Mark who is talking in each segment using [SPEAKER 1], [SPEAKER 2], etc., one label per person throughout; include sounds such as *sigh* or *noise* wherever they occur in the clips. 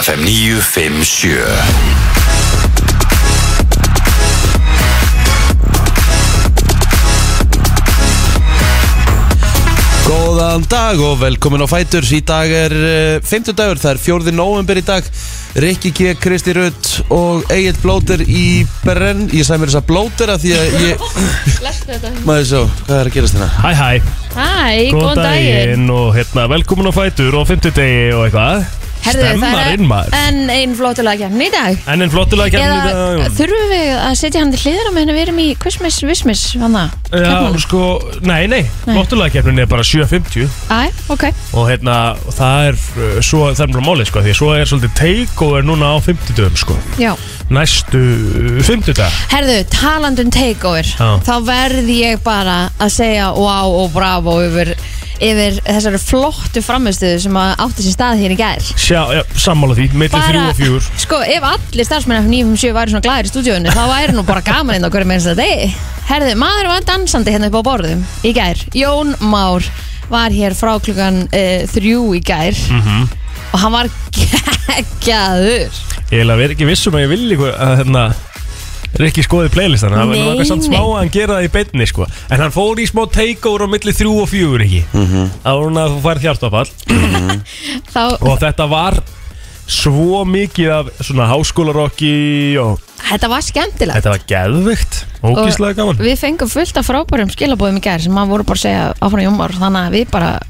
[SPEAKER 1] FM 957
[SPEAKER 2] Góðan dag og velkomin á Fætur Í dag er uh, 50 dagur, það er 4. november í dag Rikki G, Kristi Rutt og Egil Blóter í Brenn Ég sagði mér þess að Blóter að því að ég
[SPEAKER 3] *laughs* Lestu þetta
[SPEAKER 2] Maður svo, hvað er að gerast hérna?
[SPEAKER 4] Hæ hæ,
[SPEAKER 3] Hæ, góðan daginn
[SPEAKER 4] daginn og hérna velkomin á fætur og fymtudegi og eitthvað
[SPEAKER 3] Herðu, það
[SPEAKER 4] Stemmarinn
[SPEAKER 3] er
[SPEAKER 4] maður
[SPEAKER 3] enn einn flottulega kemni í dag
[SPEAKER 4] Enn en flottulega kemur í dag
[SPEAKER 3] Eða
[SPEAKER 4] Jón.
[SPEAKER 3] þurfum við að setja hann til hliðar á meðan við erum í Christmas Vismas Þannig að
[SPEAKER 4] Já, sko, nei, nei, flottulega kemur er bara 7.50
[SPEAKER 3] Æ, ok
[SPEAKER 4] og hérna, það er uh, svo, það er mjög máli, sko, því svo er svolítið teik og er núna á fymtudegum, sko
[SPEAKER 3] Já
[SPEAKER 4] næstu fymtudag
[SPEAKER 3] Herðu, talandum takeover
[SPEAKER 4] Já.
[SPEAKER 3] Þá verð ég bara að segja wow og bravo yfir, yfir þessari flottu framistuðu sem að átti sér stað hér í gær
[SPEAKER 4] Sjá, já, sammála því, milli þrjú og fjúr
[SPEAKER 3] sko, ef allir starfsmenn F957 væri svona glæðir í stúdíunni þá væri nú bara gaman inn á hverju minnst að degi Herðu, maður var dansandi hérna upp á borðum í gær, Jón Már var hér frá klukkan uh, þrjú í gær
[SPEAKER 4] Mhm.
[SPEAKER 3] og hann var geggjaður
[SPEAKER 4] Ég hef verið ekki vissum að ég vilji hvað- að hérna Rikki skoði playlistana, það var nú
[SPEAKER 3] Nei,
[SPEAKER 4] eitthvað samt
[SPEAKER 3] nei.
[SPEAKER 4] smá að hann gera það í beinni sko En hann fór í smá takeover á milli þrjú og fjögur ekki
[SPEAKER 2] Mhm.
[SPEAKER 4] Það var hún að þú færð hjartafall
[SPEAKER 3] þá,
[SPEAKER 4] Og þetta var svo mikið af svona háskólarokki og
[SPEAKER 3] þetta var skemmtilegt
[SPEAKER 4] þetta var geðvikt Ógíslega gaman
[SPEAKER 3] við fengum fullt af frábærum skilabóðum í gær sem maður voru bara að segja áfram Jón Már þannig að við bara,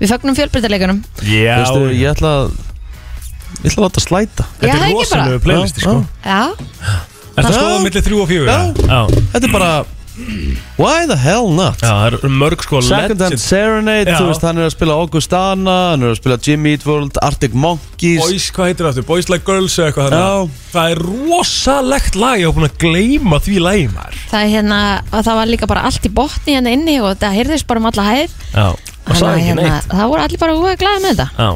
[SPEAKER 3] við fögnum fjölbreytileikunum
[SPEAKER 4] Já,
[SPEAKER 2] Veistu, ég ætla að Ég ætla að láta slæta
[SPEAKER 4] þetta
[SPEAKER 3] Já,
[SPEAKER 4] er
[SPEAKER 3] það ekki bara.
[SPEAKER 4] rosalegu playlisti sko
[SPEAKER 2] Já,
[SPEAKER 3] Já,
[SPEAKER 4] Er það
[SPEAKER 2] Já.
[SPEAKER 4] skoðað milli þrjú og fjögur?
[SPEAKER 2] Já.
[SPEAKER 4] Já,
[SPEAKER 2] Þetta er bara Why the hell not?
[SPEAKER 4] Já, það eru mörg sko
[SPEAKER 2] Second Hand
[SPEAKER 4] legend
[SPEAKER 2] Serenade,
[SPEAKER 4] Já.
[SPEAKER 2] þú veist, hann er að spila Augustana, hann er að spila Jimmy Eat World, Arctic Monkeys
[SPEAKER 4] Boys, hvað heitir það aftur? Boys Like Girls eða eitthvað þannig
[SPEAKER 2] Já.
[SPEAKER 4] Það er rosalegt lag, ég hef búin að gleyma því lagi maður
[SPEAKER 3] það, er hérna, og það var líka bara allt í botni hérna inni og það heyrðist bara um alla hæð
[SPEAKER 4] Já, og
[SPEAKER 3] Þannig
[SPEAKER 4] sagði
[SPEAKER 3] að
[SPEAKER 4] ekki
[SPEAKER 3] hérna,
[SPEAKER 4] neitt
[SPEAKER 3] Það voru allir bara úr að glæða með þetta
[SPEAKER 4] Já,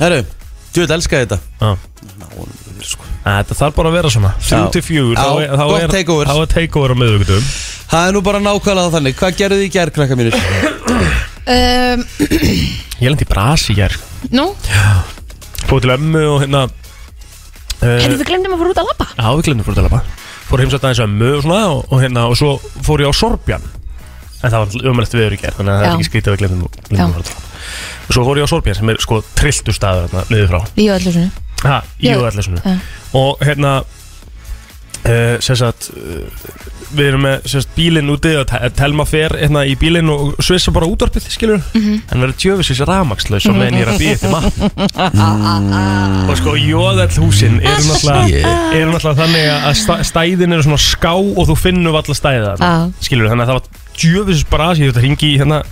[SPEAKER 2] Herru, þú veit, elska ég þetta
[SPEAKER 4] já Að Þetta þarf bara að vera svona
[SPEAKER 2] Já. Já,
[SPEAKER 4] 3-4, þá er- þá
[SPEAKER 2] gott
[SPEAKER 4] er
[SPEAKER 2] takeover.
[SPEAKER 4] þá er takeover á miðvikutum
[SPEAKER 2] Það er nú bara nákvæmlega þannig, hvað gerðu þið í gær, krakka mínir?
[SPEAKER 3] um,
[SPEAKER 4] Ég lendi í brasi hér
[SPEAKER 3] Nú,
[SPEAKER 4] Fóð til ömmu og hérna
[SPEAKER 3] hefðu
[SPEAKER 4] eh,
[SPEAKER 3] við glemdum að fara út að labba
[SPEAKER 4] Já, við glemdum fór til ömmu Fór heimsætt aðeins ömmu og svona og, og hérna, og svo fór ég á Sorbjan En það var umrætt viður í gerð, þannig að það
[SPEAKER 3] Já.
[SPEAKER 4] er ekki skrítið að við glemdum, glemdum
[SPEAKER 3] Já.
[SPEAKER 4] fór til ömmu Og svo fór ég á Sorbjan sem er sko trilltu staður hérna, niður frá
[SPEAKER 3] Í öllu svona
[SPEAKER 4] Ha, í
[SPEAKER 3] Já.
[SPEAKER 4] öðlæsunu
[SPEAKER 3] Já.
[SPEAKER 4] Og hérna uh, sem sagt uh, við erum með sem sagt, bílinn úti og te- Telma fer hérna, í bílinn og svissa bara útvarpið skilur, mm -hmm. en verður tjöfisins ramakslaus og meðan ég er að býja eftir matn og sko jóðall húsin eru náttúrulega, eru náttúrulega þannig að sta- stæðin eru svona ská og þú finnur alla stæða
[SPEAKER 3] Já.
[SPEAKER 4] þarna. skilur þannig að það var djöfisins bara ég þetta hringi í hérna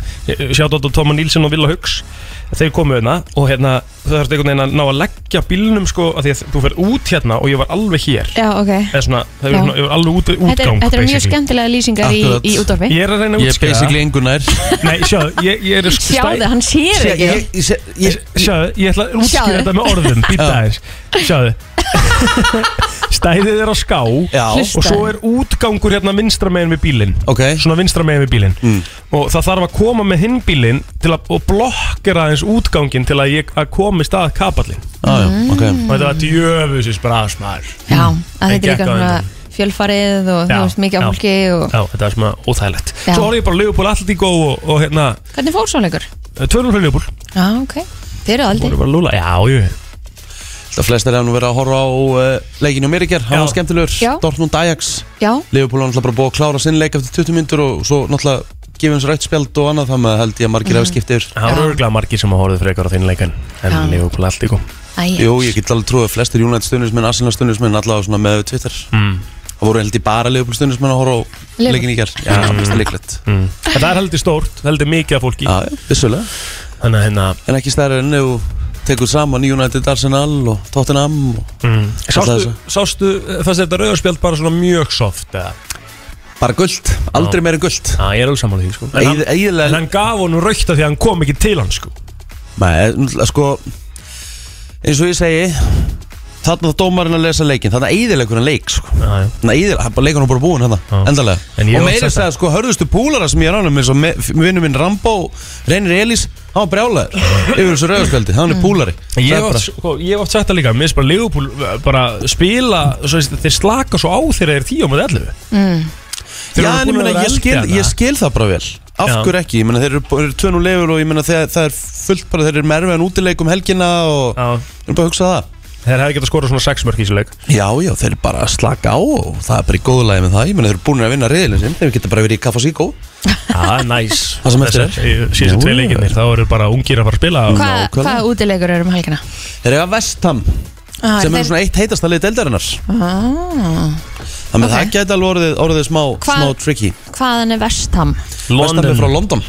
[SPEAKER 4] sjátt á Tóma Nílsson og Villa Hugs þeir komu hérna og hérna þau þarfst einhvern veginn að ná að leggja bílnum sko að því að þú fer út hérna og ég var alveg hér
[SPEAKER 3] Já, ok
[SPEAKER 4] eða svona, það er
[SPEAKER 3] Já.
[SPEAKER 4] svona, ég var alveg út, útgang
[SPEAKER 3] Þetta er, þetta er mjög
[SPEAKER 4] basically.
[SPEAKER 3] skemmtilega lýsingar í,
[SPEAKER 2] Akkurat.
[SPEAKER 3] í útdorfi
[SPEAKER 4] Ég er að reyna að
[SPEAKER 2] Ég er
[SPEAKER 4] útskýra
[SPEAKER 2] basically engu nær
[SPEAKER 4] Nei, sjáðu, ég, ég er
[SPEAKER 3] *laughs*
[SPEAKER 4] sko
[SPEAKER 3] Sjáðu, hann sér
[SPEAKER 2] Ég-
[SPEAKER 3] ekki
[SPEAKER 2] ég- ég- ég-
[SPEAKER 4] Sjáðu, ég ætla að útskýra
[SPEAKER 3] Sjáðu.
[SPEAKER 4] þetta með orðum Býta
[SPEAKER 2] Já.
[SPEAKER 4] aðeins
[SPEAKER 2] *laughs*
[SPEAKER 4] Sjáðu Stæðið er á ská
[SPEAKER 2] Já,
[SPEAKER 3] Hlust-
[SPEAKER 4] Og svo er útgangur hérna vinstra megin við bílinn
[SPEAKER 2] ok
[SPEAKER 4] Svona vinstra megin við bílinn
[SPEAKER 2] Mm.
[SPEAKER 4] Og það þarf að koma með hinn bílinn til að, Og blokkera aðeins útgangin Til að ég að komist að kapallin
[SPEAKER 2] Ah, Já, já, ok
[SPEAKER 4] Og þetta var djöfusins brasmar
[SPEAKER 3] Já, að
[SPEAKER 4] Ég
[SPEAKER 3] þetta er
[SPEAKER 4] gekk á
[SPEAKER 3] líka svona
[SPEAKER 4] undan.
[SPEAKER 3] fjölfarið og þú
[SPEAKER 4] Já,
[SPEAKER 3] veist mikið á
[SPEAKER 4] já.
[SPEAKER 3] fólki og...
[SPEAKER 4] Já, þetta var svona óþægilegt
[SPEAKER 3] Já.
[SPEAKER 4] Svo horfði ég bara á Leopold alltaf í góð og, og hérna
[SPEAKER 3] Hvernig fór svo leikur?
[SPEAKER 4] Tölur fyrir Leopold
[SPEAKER 3] Já, ok Þeir eru aldrei
[SPEAKER 4] Voru bara að lúla Já, jú
[SPEAKER 2] Það flestir hefur nú verið að horfa á uh, leikinu á mér í gerð, hann
[SPEAKER 4] Já.
[SPEAKER 2] var skemmtilegur
[SPEAKER 3] Já.
[SPEAKER 2] Dortmund Ajax,
[SPEAKER 3] Já,
[SPEAKER 2] Liverpool hann bara búið að klára sinn leik eftir 20 myndur og svo náttúrulega gefið hans rætt spjald og annað þannig að held ég að margir hafi skipt yfir
[SPEAKER 4] Það voru örgulega margir sem að horfðu frekar á þinn leikan En
[SPEAKER 3] Já.
[SPEAKER 4] Leopold alltaf í góð
[SPEAKER 3] æja
[SPEAKER 2] Jú, ég get alveg trúið að flestir United stuðnismenn, Arsenal stuðnismenn allavega svona með Twitter
[SPEAKER 4] mm.
[SPEAKER 2] Það voru held ég bara Liverpool stuðnismenn að horfa á
[SPEAKER 3] Liverpool.
[SPEAKER 2] leikinu í gerð Já, það er líklegt
[SPEAKER 4] mm. En Það er heldur stórt, það er heldur mikið af fólki
[SPEAKER 2] Já, já, vissulega
[SPEAKER 4] Þannig að hérna
[SPEAKER 2] En ekki stærri enn ef þú tekur saman United, Arsenal og Tottenham og
[SPEAKER 4] mm.
[SPEAKER 2] Alla
[SPEAKER 4] Sástu,
[SPEAKER 2] þessa.
[SPEAKER 4] sástu eh, fannst þetta rauðarspjald bara svona mjög soft eða?
[SPEAKER 2] bara guld, aldrei meira en guld
[SPEAKER 4] Já, ég er alveg samanlega því sko En hann, en
[SPEAKER 2] Eðilega
[SPEAKER 4] hann gaf honum raukt af því að hann kom ekki til hann sko
[SPEAKER 2] Nei, náttúrulega, sko eins og ég segi Þarna þarf dómarinn að lesa leikinn Þarna eiðilegur hann leik sko.
[SPEAKER 4] Já, já.
[SPEAKER 2] Þarna eiðilegur, leikur hann bara búinn hann
[SPEAKER 4] Já.
[SPEAKER 2] Endalega
[SPEAKER 4] En ég
[SPEAKER 2] Og
[SPEAKER 4] hef
[SPEAKER 2] meira
[SPEAKER 4] sagt
[SPEAKER 2] þess að sko hörðustu púlara sem ég er ánum eins og me- vinur minn Rambó Reynir Elís, hann var brjálæður Yfir þessu rauðarspjaldi, hann er púlari
[SPEAKER 4] En
[SPEAKER 2] Það
[SPEAKER 4] Ég hef
[SPEAKER 2] er
[SPEAKER 4] oft,
[SPEAKER 2] bara-
[SPEAKER 4] sko, ég hef oft sagt það líka Mér finnst bara Liverpool uh, bara spila svo, veist, Þeir slaka svo á þegar þeir tíu á með 11 Þeir
[SPEAKER 2] Já,
[SPEAKER 4] eru
[SPEAKER 2] en ég
[SPEAKER 4] búin að
[SPEAKER 2] meina,
[SPEAKER 4] vera
[SPEAKER 2] ég
[SPEAKER 4] að
[SPEAKER 2] skil,
[SPEAKER 4] eldja
[SPEAKER 2] ég
[SPEAKER 4] það.
[SPEAKER 2] skil það bara vel Af
[SPEAKER 4] Já.
[SPEAKER 2] hverju ekki, ég meina, þeir eru, eru tvönu lefur og ég meina, þeir, það er fullt bara, þeir eru merfiðan útileik um helgina og
[SPEAKER 4] Já,
[SPEAKER 2] þeir eru bara að hugsa það
[SPEAKER 4] Þeir hefði getað skorað svona 6 mörk í þessu leik
[SPEAKER 2] Já, já, þeir eru bara að slaka á og það er bara í góðu lagi með það, ég meina, þeir eru búin að vinna reyðilin sinn, þeir geta bara verið í kaff og síkó
[SPEAKER 4] *laughs* Það
[SPEAKER 2] Ah,
[SPEAKER 4] er næs
[SPEAKER 2] Það sem eftir er.
[SPEAKER 4] Síðan
[SPEAKER 2] Jú,
[SPEAKER 4] tvei
[SPEAKER 2] já.
[SPEAKER 4] leikinnir, þá eru bara ungir að fara að spila og-
[SPEAKER 3] Hva,
[SPEAKER 2] nákvæmlega.
[SPEAKER 3] Hvaða útilegur eru um helgina?
[SPEAKER 2] Þeir eru að vestam,
[SPEAKER 3] Ah,
[SPEAKER 2] sem
[SPEAKER 3] þeir-
[SPEAKER 2] eru svona eitt heitasta lið deildarinnar
[SPEAKER 3] ah,
[SPEAKER 2] Þannig að
[SPEAKER 3] Ok.
[SPEAKER 2] það geta alveg orðið, orðið smá,
[SPEAKER 3] Hvar-
[SPEAKER 2] smá tricky
[SPEAKER 3] Hvaðan er vestam?
[SPEAKER 2] Vestam er frá
[SPEAKER 4] London
[SPEAKER 2] London,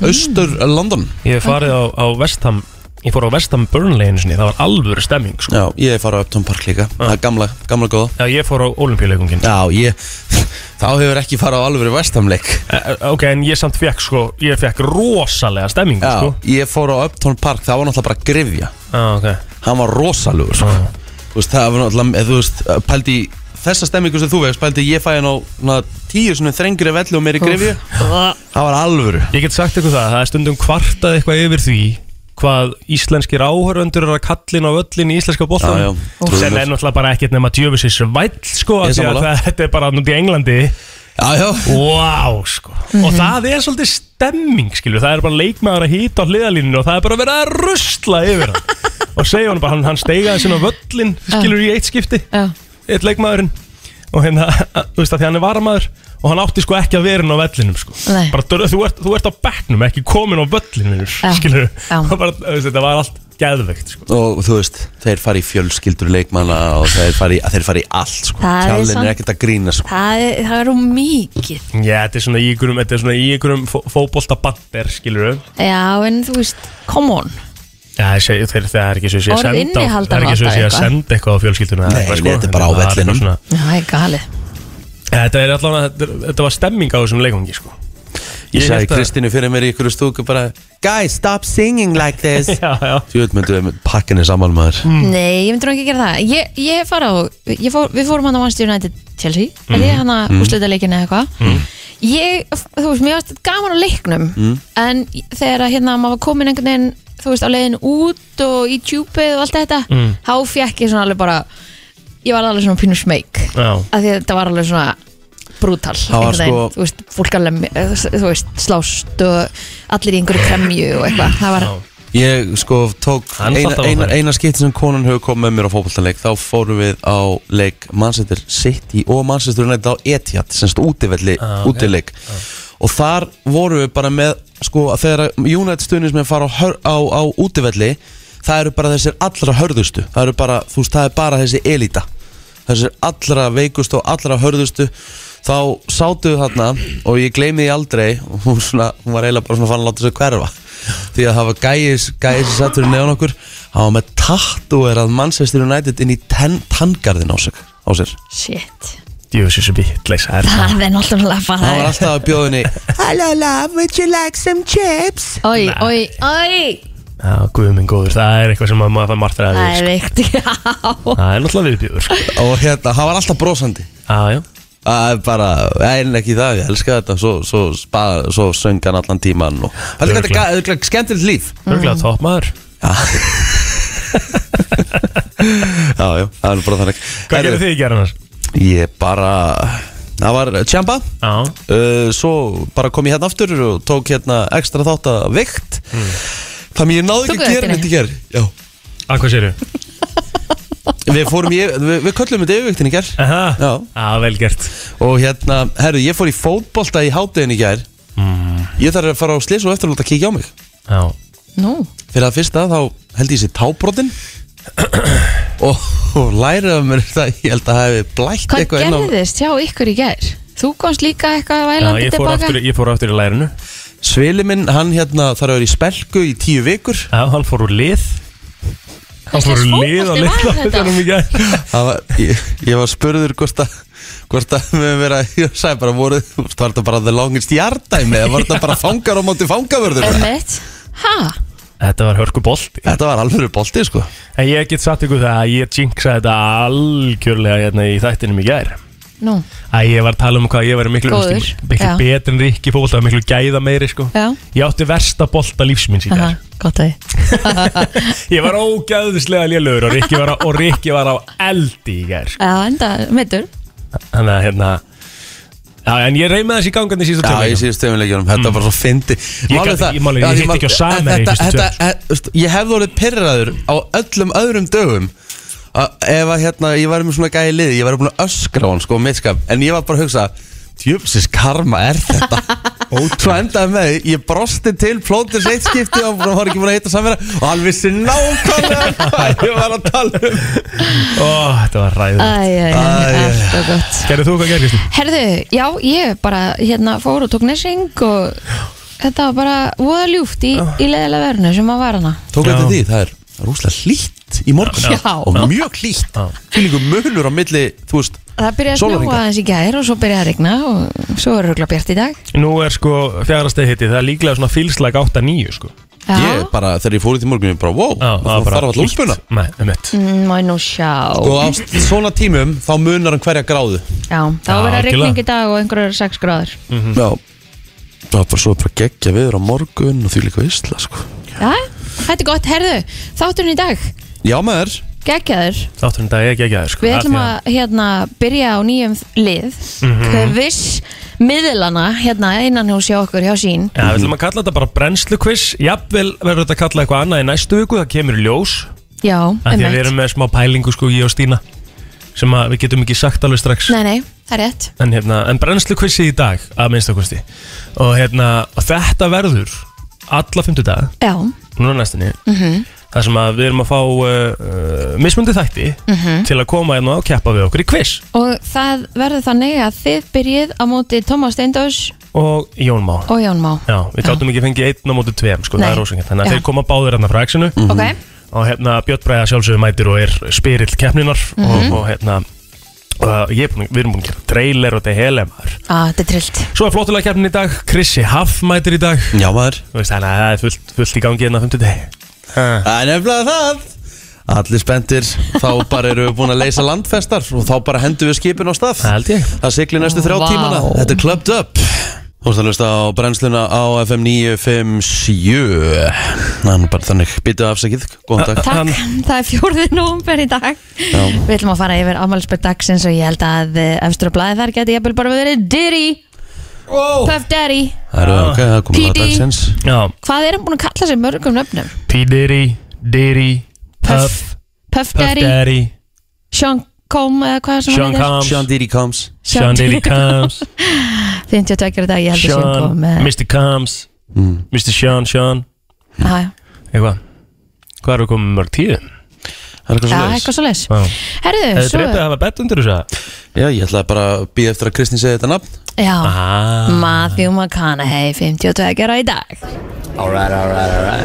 [SPEAKER 3] Mm.
[SPEAKER 2] austur London
[SPEAKER 4] Ég hef farið á, á Vestham Ég fór á Vestham Burnley einu sinni Það var alvöru stemming sko.
[SPEAKER 2] Já, ég er farið á Upton Park líka, það er gamla, gamla góða
[SPEAKER 4] Já, ég fór á olimpíuleikungin
[SPEAKER 2] Já, ég, *laughs* þá hefur ekki farið á alvöru vestamleik
[SPEAKER 4] Eh, Ok, en ég samt fekk sko Ég fekk rosalega stemming
[SPEAKER 2] Já,
[SPEAKER 4] sko.
[SPEAKER 2] ég fór á Upton Park, það var náttúrulega bara grifja
[SPEAKER 4] ah, okay.
[SPEAKER 2] Hann var rosalugur sko. Þú veist, það var náttúrulega, eða þú veist, pældi í þessa stemmingu sem þú veist Pældi ég fæði hann á svona, tíu svona þrengri velli og meiri grifju Það var alvöru
[SPEAKER 4] Ég get sagt ykkur það, það er stundum kvartað eitthvað yfir því hvað íslenskir áhöröndur eru að kallin á öllin í íslenska
[SPEAKER 2] Já, já,
[SPEAKER 4] bóttan
[SPEAKER 2] trúðu
[SPEAKER 4] sem
[SPEAKER 2] mér.
[SPEAKER 4] er náttúrulega bara ekkert nema djöfisins væll sko,
[SPEAKER 2] Ég
[SPEAKER 4] af því að
[SPEAKER 2] sammála.
[SPEAKER 4] það, þetta er bara núti í Englandi
[SPEAKER 2] Já, já,
[SPEAKER 4] wow, sko. og
[SPEAKER 3] Mhm.
[SPEAKER 4] það er svolítið stemming skilju, það er bara leikmaður að hýta á hliðalíninu og það er bara verið að rusla yfir
[SPEAKER 3] *laughs*
[SPEAKER 4] hann og segja hann bara, hann, hann steigaði sinna völlin skilur í eitt skipti
[SPEAKER 3] Já.
[SPEAKER 4] eitt leikmaðurinn og hérna, þú veist að því hann er varamaður og hann átti sko ekki að vera inn á vellinum sko.
[SPEAKER 3] Nei.
[SPEAKER 4] bara, dör- þú ert, þú ert á bekknum, ekki komin á völlinu
[SPEAKER 3] Já.
[SPEAKER 4] skilur
[SPEAKER 3] Já.
[SPEAKER 4] *laughs* bara, þú veist, þetta var allt geðveikt sko.
[SPEAKER 2] og þú veist, þeir fari í fjölskyldur leikmanna og þeir fari, þeir fari í allt sko.
[SPEAKER 3] Það er
[SPEAKER 2] Tjallinn
[SPEAKER 3] samt-
[SPEAKER 2] er ekkert að grína sko.
[SPEAKER 3] Það er, það er um mikið
[SPEAKER 4] já, þetta er svona í ykkurum, þetta er svona í ykkurum fó, fótboltabander, skilur
[SPEAKER 3] Já, en þú veist, come on
[SPEAKER 4] já, ég segi, þeir, það er ekki svo sé að senda
[SPEAKER 3] Orð
[SPEAKER 4] á-
[SPEAKER 3] innihalda
[SPEAKER 4] það er ekki svo
[SPEAKER 3] alltaf
[SPEAKER 4] sé að
[SPEAKER 3] eitthvað.
[SPEAKER 4] senda eitthvað sko. á fjölskylduna
[SPEAKER 2] Nei, nei, þetta er bara á vellinum.
[SPEAKER 3] Það er galið
[SPEAKER 4] þetta er allan að þetta, þetta var stemming á þessum leikungi sko.
[SPEAKER 2] Ég hérna-
[SPEAKER 4] Ég
[SPEAKER 2] sagði
[SPEAKER 4] held að-
[SPEAKER 2] Kristínu fyrir mér í ykkur stúku bara Guys, stop singing like this *laughs*
[SPEAKER 4] já, já,
[SPEAKER 2] Þú veit, myndu pakkinni saman maður
[SPEAKER 3] Nei, ég myndi nú ekki að gera það Ég, ég hef farið á, ég fór, við fórum hann á Manchester United Chelsea mm. Ég hann að mm. úsleita leikinu eða eitthvað Ég, þú veist, mér varst gaman á leiknum En þegar að hérna maður var komin einhvern veginn Þú veist, á leiðin út og í tjúpið og allt þetta Þá fekk ég svona alveg bara Ég var alveg svona pínu smeyk
[SPEAKER 4] já.
[SPEAKER 3] af því að þetta var alveg svona brútal
[SPEAKER 2] Það var sko-
[SPEAKER 3] þú veist, fólk alveg eh, þú veist, slást og allir í einhverju kremju og eitthvað það var,
[SPEAKER 4] Já.
[SPEAKER 2] Ég sko tók
[SPEAKER 4] Hann
[SPEAKER 2] eina,
[SPEAKER 4] þátt að
[SPEAKER 2] eina,
[SPEAKER 4] fara.
[SPEAKER 2] eina skipti sem konan hefur komið með mér á fótboltanleik þá fórum við á leik Manchester City og Manchester United á Etihad semst útivelli,
[SPEAKER 4] Ah,
[SPEAKER 2] ah,
[SPEAKER 4] ok.
[SPEAKER 2] útileik og þar vorum við bara með sko að þegar United stuðnismenn fara á, hör- á, á útivelli það eru bara þessir allra hörðustu það eru bara, þú veist, það er bara þessi elita þessir allra veikustu og allra hörðustu þá sátu við þarna og ég gleymi því aldrei og hún, svona, hún var eiginlega bara svona fann að láta sig hverfa því að það var gæis gæis sem sattur neðan okkur hann var með tattúerað Manchester United inn í ten, tanngarðin á, sig, á sér
[SPEAKER 3] shit
[SPEAKER 4] Djöfisins vittleis, það er það
[SPEAKER 3] það er náttúrulega bara
[SPEAKER 2] hann var alltaf að bjóða henni
[SPEAKER 5] Hello, love. Would you like some chips?
[SPEAKER 3] oi, oi, oi
[SPEAKER 4] Já, guðminn góður, það er eitthvað sem að maður fær margt ræðið
[SPEAKER 3] það er
[SPEAKER 4] sko.
[SPEAKER 3] veikt, já
[SPEAKER 4] Það er náttúrulega viðbjöður sko.
[SPEAKER 2] og hérna, hann var alltaf brosandi
[SPEAKER 4] Já, já
[SPEAKER 2] Það er bara, en ekki það, ég elska þetta Svo, svo, spa, svo söng hann allan tíman og... Það er
[SPEAKER 4] Örugglega.
[SPEAKER 2] eitthvað- eitthvað skemmtilegt líf
[SPEAKER 3] Mm.
[SPEAKER 4] Örgulega topp maður
[SPEAKER 2] Já Já, já, það er nú bara þannig
[SPEAKER 4] Hvað
[SPEAKER 2] Herru,
[SPEAKER 4] gerir þið í gerðan þar?
[SPEAKER 2] Ég bara, það var tjamba
[SPEAKER 4] Já
[SPEAKER 2] uh, Svo bara kom ég hérna aftur og tók hérna ekstra þátt að veikt Þannig ég náði
[SPEAKER 3] Tóku
[SPEAKER 2] ekki að gera
[SPEAKER 3] vigtinni?
[SPEAKER 2] neitt í ger Já
[SPEAKER 4] Að hvað séru?
[SPEAKER 2] Við fórum, í, við, við köllum þetta yfirvöktin í ger
[SPEAKER 4] Aha
[SPEAKER 2] Já.
[SPEAKER 4] Já, vel gert
[SPEAKER 2] Og hérna, herru, ég fór í fótbolta í hátæðin í ger Ég þarf að fara á slis og eftir að kíkja á mig
[SPEAKER 4] Já
[SPEAKER 3] nú,
[SPEAKER 2] Fyrir að fyrsta þá held ég sér tábrotin og, og lærið af mér það ég held að hafi blætt
[SPEAKER 3] hvað
[SPEAKER 2] eitthvað inn á
[SPEAKER 3] gerðist hjá ykkur í gær? þú komst líka eitthvað
[SPEAKER 4] Já,
[SPEAKER 3] vælandi
[SPEAKER 4] ég fór,
[SPEAKER 3] tilbaka
[SPEAKER 4] aftur, ég fór aftur í lærinu
[SPEAKER 2] Svili minn, hann hérna þarf að vera í spelku í tíu vikur
[SPEAKER 4] Já, hann fór úr lið Hann
[SPEAKER 3] Hvers
[SPEAKER 4] fór úr
[SPEAKER 3] slags
[SPEAKER 4] lið
[SPEAKER 3] fótbolti
[SPEAKER 4] og lið
[SPEAKER 3] var þetta?
[SPEAKER 4] í gær
[SPEAKER 2] Það var, ég, ég var spurður hvort að hvort að við höfum verið að ég sagði bara voru, var þetta bara the longest yardæmi eða var þetta bara fangar á móti fangavörður
[SPEAKER 3] Einmitt. ha,
[SPEAKER 4] Þetta var hörku bolti
[SPEAKER 2] Þetta var alveg bolti sko
[SPEAKER 4] En ég get satt ykkur það að ég jinxa þetta algjörlega hérna í þættinum í gær
[SPEAKER 3] Nú,
[SPEAKER 4] Að ég var að tala um hvað ég var miklu,
[SPEAKER 3] Góður,
[SPEAKER 4] veist, miklu
[SPEAKER 3] já.
[SPEAKER 4] betri en Rikki fólta Miklu gæða meiri sko
[SPEAKER 3] já,
[SPEAKER 4] Ég átti versta bolta lífsminns í gær
[SPEAKER 3] aha, gott að þið
[SPEAKER 4] *laughs* Ég var ógæðislega lélögur og Rikki var á, og Rikki var á eldi í gær sko.
[SPEAKER 3] Já, enda, mittur
[SPEAKER 4] Þannig að hérna Já, en ég reymaði þessi gangandi síðan
[SPEAKER 2] Já, ég síðust tveimilegjunum, þetta var svo fyndi
[SPEAKER 4] Mm. Ég gat ekki- málið, ég hitti ekki á Samherja í fyrstu
[SPEAKER 2] Þetta,
[SPEAKER 4] tveimur.
[SPEAKER 2] e- veist, ég hefði orðið pyrraður á öllum öðrum dögum að- ef að hérna, ég var með svona gæði liði ég var búin að öskra á hann sko, mittskap en ég var bara að hugsa, djöfsins karma er
[SPEAKER 4] *laughs*
[SPEAKER 2] þetta Svo endaði með, því, ég brosti til plótis eitt skipti og hann var ekki búin að hitta samverja og hann vissi
[SPEAKER 4] *laughs*
[SPEAKER 2] nákvæmlega hvað ég var að tala um
[SPEAKER 4] Ó, þetta var ræðið
[SPEAKER 3] Æ, æ,
[SPEAKER 2] Æ,
[SPEAKER 3] æ,
[SPEAKER 2] æ.
[SPEAKER 3] allt og gott
[SPEAKER 4] Gerðu þú hvað gerði, Kristi?
[SPEAKER 3] Herðu, já, ég bara hérna fór og tók nesing og þetta var bara voða ljúft í, í leðilega verðinu sem að var hana
[SPEAKER 2] Tók
[SPEAKER 4] Já.
[SPEAKER 2] eftir því, það er rúslega hlýtt í morgun
[SPEAKER 3] Já.
[SPEAKER 2] og mjög hlýtt
[SPEAKER 4] Já.
[SPEAKER 2] Fylgjum munur á milli, þú veist
[SPEAKER 3] Það byrjaði að
[SPEAKER 2] Sólarhringa.
[SPEAKER 3] snjóa aðeins í gær og svo byrjaði að regna og svo er rögla bjart í dag
[SPEAKER 4] Nú er sko fjarastegi hitti, það er líklega svona fylslæg 8-9 sko
[SPEAKER 3] Já,
[SPEAKER 2] Ég bara, þegar ég fór í því morgun, ég bara, wow, það þarf alltaf úlpuna
[SPEAKER 4] Nei, um mitt
[SPEAKER 3] Mm, má ég nú sjá
[SPEAKER 4] Sko.
[SPEAKER 2] Og á svona tímum, þá munar hann hverja gráðu
[SPEAKER 3] Já, þá
[SPEAKER 4] Já,
[SPEAKER 3] verða regning
[SPEAKER 4] algjörlega.
[SPEAKER 3] í dag og einhverjar 6 gráður
[SPEAKER 2] Já Það var bara svo bara geggja viður á morgun og því líka visla, sko
[SPEAKER 3] Já, þetta er gott, herðu, þátturinn í dag
[SPEAKER 2] Já, maður
[SPEAKER 3] geggjaður,
[SPEAKER 4] Þátturinn dag ekki ekki aðeins sko
[SPEAKER 3] við
[SPEAKER 4] Af
[SPEAKER 3] ætlum
[SPEAKER 4] því
[SPEAKER 3] að hérna, byrja á nýjum lið mm
[SPEAKER 4] Mhm.
[SPEAKER 3] miðlana hérna innan hús hjá okkur hjá sín
[SPEAKER 4] Já, við ætlum að kalla þetta bara brennslukviss Jafnvel verður þetta að kalla eitthvað annað í næstu viku Það kemur í ljós
[SPEAKER 3] Já,
[SPEAKER 4] Af Því að við erum með smá pælingu sko, ég og Stína Sem að við getum ekki sagt alveg strax
[SPEAKER 3] Nei, nei, það er rétt
[SPEAKER 4] en, hérna, en brennslukvissi í dag að minnstakosti og hérna, þetta verður alla fymtudag,
[SPEAKER 3] Já,
[SPEAKER 4] núna næstinni
[SPEAKER 3] Mhm.
[SPEAKER 4] þar sem að við erum að fá uh, mismundi þætti
[SPEAKER 3] Mhm.
[SPEAKER 4] til að koma hérna og keppa við okkur í kviss
[SPEAKER 3] og það verður þannig að þið byrjið á móti Tómas Steindós
[SPEAKER 4] og Jón Má
[SPEAKER 3] og Jón Má
[SPEAKER 4] Já, við gátum ekki fengið einn á móti tveim sko,
[SPEAKER 3] Nei.
[SPEAKER 4] það er ósengjant, þannig að
[SPEAKER 3] Já.
[SPEAKER 4] þeir koma báðir hérna frá exinu
[SPEAKER 3] Ok,
[SPEAKER 4] og hérna Björn Bræða sjálfsögur mætir og er spyrill keppninar
[SPEAKER 3] Mhm.
[SPEAKER 4] og, og hérna og ég er búin, við erum búin að gera trailer og þetta er helemar
[SPEAKER 3] að Ah, þetta er trillt
[SPEAKER 4] Svo er flottulega keppnin í dag, Krissi Haff mætir í dag
[SPEAKER 2] Já, maður
[SPEAKER 4] Þú veist, þannig að það er fullt, fullt í gangi hérna á 50 deg
[SPEAKER 2] Það er nefnilega það Allir spendir, þá bara erum við búin að leysa landfestar og þá bara hendum við skipin á stað
[SPEAKER 4] Það held ég
[SPEAKER 2] Það sigli næstu þrjá
[SPEAKER 3] Vá.
[SPEAKER 2] tímana Þetta er clubbed up Þú veist að hlusta á brennsluna á FM 957 Þannig bara þannig, byttu afsakið, góðan
[SPEAKER 3] *laughs*
[SPEAKER 2] dag
[SPEAKER 3] Takk, það er fjórðið nómber í dag Við ætlum að fara yfir afmælisbyrð dagsins og ég held að eh, efstur á blæði þar geti ég bara verið Diddy,
[SPEAKER 4] wow.
[SPEAKER 3] Puff Daddy
[SPEAKER 2] Það eru ok, það er komið að
[SPEAKER 3] PD.
[SPEAKER 2] dagsins
[SPEAKER 4] Já,
[SPEAKER 3] Hvað er hann búin að kalla sér mörgum nöfnum?
[SPEAKER 4] P. Diddy, Diddy, Puff,
[SPEAKER 3] Puff, Puff
[SPEAKER 4] Puff
[SPEAKER 3] Daddy,
[SPEAKER 4] Daddy,
[SPEAKER 3] Sean Com eða hvað sem
[SPEAKER 4] Sean
[SPEAKER 3] hann heitir
[SPEAKER 4] Combs,
[SPEAKER 2] Sean Diddy comes
[SPEAKER 4] Sean
[SPEAKER 3] *laughs*
[SPEAKER 4] Diddy Combs,
[SPEAKER 3] 52 ára í dag, ég held að Sean
[SPEAKER 4] Sean,
[SPEAKER 3] Com eh,
[SPEAKER 4] Mr. Combs, Mr. Sean, Sean,
[SPEAKER 3] já, já.
[SPEAKER 4] eitthvað Hvað eru komið mörg
[SPEAKER 2] Það
[SPEAKER 4] tíu?
[SPEAKER 2] er eitthvað
[SPEAKER 3] Já,
[SPEAKER 2] svo
[SPEAKER 3] eitthvað svo les
[SPEAKER 4] Já.
[SPEAKER 3] Herðu,
[SPEAKER 4] Hefur
[SPEAKER 3] svo
[SPEAKER 4] dreipið að hafa bett undir þessu að?
[SPEAKER 2] Já, ég ætlaði bara að býja eftir að Kristín segi þetta nafn
[SPEAKER 3] Já,
[SPEAKER 4] Ah,
[SPEAKER 3] Matthew McConaughey, 52 ára í dag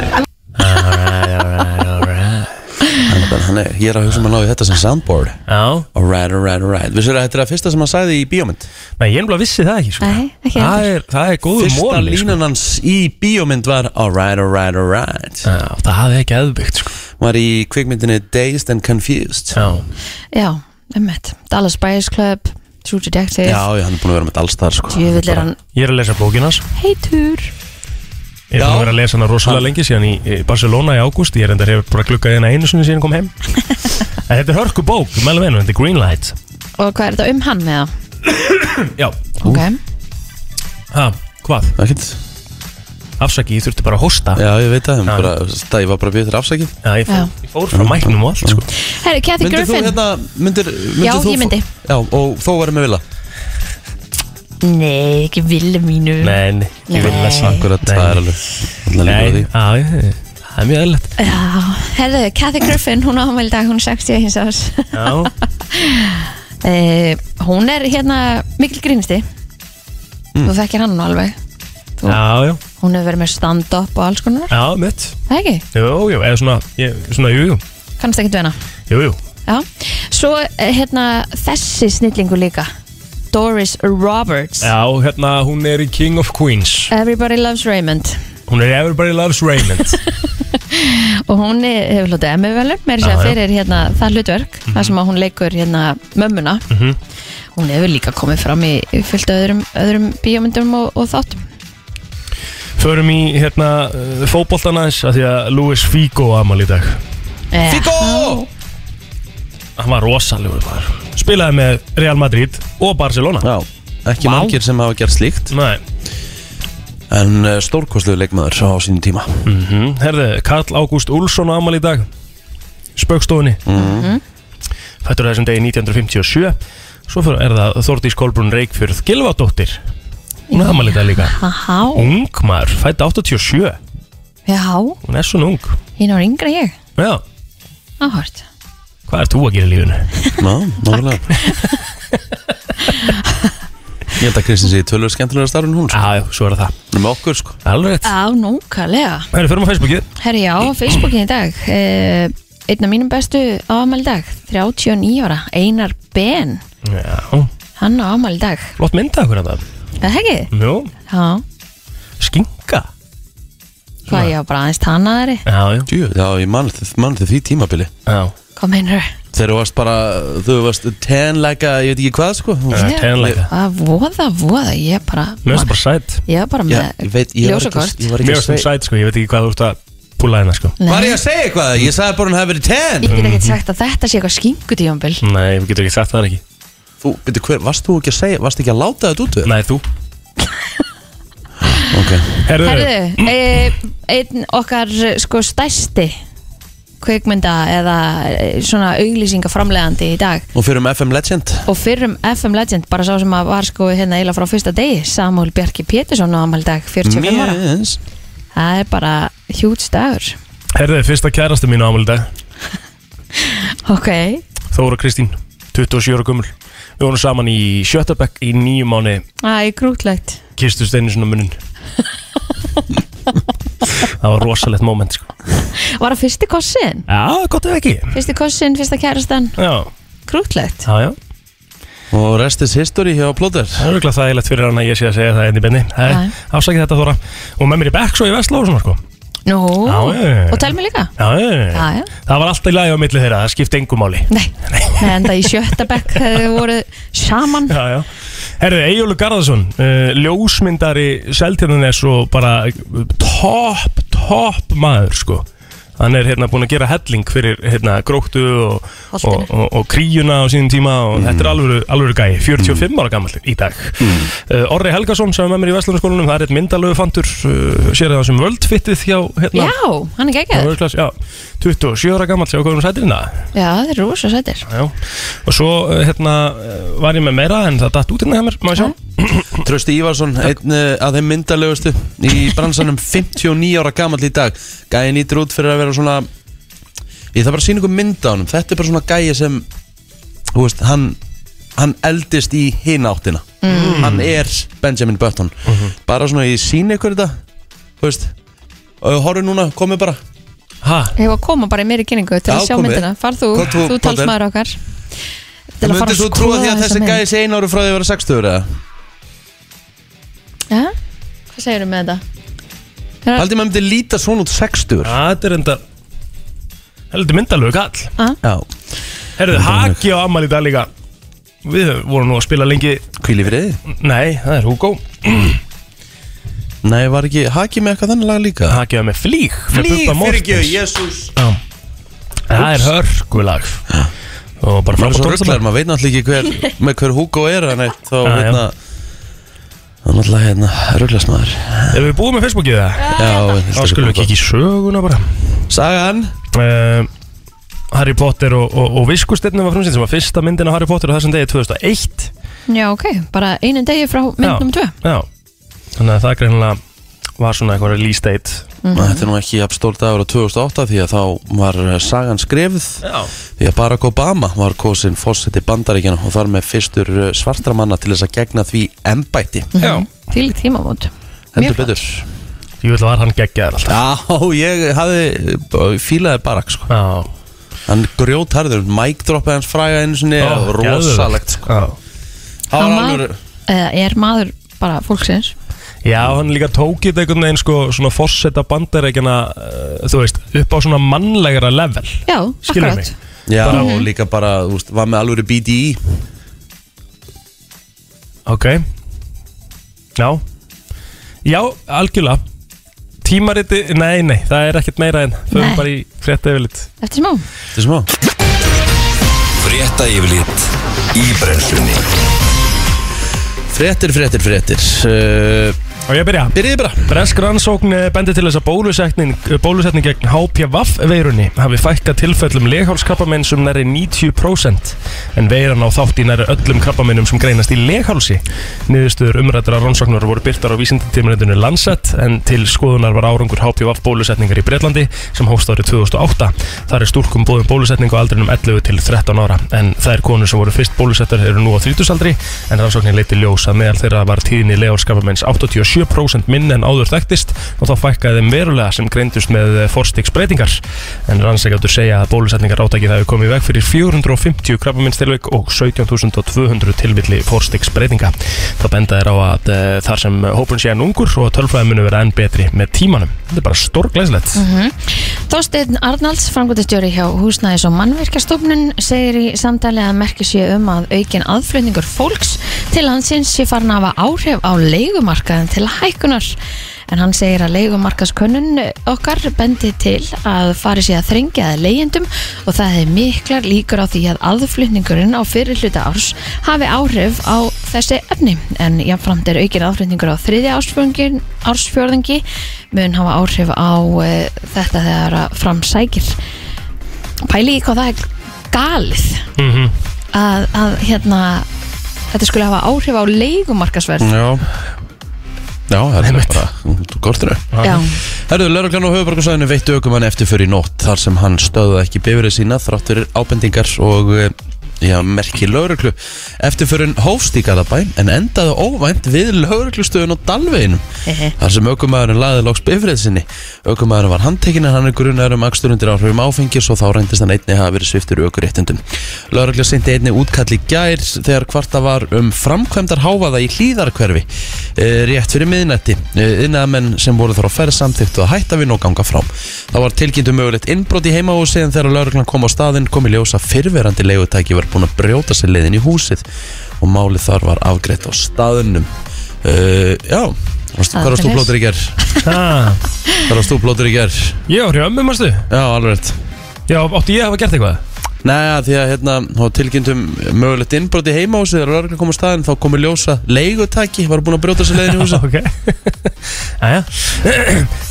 [SPEAKER 4] alright, alright, alright
[SPEAKER 2] Hann er bara, hann er, ég er að hugsa um að ná í þetta sem soundboard
[SPEAKER 4] Já,
[SPEAKER 2] Alright, alright, alright Vissur að þetta er að fyrsta sem hann sagði í bíómynd
[SPEAKER 4] nei, ég ennbla vissi það ekki, sko
[SPEAKER 3] Nei, ekki
[SPEAKER 4] Það er, það er góður
[SPEAKER 2] Fyrsta
[SPEAKER 4] móli, sko
[SPEAKER 2] línan hans í bíómynd var Alright, alright, alright
[SPEAKER 4] Já, það hafði ekki aðbyggt, sko
[SPEAKER 2] Var í kvikmyndinni Dazed and Confused
[SPEAKER 4] Já,
[SPEAKER 3] Já, emmitt, Dallas Buyers Club True Detective
[SPEAKER 2] Já, já, hann er búin að vera með alls þar sko
[SPEAKER 3] Djöfull er hann
[SPEAKER 4] ég er að lesa bókin hans
[SPEAKER 3] heitur
[SPEAKER 4] Ég er búin að vera að lesa hana rosalega lengi síðan í í Barcelona í ágúst Ég er enda hefur bara glukkað hérna einu sinni síðan ég kom
[SPEAKER 3] *laughs*
[SPEAKER 4] heim En þetta er hörku bók, ég mælu með hennu, þetta er Greenlight
[SPEAKER 3] Og hvað er þetta um hann eða?
[SPEAKER 4] Já,
[SPEAKER 3] Ok,
[SPEAKER 4] ha, hvað?
[SPEAKER 2] Ekkert
[SPEAKER 4] Afsaki, ég þurfti bara að hosta Já,
[SPEAKER 2] Já, ég veit það,
[SPEAKER 4] Já.
[SPEAKER 2] bara, það ég var bara að býja eftir afsakið
[SPEAKER 4] ég, fór,
[SPEAKER 3] Já.
[SPEAKER 4] ég fór frá mæknum og allt, sko
[SPEAKER 3] herri, Kathy
[SPEAKER 2] Myndir þú
[SPEAKER 3] Griffin
[SPEAKER 2] hérna, myndir, myndir
[SPEAKER 3] Já,
[SPEAKER 2] þú
[SPEAKER 3] ég myndi.
[SPEAKER 2] Já, og þó varum við vilja
[SPEAKER 3] Nei, ekki vilja mínu
[SPEAKER 4] Nei, nei, ég vil
[SPEAKER 3] Nei.
[SPEAKER 4] lesa
[SPEAKER 2] Akkurat,
[SPEAKER 4] Nei.
[SPEAKER 2] það er alveg alveg líkur á
[SPEAKER 4] Nei,
[SPEAKER 2] því.
[SPEAKER 4] já, ég- það er mjög eðlilegt
[SPEAKER 3] Já, herðu, Kathy Griffin, hún ámæli dag, hún er 60 hins árs *laughs*
[SPEAKER 4] Já,
[SPEAKER 3] uh, Hún er hérna mikil grínisti
[SPEAKER 2] Mm.
[SPEAKER 3] Þú þekkir hann nú alveg
[SPEAKER 4] já, já,
[SPEAKER 3] Hún hefur verið með stand-up og alls konar
[SPEAKER 4] já, mitt
[SPEAKER 3] Það ekki,
[SPEAKER 4] Jú, jú, eða svona, ég, svona, jú, jú
[SPEAKER 3] kannast ekki dveina
[SPEAKER 4] Jú, jú,
[SPEAKER 3] Já, svo eh, hérna þessi snillingu líka Doris Roberts
[SPEAKER 4] já, hérna, hún er í King of Queens
[SPEAKER 3] Everybody loves Raymond
[SPEAKER 4] Hún er í Everybody Loves Raymond
[SPEAKER 3] og hún er- hefur hlutið emmivelum meir sér
[SPEAKER 4] Já, Mhm. já.
[SPEAKER 3] fyrir hérna, það hlutverk þar sem að hún leikur hérna mömmuna
[SPEAKER 4] Mhm.
[SPEAKER 3] hún hefur líka komið fram í í fullt af öðrum, öðrum bíómyndum og, og þáttum
[SPEAKER 4] Förum í hérna uh, fótboltan aðeins af því að Luis Figo amal í dag
[SPEAKER 3] Eh,
[SPEAKER 2] Figo!
[SPEAKER 4] Hann var rosalegur maður Spilaði með Real Madrid og Barcelona
[SPEAKER 2] Já, ekki
[SPEAKER 4] Vá.
[SPEAKER 2] margir sem hafa gert slíkt
[SPEAKER 4] Nei,
[SPEAKER 2] En uh, stórkostlegu leikmaður á sínum *laughs* tíma
[SPEAKER 4] mm herðu, Karl Ágúst Úlsson amal í dag Spaukstofunni mm Fættur þessum degi 1957 Svo fyrir er það Þórdís Kolbrún Reykfjörð Gilvadóttir Hún amal í dag líka
[SPEAKER 3] Aha,
[SPEAKER 4] Ung maður, fætt 87
[SPEAKER 3] já,
[SPEAKER 4] Hún er svona ung
[SPEAKER 3] hérna var yngra en ég
[SPEAKER 4] Já,
[SPEAKER 3] áhört
[SPEAKER 4] hvað er þú að gera í lífinu?
[SPEAKER 2] Ná, nálega Ég held að Kristins sé tölur skemmtilega starfinn hún sko.
[SPEAKER 4] Já, já, svo er það Uh.
[SPEAKER 2] Með okkur sko
[SPEAKER 4] Alveg rétt
[SPEAKER 3] á núkalega
[SPEAKER 4] Herðu, förum á Facebookið
[SPEAKER 3] herri já, á Facebookin í dag eh, einn af mínum bestu á afmæli í dag 39 ára, Einar Ben
[SPEAKER 4] Já,
[SPEAKER 3] hann á afmæli í dag,
[SPEAKER 4] flott mynda hvernig það
[SPEAKER 3] er það ekki?
[SPEAKER 4] Jú,
[SPEAKER 3] já,
[SPEAKER 4] skinka
[SPEAKER 3] hvað ég var bara aðeins tannaðari
[SPEAKER 4] Já, já,
[SPEAKER 2] Jú, já, ég man, man þið því tímabili
[SPEAKER 4] já
[SPEAKER 3] hvað meinur þau?
[SPEAKER 2] Þegar þú varst bara, þú varst tenleika, ég veit ekki hvað sko Þú varst-
[SPEAKER 4] Já, tenleika.
[SPEAKER 3] að voða, voða, ég er bara
[SPEAKER 4] Mér finnst það bara sætt
[SPEAKER 3] ég er bara
[SPEAKER 2] Já,
[SPEAKER 3] með
[SPEAKER 2] ég veit, ég var ekki,
[SPEAKER 3] ljósakort
[SPEAKER 2] ég var
[SPEAKER 4] Mér
[SPEAKER 2] ekki að
[SPEAKER 4] finnst það
[SPEAKER 2] segja
[SPEAKER 4] sætt sko, ég veit ekki hvað þú ert að púla hérna sko
[SPEAKER 2] Var ég að segja eitthvað? Ég sagði bara hún hafi verið ten
[SPEAKER 3] ég get ekki sagt að þetta sé eitthvað skingutíjambil
[SPEAKER 4] Nei, við getum ekki sagt það ekki
[SPEAKER 2] Þú, byrju, hver, varst þú ekki að segja, varst ekki að láta þetta út við?
[SPEAKER 4] Nei, þú
[SPEAKER 2] Ok,
[SPEAKER 4] Herðu,
[SPEAKER 3] herðu, e, einn okkar sko stærsti kveikmynda eða eh, svona auglýsingaframlegandi í dag
[SPEAKER 2] og fyrir um FM Legend
[SPEAKER 3] og fyrrum FM Legend, bara sá sem að var sko hérna eila frá fyrsta degi, Samuel Bjarki Pétursson á afmæli í dag, 45 ára
[SPEAKER 2] Yes.
[SPEAKER 3] það er bara hjúts dagur
[SPEAKER 4] herðu, fyrsta kærastu mín á ámæli dag
[SPEAKER 3] ok,
[SPEAKER 4] Þóra Kristín, 27 ára gummul Við vorum saman í Sjötabekk í nýju mánu
[SPEAKER 3] það er grútlegt
[SPEAKER 4] Kistust einu svona *laughs* munnin Það var rosalegt moment sko
[SPEAKER 3] var það fyrsti kossin?
[SPEAKER 4] Já, gott ef ekki
[SPEAKER 3] Fyrsti kossin, fyrsta kærastan,
[SPEAKER 4] Já,
[SPEAKER 3] krútlegt
[SPEAKER 4] já, já
[SPEAKER 2] Og rest is history hjá Plóter
[SPEAKER 4] Það er auðvitað þægilegt fyrir hann að ég sé að segja það hérna einnig benni
[SPEAKER 3] Já.
[SPEAKER 4] Afsakið þetta Þóra Og með mér í Bekks og í Vestló og svona sko
[SPEAKER 3] Nú,
[SPEAKER 4] Já, já, já.
[SPEAKER 3] og tel mig líka
[SPEAKER 4] Já, já, já, já.
[SPEAKER 3] Já, já.
[SPEAKER 4] Það var alltaf í lagi á milli þeirra, það skipti engum máli
[SPEAKER 3] Nei, Nei enda í sjötta bekk þegar þau voru saman
[SPEAKER 4] Já, já. Herðu, Eyjólu Garðarsson, uh, ljósmyndari Seltjarnanes og bara topp, topp maður, sko. Hann er hérna búin að gera helling fyrir hérna gróttu og, og,
[SPEAKER 3] Holtinu.
[SPEAKER 4] og, og kríuna á sínum tíma og þetta er alvöru, alvöru gæi, 45 ára gammal í dag. Mm. Orri Helgason sem er með mér í Vestlunarskólanum, það er eitt myndalögu fantur, uh, sér það sem völdfittið hjá hérna.
[SPEAKER 3] Já, hann er
[SPEAKER 4] hjá
[SPEAKER 3] geggjaður
[SPEAKER 4] Völdklass, Já, 27 ára gammal, sjá hvað hún sætir hérna.
[SPEAKER 3] Já, þeir eru rosa sætir
[SPEAKER 4] Já, og svo eh, hérna eh, var ég með meira en það datt út hérna hjá mér, maður sjá
[SPEAKER 2] Trösti Ívarsson, einn eh, af þeim myndalegustu í bransanum 59 ára gamall í dag Gæði nýtur út fyrir að vera svona Ég þarf bara að sína ykkur mynda á honum Þetta er bara svona gæði sem Þú veist, hann, hann eldist í hina áttina
[SPEAKER 3] Mm.
[SPEAKER 2] Hann er Benjamin Button
[SPEAKER 3] Mhm.
[SPEAKER 2] Bara svona ég sína ykkur þetta Þú veist Og horfum núna, komið bara
[SPEAKER 4] Hæ?
[SPEAKER 3] Ég var að koma bara í meiri kynningu til að
[SPEAKER 2] Já,
[SPEAKER 3] sjá
[SPEAKER 2] komið.
[SPEAKER 3] myndina Far þú,
[SPEAKER 2] Hvað þú,
[SPEAKER 3] þú
[SPEAKER 2] Potter?
[SPEAKER 3] talsmaður okkar Til að fara
[SPEAKER 2] Möndir
[SPEAKER 3] að
[SPEAKER 2] þú trúa því
[SPEAKER 3] skoða
[SPEAKER 2] að
[SPEAKER 3] þessa
[SPEAKER 2] þessi
[SPEAKER 3] mynd.
[SPEAKER 2] gæði sé einu ári frá því að vera 60 eða?
[SPEAKER 3] Já, hvað segirðu með þetta? Þeir eru-
[SPEAKER 2] Haldið maður myndi líta svona út 60
[SPEAKER 4] Það er enda heldur myndalögu kall
[SPEAKER 2] Já,
[SPEAKER 4] Herðu, Haki á Amal í dag líka Við vorum nú að spila lengi
[SPEAKER 2] kvíli fyrir þið
[SPEAKER 4] Nei, það er Hugo
[SPEAKER 2] Nei, var ekki Haki með eitthvað þannig lag líka?
[SPEAKER 4] Haki á með Flíg með Bubba Mortens.
[SPEAKER 2] jésús
[SPEAKER 4] Það er hörkulag Og
[SPEAKER 2] Maður er
[SPEAKER 4] bara frábært
[SPEAKER 2] svo
[SPEAKER 4] tónlistarlag.
[SPEAKER 2] rugglar, maður veit náttúrulega ekki hver, með hver Hugo er en eitt, þá
[SPEAKER 4] Já, já.
[SPEAKER 2] hérna þá náttúrulega hérna rugglast maður
[SPEAKER 4] Erum við búið með Facebookið það?
[SPEAKER 2] Já, hérna
[SPEAKER 4] Þá skulum við kikið í söguna bara
[SPEAKER 2] Sagan
[SPEAKER 4] Eh, Harry Potter og, og, og Viskustefnum var frumsýnd sem var fyrsta myndin á Harry Potter á þessum degi 2001
[SPEAKER 3] Já, ok, bara einu degi frá myndnum tvö
[SPEAKER 4] Já, þannig að það greinilega var svona eitthvað release date
[SPEAKER 2] Þetta er nú ekki jafn stór dagur á 2008 því að þá var eh, sagan skrifð
[SPEAKER 4] Já.
[SPEAKER 2] því að Barack Obama var kosin fórseti bandaríkjana og þar með fyrstur eh, svartra manna til þess að gegna því embætti
[SPEAKER 3] Mhm.
[SPEAKER 4] Já
[SPEAKER 3] Fylg tímamót
[SPEAKER 2] Heldur betur
[SPEAKER 4] Ég vil að var hann geggjaður alltaf
[SPEAKER 2] Já, ég hafði eh, fílaði Barack sko
[SPEAKER 4] Já,
[SPEAKER 2] Hann grjótarður, mic droppaði hans fræga einu sinni
[SPEAKER 4] Já,
[SPEAKER 2] og rosalegt sko
[SPEAKER 4] Já.
[SPEAKER 2] Það var
[SPEAKER 3] Hann var-
[SPEAKER 2] alveg
[SPEAKER 3] Eða er maður bara fólksins
[SPEAKER 4] Já, hann líka tók þetta einhvern veginn sko, svona forseta bandarækjana uh, þú veist, upp á svona mannlegra level
[SPEAKER 3] Já,
[SPEAKER 4] Skilurðu
[SPEAKER 3] akkurat
[SPEAKER 4] mig?
[SPEAKER 2] Já, og líka bara, þú veist, var með alvöru E. BDI
[SPEAKER 4] Ok Já Já, algjörlega Tímariti, nei, nei, það er ekkert meira en
[SPEAKER 3] Nei.
[SPEAKER 4] Förum bara í frétta yfirlit
[SPEAKER 3] Eftir smá
[SPEAKER 2] Þetta er smá
[SPEAKER 1] Frétta yfirlit í brennslunni
[SPEAKER 2] Fréttir, fréttir, fréttir uh,
[SPEAKER 4] Og ég byrja
[SPEAKER 2] Byrjiði bara
[SPEAKER 4] Bresk rannsókn eh, bendir til þess að bólusetning, eh, bólusetning gegn HPV-veirunni hafi fækka tilfellum um leghálskrabbamenn sem næri 90% en veiran á þátt í næri öllum krabbamennum sem greinast í leghálsi. Niðurstöður umrættara rannsóknar voru byrtar á vísindatímanendinu Lancet en til skoðunar var árangur HPV-bólusetningar í Breitlandi sem hóst árið 2008. Þar er stúrkum bóðum bólusetningu á aldrinum 11 til 13 ára en þær konur sem voru fyrst bólusettar eru nú á 30 aldri en rannsóknin leiti ljós að meðal þeirra var tíðinni legarskapamenns 87% minn en áður þekktist og þá fækkaði þeim verulega sem greindust með forstiksbreytingar en rannsækjáttur segja að bólusetningar átakið hafi komið í veg fyrir 450 krabbamennstilvik og 17.200 tilvilli forstiksbreytinga þá benda þeir á að e, þar sem hópun sé enn ungur og tölfræðinu vera enn betri með tímanum þetta er bara stórglæslegt
[SPEAKER 3] Þorsteinn Arnalds, frangotistjóri hjá Húsnæðis og mannverkastofnun, segir í samtali að merki sé um að aukin aðflutningur fólks til hansins sé farin að hafa áhrif á leigumarkaðin til hækkunar. En hann segir að leigumarkaðskönnun okkar bendi til að fari sé að þrengja að leigjendum og það er miklar líkur á því að aðflutningurinn á fyrir hluta árs hafi áhrif á þessi efni. En jafnframt er aukin aðflutningur á þriði ársfjörðingin- ársfjörðingi mun hafa áhrif á uh, þetta þegar að framsækir pæli í hvað það er galið
[SPEAKER 4] mm -hmm.
[SPEAKER 3] að, að hérna þetta skulle hafa áhrif á leigumarkasverð
[SPEAKER 2] Já Já, það er bara Kortinu
[SPEAKER 3] Já,
[SPEAKER 2] Herðu, lauruglan og höfuborgarsæðinu veittu aukumann eftirför í nótt þar sem hann stöðuð ekki bifrið sína þrátt fyrir ábendingar og eh, já, merki lauruglu. Eftirförin hófst í Garðabæ en endaði óvænt við lauruglustöðun á Dalveginum
[SPEAKER 3] Ehe.
[SPEAKER 2] þar sem aukumæðurinn laði loks bifrið sinni. Aukumæðurinn var handtekinn en hann er grunar um akstur undir áhrifum áfengis og þá reyndist hann einni hafa verið sviftur aukuréttundum. Laurugla sindi einni útkall í gær þegar kvarta var um framkvæmdar hávaða í hlýðarkverfi eh, rétt fyrir miðnætti. Innaðamenn sem voru þar á ferð samþyktu að hætta við og ganga frá. Það var tilkynntu mögulegt innbrot í heimahúsi en þegar lauruglan kom á staðinn kom í ljós að fyrverandi leigutæki var búin að brjóta sér leiðin í húsið og málið þar var afgreitt á staðinnum. Uh, já, varstu, hvað varst þú blótur í gerð?
[SPEAKER 4] ah,
[SPEAKER 2] Hvað varst þú blótur í gerð?
[SPEAKER 4] Ég var hjá ömmu, marstu?
[SPEAKER 2] Já, alveg rétt.
[SPEAKER 4] Já, átti ég að hafa gert eitthvað?
[SPEAKER 2] Nei, að því að hérna, þá tilkynntum mögulegt innbrot í heimahúsi þegar lauruglan kom á staðinn þá komið ljósa leigutæki var búin að brjóta sér leiðin í húsið.
[SPEAKER 4] Ok *laughs* Jæja.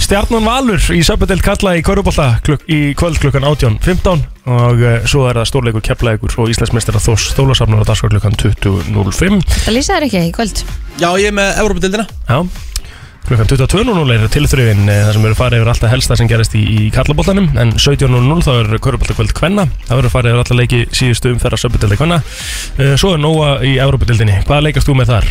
[SPEAKER 4] Stjarnan Valur í Söpudel kalla í Körubólta kluk í kvöld klukkan 18.15 og uh, svo er það stórleikur keflaðikur og Íslandsmeistara Þós Stólasafnar á dagskvöld klukkan 20.05
[SPEAKER 3] það lýsa þær ekki í kvöld
[SPEAKER 2] *laughs* Já, ég er með Evropadeildina.
[SPEAKER 4] Já Klukkan 22.00 er tilþrifin eh, þar sem verður farið yfir alltaf helsta sem gerist í, í kallaboltanum en 17.00 þá er Köruboltakvöld Kvenna það verður farið yfir alltaf leiki síðustu umferðar Söpudelda Kvenna Eh, Svo er Nóa í Európa-dildinni Hvað leikast þú með þar?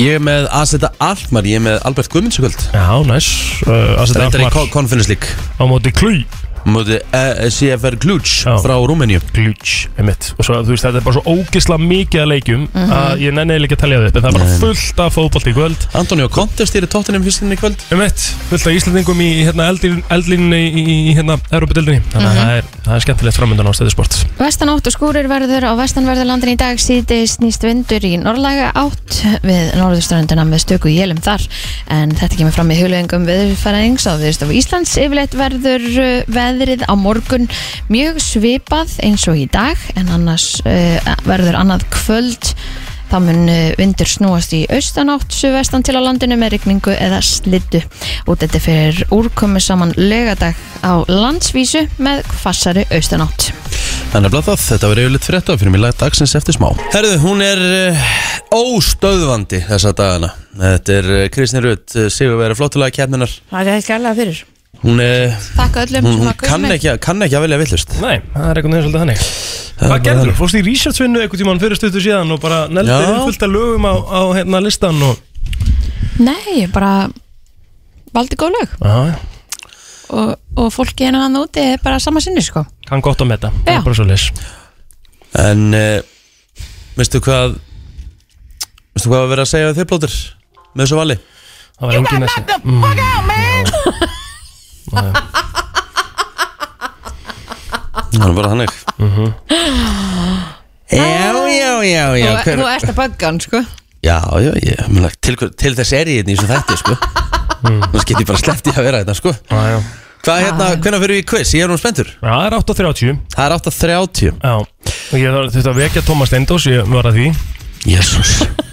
[SPEAKER 2] Ég er með Aseta Alkmar, ég er með Albert Guðmundsjökvöld
[SPEAKER 4] Já, næs uh,
[SPEAKER 2] Það reyndar í
[SPEAKER 4] Alkmaar
[SPEAKER 2] Co- Conference League
[SPEAKER 4] á móti Klúi
[SPEAKER 2] Móti eh, CFR Kluj
[SPEAKER 4] Já.
[SPEAKER 2] frá Rúmenju
[SPEAKER 4] glitch einmitt. og svo, þú veist þetta er bara svo ógisla mikið að leikjum að ég nenniði líka að telja þetta en það er bara
[SPEAKER 2] Mhm. Nei.
[SPEAKER 4] fullt af fótbolt í kvöld
[SPEAKER 2] Antonio Conte stýri tóttunum fyrstinni í kvöld
[SPEAKER 4] einmitt, fullt af Íslandingum í hérna, eldlín- eldlínunni í, í hérna, Európa-dildinni þannig að
[SPEAKER 2] Mhm.
[SPEAKER 4] það, er, það er skemmtilegt framöndan á stöðusport
[SPEAKER 3] Vestanátt og skúrir verður á vestanverðurlandin í dag síðdegis nýst vindur í norðlaga átt við norðuströndina með stöku jélum þar en þetta kemur fram í hulöðingum viðurfæraðings á viðurstofu Íslands yfirleitt verður uh, veðrið á morgun mjög svipað eins og í dag en annars uh, verður annað kvöld þá mun uh, vindur snúast í austanátt suðvestan til á landinu með rigningu eða slittu út þetta fyrir úrkomi saman lögadag á landsvísu með kvassari austanátt
[SPEAKER 2] Þannig að það, þetta verið yfirleitt fyrir þetta fyrir mig lagt dagsins eftir smá Herðu, hún er uh, óstöðvandi þessa dagana Þetta er uh, Kristnir Rutt, uh, Sigur verið flottulega kemminar
[SPEAKER 5] Það er ekki alveg fyrir
[SPEAKER 2] Hún, uh,
[SPEAKER 3] Takk öllum
[SPEAKER 2] hún,
[SPEAKER 3] sem
[SPEAKER 2] hún
[SPEAKER 3] hafa kusið
[SPEAKER 2] kann,
[SPEAKER 3] mig
[SPEAKER 2] ekki, að- kann ekki að velja villust
[SPEAKER 4] Nei, það er einhvern veginn svolítið þannig Hvað gerður þú? Fórst í researchvinnu einhvern tímann fyrir stötu síðan og bara neldir
[SPEAKER 2] Já.
[SPEAKER 4] inn fullt af lögum á, á hérna listan og
[SPEAKER 3] Nei, ég bara valdi góð lög
[SPEAKER 4] Já, já.
[SPEAKER 3] og, og fólki hennan hann úti er bara sama sinni sko
[SPEAKER 4] kann gott á metta Það er
[SPEAKER 3] Já.
[SPEAKER 4] bara svoleiðis.
[SPEAKER 2] En, uh, veistu hvað Veistu hvað að vera að segja við þig, Plóter? Með þessu vali
[SPEAKER 4] Það var engin þessi
[SPEAKER 2] Hann var hannig Já, já, já, já
[SPEAKER 3] Þú,
[SPEAKER 2] hver,
[SPEAKER 3] þú ert að bugga hann sko
[SPEAKER 2] Já, já, já mena, til, hver- til þess er ég hérna í þessu þætti, sko Þannig get ég bara sleppti að vera þetta, sko
[SPEAKER 4] Já, já.
[SPEAKER 2] Hvað hérna, hvenær fyrir við í quiz? Ég er nú spenntur
[SPEAKER 4] Já, það er 8.30
[SPEAKER 2] Það er 8.30
[SPEAKER 4] Já, og ég þarf- þurfti að vekja Tómas Stendós, ég var að því
[SPEAKER 2] Jésús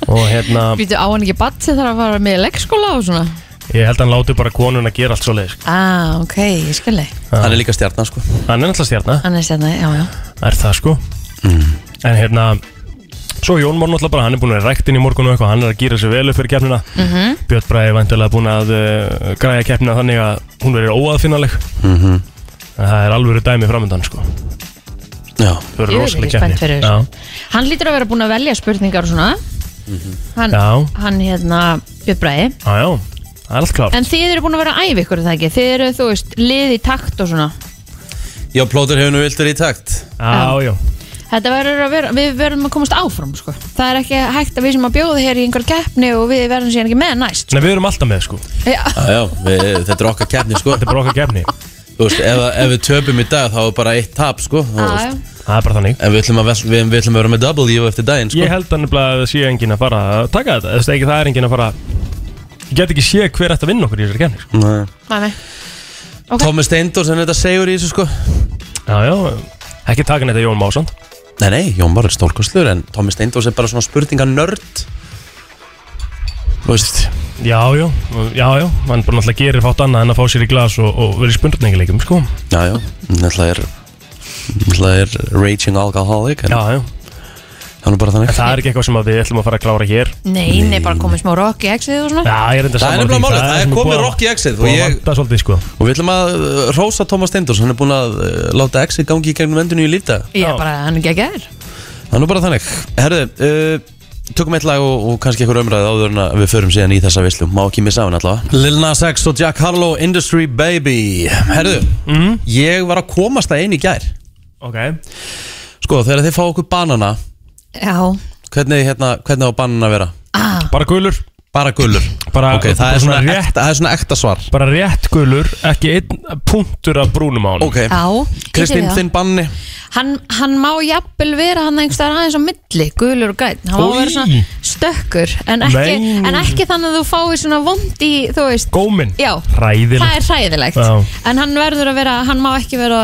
[SPEAKER 4] Og hérna,
[SPEAKER 3] Býtu á hann ekki batt sem þarf að fara með í leikskóla og svona
[SPEAKER 4] ég held að hann láti bara konun að gera allt svo leiðis
[SPEAKER 3] Ah, ok, ég skilði
[SPEAKER 2] Hann er líka stjarnar, sko
[SPEAKER 4] Hann er náttúrulega stjarnar
[SPEAKER 3] Hann er stjarnar, já, já
[SPEAKER 4] Það er það sko En hérna Svo Jón Már náttúrulega bara, hann er búin að vera ræktin í morgun og eitthvað, hann er að gýra sér vel upp fyrir keppnina
[SPEAKER 3] Mhm.
[SPEAKER 4] Björn Bræði er vantilega búin að uh, græja keppnina þannig að hún verður óaðfinnaleg En það er alvöru dæmi framöndan sko
[SPEAKER 2] Já,
[SPEAKER 4] Það verður
[SPEAKER 3] Ég er
[SPEAKER 4] rosaleg
[SPEAKER 3] ekki
[SPEAKER 4] keppni
[SPEAKER 3] spennt fyrir þessu.
[SPEAKER 4] Já,
[SPEAKER 3] Hann lítur að vera búin að velja spurningar og svona
[SPEAKER 2] Mhm.
[SPEAKER 3] Hann,
[SPEAKER 4] já,
[SPEAKER 3] hann hérna, Björn Bræði
[SPEAKER 4] já, já, það er allt klart
[SPEAKER 3] En þið eru búin að vera að æfa ykkur er það ekki Þið eru, þú veist, lið í takt og svona
[SPEAKER 2] já plótur hefur nú viltur í takt
[SPEAKER 4] Já, já,
[SPEAKER 3] Þetta verður að vera, við verðum að komast áfram sko. Það er ekki hægt að við sem að bjóða hér í einhver keppni og við verðum síðan ekki með næst
[SPEAKER 4] Nei, við erum alltaf með sko, þetta
[SPEAKER 3] Já,
[SPEAKER 2] Já, já, við, þetta er okkar kefni, sko
[SPEAKER 4] er bara okkar keppni
[SPEAKER 2] Þú veist, ef, ef við töpum í dag þá er bara eitt tap, sko þú
[SPEAKER 3] já,
[SPEAKER 2] veist.
[SPEAKER 4] Það er bara þannig
[SPEAKER 2] En við ætlum, að, vel- við, við ætlum að vera með W eftir daginn, sko
[SPEAKER 4] Ég held að nefnilega að það sé enginn að fara að taka þetta, þú veist ekki það er enginn að fara Ég get ekki sé hver ætti að vinna okkur í þessari keppni sko.
[SPEAKER 2] Nei.
[SPEAKER 3] næmi Ok.
[SPEAKER 2] Tommi Steindor sem þetta segur í þessu, sko
[SPEAKER 4] Já, já, ekki takin þetta Jón Másson
[SPEAKER 2] Nei, nei, Jón Már er stórkostlur en Tommi Steindors er bara svona spurninga nörd Þú veist
[SPEAKER 4] Já, já, já, já, hann bara náttúrulega gerir fátt annað en að fá sér í glas og, og verið spurningleikum, sko
[SPEAKER 2] Já, já, náttúrulega er náttúrulega er raging alcoholic en
[SPEAKER 4] Já, já,
[SPEAKER 2] hann er bara þannig
[SPEAKER 4] en það er ekki eitthvað sem að við ætlum að fara að klára hér
[SPEAKER 3] Nei, nei, bara komið smá rock í exið og svona
[SPEAKER 4] Já, ég er enda
[SPEAKER 2] Það er
[SPEAKER 4] saman
[SPEAKER 2] nefnilega málið, það er komið rock í exið og,
[SPEAKER 4] Og ég
[SPEAKER 2] ég,
[SPEAKER 4] vanda svolítið, sko
[SPEAKER 2] og við ætlum að uh, hrósa Thomas Steindors, hann er búin að uh, láta exið gangi í gegnum endinu í lífda
[SPEAKER 3] Ég
[SPEAKER 4] já.
[SPEAKER 3] er bara, hann er ekki að gæður
[SPEAKER 2] Það er nú bara þannig Herðu, uh, tökum eitt lag og, og kannski eitthvað umræðið áður en að við förum síðan í þessa vislu Má ekki missa af hann allavega Lil Nas X og Jack Harlow, Industry Baby Herðu,
[SPEAKER 4] Mhm.
[SPEAKER 2] ég var að komast það einu í gær
[SPEAKER 4] Ok,
[SPEAKER 2] Sko, þegar þið fá okkur banana
[SPEAKER 3] Já,
[SPEAKER 2] Hvernig, hérna, hvernig á banana að vera?
[SPEAKER 3] ah,
[SPEAKER 4] bara gulur,
[SPEAKER 2] Bara gulur
[SPEAKER 4] Bara-
[SPEAKER 2] Ok, það
[SPEAKER 4] bara
[SPEAKER 2] er svona,
[SPEAKER 4] svona rétt.
[SPEAKER 2] ekta, það er svona ekta svar
[SPEAKER 4] bara rétt gulur, ekki einn punktur af brúnum á hann
[SPEAKER 2] Ok,
[SPEAKER 3] já ég
[SPEAKER 2] Kristín,
[SPEAKER 3] til í það.
[SPEAKER 2] þinn banni
[SPEAKER 3] hann, hann má jafnvel vera hann einhverstaðar aðeins á milli Gulur og græn Hann má
[SPEAKER 4] Oj.
[SPEAKER 3] vera svona stökkur En ekki,
[SPEAKER 4] Nei.
[SPEAKER 3] en ekki þannig að þú fáir svona vond í, þú veist
[SPEAKER 4] Gómin,
[SPEAKER 3] Já.
[SPEAKER 4] ræðilegt
[SPEAKER 3] Það er hræðilegt
[SPEAKER 4] Já.
[SPEAKER 3] En hann verður að vera, hann má ekki vera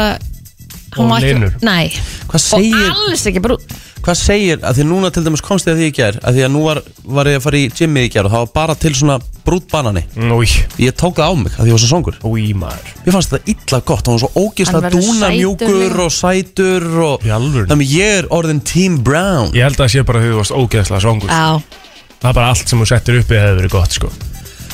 [SPEAKER 3] hann
[SPEAKER 4] Og
[SPEAKER 3] má ekki-
[SPEAKER 4] linur.
[SPEAKER 3] Nei,
[SPEAKER 2] Hvað segir,
[SPEAKER 3] og alls ekki brún
[SPEAKER 2] hvað segir að því núna til dæmis komst ég að því í gær að því að nú var, var ég að fara í gymmið í gær og það var bara til svona brút banani
[SPEAKER 4] Új,
[SPEAKER 2] Ég tók það á mig að því ég var svo songur
[SPEAKER 4] új maður
[SPEAKER 2] Mér fannst þetta illa gott, hann var svo ógisla
[SPEAKER 3] Hann verður sætur
[SPEAKER 2] dúna mjúkur
[SPEAKER 3] líka.
[SPEAKER 2] og sætur og
[SPEAKER 4] Í alvöru?
[SPEAKER 2] Þannig ég er orðin Team Brown
[SPEAKER 4] Ég held að það sé bara að þú varst ógeðslega svangur
[SPEAKER 3] Já,
[SPEAKER 4] Það er bara allt sem þú settir uppi hefur verið gott, sko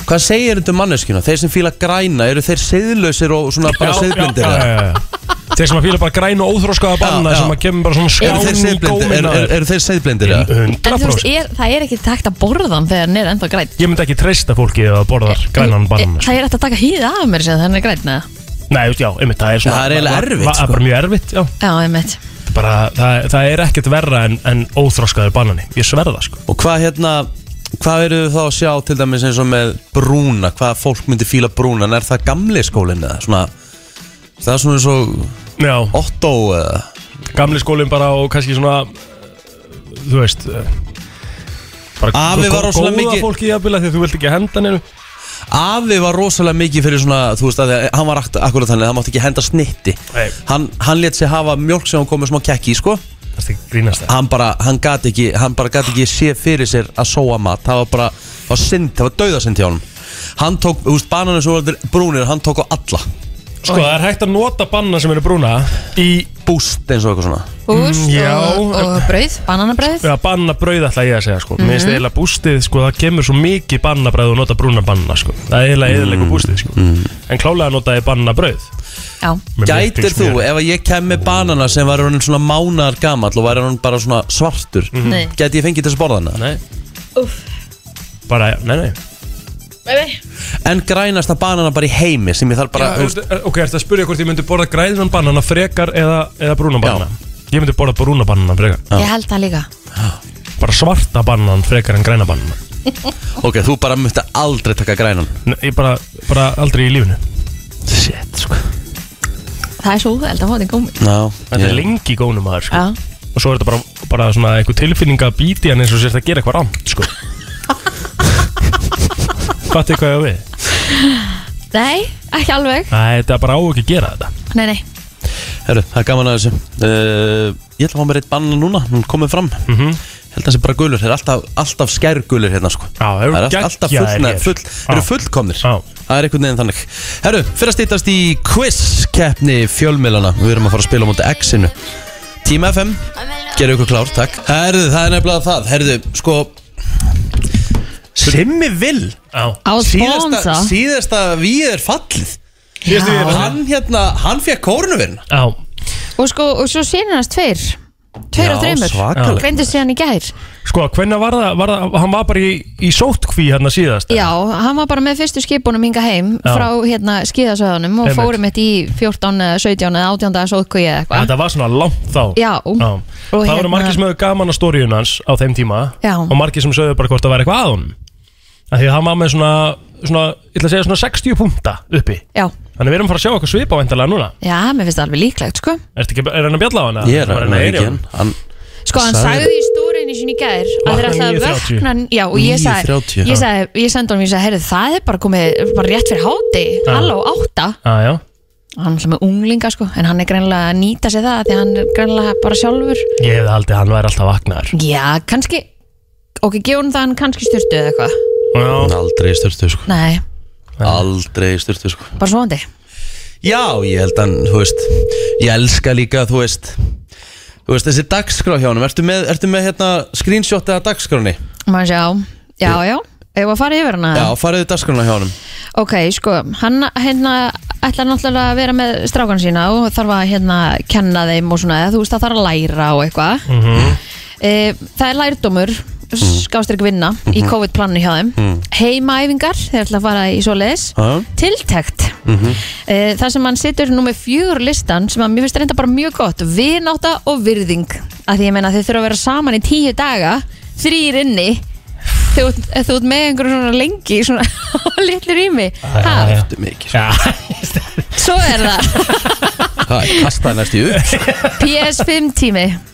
[SPEAKER 2] Hvað segir þetta um manneskjuna? Þeir sem fíla græna, eru þeir seðlausir og svona bara seðblindir?
[SPEAKER 4] Já, já, já, já. Þeir sem að fíla bara græn og óþróskaða banna
[SPEAKER 2] já.
[SPEAKER 4] sem að kemur bara svona
[SPEAKER 2] Eru þeir
[SPEAKER 4] skán í
[SPEAKER 2] seðblindir?
[SPEAKER 4] góminn
[SPEAKER 2] Eru
[SPEAKER 4] á
[SPEAKER 2] er,
[SPEAKER 4] þér.
[SPEAKER 2] er þeir seðblindir? eða?
[SPEAKER 4] 100%
[SPEAKER 3] en þú veist, er, það er ekki takt að borða hann þegar hann er ennþá græn
[SPEAKER 4] Ég myndi ekki treysta fólki að borða grænan banna sko.
[SPEAKER 3] Eh, Það er eftir að taka hýða af mér sem þannig er græn eða?
[SPEAKER 4] Nei, þú veist, já, einmitt, það er svona
[SPEAKER 2] Það er eiginlega erfitt,
[SPEAKER 4] Það
[SPEAKER 2] sko.
[SPEAKER 4] er bara mjög erfitt, já
[SPEAKER 3] Já, ég mitt
[SPEAKER 4] bara, það, það er ekkert verra en, en óþróskaður bannani Ég sverða, sko
[SPEAKER 2] Og hvað hérna, hvað eru þau þá að sjá til dæmis eins og með brúna? Hvað fólk myndi fíla brúna? En er það gamli skólinn eða? Svona, það er svona eins og
[SPEAKER 4] Já,
[SPEAKER 2] Otto eða?
[SPEAKER 4] gamli skólinn bara og kannski svona eh, Þú veist eh, bara
[SPEAKER 2] Afi var
[SPEAKER 4] gó-
[SPEAKER 2] rosalega mikið-
[SPEAKER 4] Góða fólki í aðbila því að þú vilt ekki henda neinu
[SPEAKER 2] Afi var rosalega mikið fyrir svona, þú veist að því að hann var akt- akkurat þannig að hann mátti ekki henda snitti
[SPEAKER 4] Nei.
[SPEAKER 2] Hann, hann let sig hafa mjölk sem hann kom með smá kekki, í, sko
[SPEAKER 4] Það er ekki að grínast það
[SPEAKER 2] Hann bara, hann gat ekki, hann bara gat ekki sé fyrir sér að sóa mat Það var bara, það var synd, það var dauðasynd hjá hann Hann tók, þú veist, bananir sem voru brúnir, hann tók á alla
[SPEAKER 4] Sko, það er hægt að nota banna sem eru brúna í
[SPEAKER 2] Búst eins og eitthvað svona
[SPEAKER 3] Búst
[SPEAKER 4] já.
[SPEAKER 3] og, og brauð, bananabrauð
[SPEAKER 4] Já, bannabræð ætla ég að segja sko Mér
[SPEAKER 2] Mhm.
[SPEAKER 4] finnst eiginlega bústið sko, það kemur svo mikið bannabræð og nota brúna banna sko Það er eiginlega
[SPEAKER 2] Mhm.
[SPEAKER 4] eðilega bústið sko En klálega nota ég bannabrauð
[SPEAKER 3] Já,
[SPEAKER 4] Með
[SPEAKER 2] Gætir
[SPEAKER 4] miklu
[SPEAKER 2] þú,
[SPEAKER 4] smjöri.
[SPEAKER 2] ef að ég kem með banana sem var hann svona mánar gamall og var hann bara svona svartur
[SPEAKER 3] Nei.
[SPEAKER 2] Gæti ég fengið þess borðana?
[SPEAKER 4] Mhm. Nei,
[SPEAKER 3] uff
[SPEAKER 4] bara, nei, nei
[SPEAKER 2] En grænasta banana bara í heimi sem ég þarf bara, þú veist,
[SPEAKER 4] Ok, ertu að spyrja hvort ég myndi borða græðinan bannana frekar eða, eða brúna bannana? Ég myndi borða brúna bannana frekar
[SPEAKER 3] Ég held það líka
[SPEAKER 4] Bara svarta bannan frekar en græna bannana
[SPEAKER 2] Ok, þú bara myndi aldrei taka grænan
[SPEAKER 4] Nei, Ég bara, bara aldrei í lífinu Shit, sko
[SPEAKER 3] Það er svo úðveld að fá þetta gómi
[SPEAKER 2] Ná,
[SPEAKER 4] Þetta er lengi í gónum maður, sko
[SPEAKER 3] Já,
[SPEAKER 4] Og svo er þetta bara, bara svona einhver tilfinninga að bíti hann eins og sérst að gera eitthvað rámt, sko Fattu hvað ég á við?
[SPEAKER 3] nei, ekki alveg
[SPEAKER 4] Nei, þetta er bara á ekki að gera þetta
[SPEAKER 3] Nei, nei,
[SPEAKER 2] Herru, það er gaman að þessu uh, Ég ætla að fá mér eitt bann núna, hún er komin fram mm
[SPEAKER 4] Mhm.
[SPEAKER 2] -hmm. Held að það sé bara gulur, það er alltaf, alltaf skærgulur hérna sko
[SPEAKER 4] Já, það eru
[SPEAKER 2] Það er alltaf
[SPEAKER 4] geggjaðir
[SPEAKER 2] fullna,
[SPEAKER 4] hér.
[SPEAKER 2] full,
[SPEAKER 4] Já.
[SPEAKER 2] eru fullkomnir
[SPEAKER 4] Já.
[SPEAKER 2] Það er einhvern veginn þannig Herru, fyrir að stýtast í quiz-keppni fjölmiðlana Við erum að fara að spila á móti X-inu Tíma FM, gerðu ykkur klár, takk Herru, það er nefnilega það Herru, sko Simmi Vill
[SPEAKER 4] Já
[SPEAKER 3] á að sponsa
[SPEAKER 2] Síðasta, síðasta við er fallið
[SPEAKER 4] Síðastu
[SPEAKER 3] Já.
[SPEAKER 4] við erum
[SPEAKER 2] Hann hérna, hann fekk kórnuverna
[SPEAKER 4] Já,
[SPEAKER 3] Og sko, og svo sínir hans tveir Tveir og þreymur
[SPEAKER 2] svakalegt.
[SPEAKER 3] Greindist síðan í gær
[SPEAKER 4] sko, hvernig var það, var það Hann var bara í, í sótkví hérna síðast
[SPEAKER 3] Já, hann var bara með fyrstu skipunum hinga heim
[SPEAKER 4] Já.
[SPEAKER 3] frá hérna skíðasöðunum og
[SPEAKER 4] Einmitt.
[SPEAKER 3] fórum eitt í 14, eða 17 eða 18 dagar sóðkvíi eða eitthvað
[SPEAKER 4] Þetta var svona langt þá
[SPEAKER 3] Já,
[SPEAKER 4] Já.
[SPEAKER 3] Og
[SPEAKER 4] Það voru
[SPEAKER 3] hérna-
[SPEAKER 4] margir sem höfðu gaman að stóriun hans á þeim tíma
[SPEAKER 3] Já.
[SPEAKER 4] og margir sem sögðu bara hvort það væri eitthvað að honum að því að hann var með svona, svona ég ætla að segja svona 60 punta uppi
[SPEAKER 3] já,
[SPEAKER 4] þannig við erum að fara að sjá okkur svipa væntalega núna
[SPEAKER 3] já, mér finnst það alveg líklegt sko
[SPEAKER 4] Ertu ekki, er hann að bjalla á hana?
[SPEAKER 2] Ég er
[SPEAKER 4] Var
[SPEAKER 2] að reyna
[SPEAKER 4] heyra í
[SPEAKER 2] ekki
[SPEAKER 4] honum?
[SPEAKER 2] hann Hann
[SPEAKER 3] Sko, hann
[SPEAKER 2] Sagði-
[SPEAKER 3] sagði í stúrinni sinni í gær að þeir
[SPEAKER 4] Vakna
[SPEAKER 3] ætlaði að
[SPEAKER 4] 9:30.
[SPEAKER 3] vökna Já, og ég sagði,
[SPEAKER 2] 9:30,
[SPEAKER 3] ég
[SPEAKER 2] já.
[SPEAKER 3] sagði, ég sendi honum, ég sagði, heyrðu, það er bara komið bara rétt fyrir háti,
[SPEAKER 4] Já.
[SPEAKER 3] halló, átta
[SPEAKER 4] Já, já
[SPEAKER 3] Hann er alltaf með unglinga, sko, en hann er greinlega að nýta sér það, því hann er greinlega bara sjálfur
[SPEAKER 4] Ég hefði haldið að hann væri alltaf vaknaður
[SPEAKER 3] Já, kannski, ok, gefum það hann kannski styrtu eða eitthvað
[SPEAKER 4] Já,
[SPEAKER 2] aldrei í styrtu sko
[SPEAKER 3] Nei,
[SPEAKER 2] Aldrei í styrtu sko
[SPEAKER 3] bara svoandi
[SPEAKER 2] Já, ég held hann, þú veist Ég elska líka, þú veist Þú veist, þessi dagskrá hjá honum Ertu með, ertu með hérna screenshot eða dagskráni?
[SPEAKER 3] Maður sjá, já, já, ef að fara yfir hana
[SPEAKER 2] Já, fariðu dagskrána hjá honum
[SPEAKER 3] Ok, sko, hann hérna ætlar náttúrulega að vera með strákan sína og þarf að hérna kenna þeim og svona, eða þú veist, það þarf að læra og eitthvað mm Það er lærdómur skástrík vinna í COVID-plannu hjá þeim heimaæfingar, þeir ætla að fara í svoleiðis
[SPEAKER 2] Já.
[SPEAKER 3] tiltækt e, það sem hann situr nú með fjögur listan sem að mér finnst reynda bara mjög gott vináta og virðing að því ég meina þeir þurfa að vera saman í tíu daga þrýr inni þú, þú ert með einhverjum svona lengi svona *laughs* litlu rými Ha?
[SPEAKER 4] já, já.
[SPEAKER 2] Ertu mikið sko.
[SPEAKER 4] Já,
[SPEAKER 3] Svo er það
[SPEAKER 2] Það er kastaði næst í upp sko.
[SPEAKER 3] PS5 tími
[SPEAKER 4] já.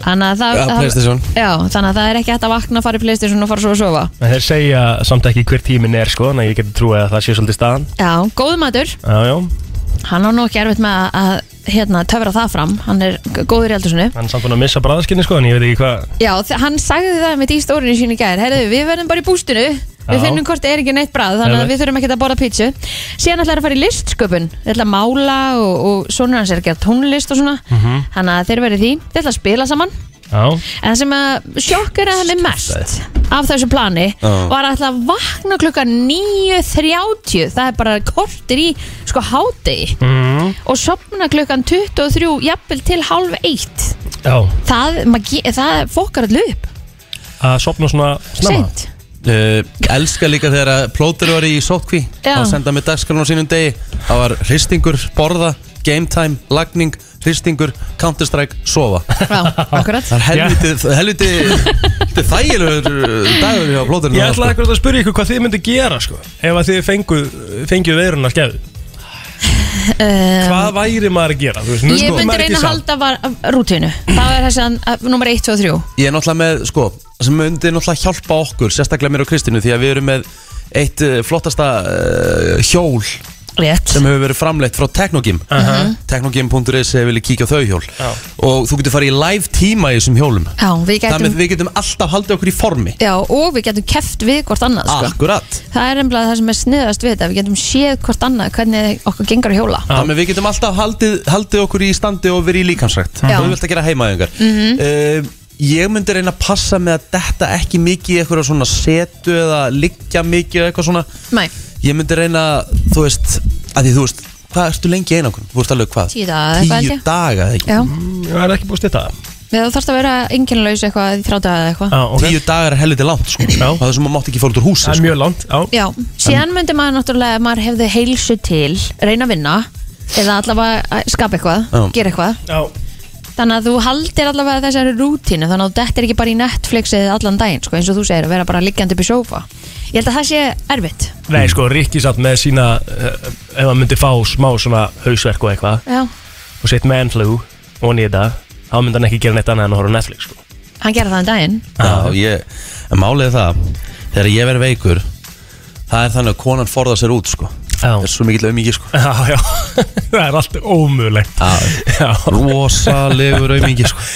[SPEAKER 3] Þannig að það,
[SPEAKER 2] Já, PlayStation.
[SPEAKER 3] já, þannig að það er ekki hægt að vakna fara í Playstation og fara svo að sofa
[SPEAKER 4] En Þeir segja samt ekki hver tíminn er sko Þannig að ég geti trúið að það sé svolítið staðan
[SPEAKER 3] Já, góð matur
[SPEAKER 4] Já, já,
[SPEAKER 3] Hann á nú ekki erfitt með að, að hérna, töfra það fram Hann er g- góður í eldursinu
[SPEAKER 4] hann er samt búin að missa bræðarskinni sko En ég veit ekki hvað
[SPEAKER 3] Já, þ- hann sagði það með í stórinu sín í gær Herðu, við verðum bara í bústinu Við
[SPEAKER 4] Já.
[SPEAKER 3] finnum hvort er ekki neitt bræð Þannig að
[SPEAKER 4] Einmitt.
[SPEAKER 3] við þurfum ekki að borða pítsu Síðan ætlar að fara í listsköpun Þeir ætla að mála og, og svona hans er að gera tónlist og svona Þannig að þeir verði því Þeir ætla að spila saman
[SPEAKER 4] Já,
[SPEAKER 3] En það sem að sjokkeraði mig mest af þessu plani
[SPEAKER 2] Já.
[SPEAKER 3] var að ætla að vakna klukkan 9.30 það er bara kortir í sko hádegi
[SPEAKER 4] mm.
[SPEAKER 3] og sopna klukkan 23 jafnvel til halv eitt
[SPEAKER 4] já.
[SPEAKER 3] það, maður ge- það fokkar allu upp
[SPEAKER 4] að sopna svona snemma
[SPEAKER 3] seint
[SPEAKER 2] uh, Elska líka þegar að plótur var í sótkví
[SPEAKER 3] Já.
[SPEAKER 2] Hann senda mig dagskrána á sínum degi Það var hristingur, borða, game time, lagning Hristingur, counter strike, sofa
[SPEAKER 3] *laughs* Já,
[SPEAKER 2] *laughs*
[SPEAKER 3] akkurat
[SPEAKER 2] Það er helviti, helviti, helviti þægilegur dagur hjá sko. plóturinn
[SPEAKER 4] Ég ætlaði ekkert að spyrja ykkur hvað þið myndi gera sko Ef að þið fengu, fengju veiruna skefðu
[SPEAKER 3] um,
[SPEAKER 4] Hvað væri maður að gera? Þú veist,
[SPEAKER 2] sko
[SPEAKER 3] Ég myndi reyna að halda var, rútinu Það er þessi að- nummer 1, 2 og 3
[SPEAKER 2] Ég er náttúrulega með, sko, sem myndi náttúrulega hjálpa okkur, sérstaklega mér og Kristínu, því að við erum með eitt uh, flottasta uh, hjól sem
[SPEAKER 3] Rétt
[SPEAKER 2] hefur verið framleitt frá Teknogym. Teknogym.is hefur viljið kíkja á þau hjól.
[SPEAKER 4] Já.
[SPEAKER 2] Og þú getur farið í live tíma í þessum hjólum.
[SPEAKER 3] Já, við
[SPEAKER 2] Þannig að
[SPEAKER 3] getum,
[SPEAKER 2] við getum alltaf haldið okkur í formi.
[SPEAKER 3] já, og við getum keft við hvort annað sko.
[SPEAKER 2] Akkurat.
[SPEAKER 3] Það er nefnilega það sem er sniðast við þetta Við getum séð hvort annað hvernig okkur gengur að hjóla
[SPEAKER 2] Þannig að við getum alltaf haldið, haldið okkur í standi og verið í líkansrækt.
[SPEAKER 3] Já. Mhm.
[SPEAKER 2] Þú vilt að gera heimaðingar. Mm ég myndi reyna að passa með að detta ekki mikið í eitthvað svona setu eða liggja mikið eða eitthvað svona.
[SPEAKER 3] Nei,
[SPEAKER 2] Ég myndi reyna, þú veist, að því þú veist, hvað ertu lengi í einangrun? Þú veist alveg hvað?
[SPEAKER 3] Tíu daga eða eitthvað, held
[SPEAKER 2] Tíu
[SPEAKER 3] ég.
[SPEAKER 2] daga, eða ekki?
[SPEAKER 3] já
[SPEAKER 4] Það er Mm, ekki búið að stýta það
[SPEAKER 3] Eða þú þarfst að vera enginlaus eitthvað í þrjáta eða eitthvað
[SPEAKER 4] Já, ok.
[SPEAKER 2] Tíu dagar er helviti langt, sko.
[SPEAKER 4] Já.
[SPEAKER 2] Það er sem maður mátt ekki fóra út úr húsi,
[SPEAKER 4] Það er
[SPEAKER 2] sko.
[SPEAKER 4] mjög langt Já,
[SPEAKER 3] Já, síðan myndi maður náttúrulega ef maður hefði heilsu til, reyna að vinna eða allavega að skapa eitthvað,
[SPEAKER 2] Já.
[SPEAKER 3] gera eitthvað
[SPEAKER 4] já.
[SPEAKER 3] þannig að þú haldir allavega þessari rútínu þannig að þú dettir ekki bara í Netflixið allan daginn sko, eins og þú segir að vera bara liggjandi upp í sófa ég held að það sé erfitt
[SPEAKER 4] Nei, sko, Rikki satt með sína eh, ef hann myndi fá smá svona hausverk og eitthvað
[SPEAKER 3] já.
[SPEAKER 4] og sitt man flu og nýta þá myndi hann ekki gera neitt annað en að horfa á Netflix sko.
[SPEAKER 3] hann gera það um daginn
[SPEAKER 2] Já, ég, en málið er það Þegar ég verð veikur Það er þannig að konan forða sér út sko
[SPEAKER 4] Já.
[SPEAKER 2] Það er svo mikill aumingi sko
[SPEAKER 4] Já, já, *laughs* það er alltaf ómögulegt Já.
[SPEAKER 2] *laughs* Rosalegur aumingi sko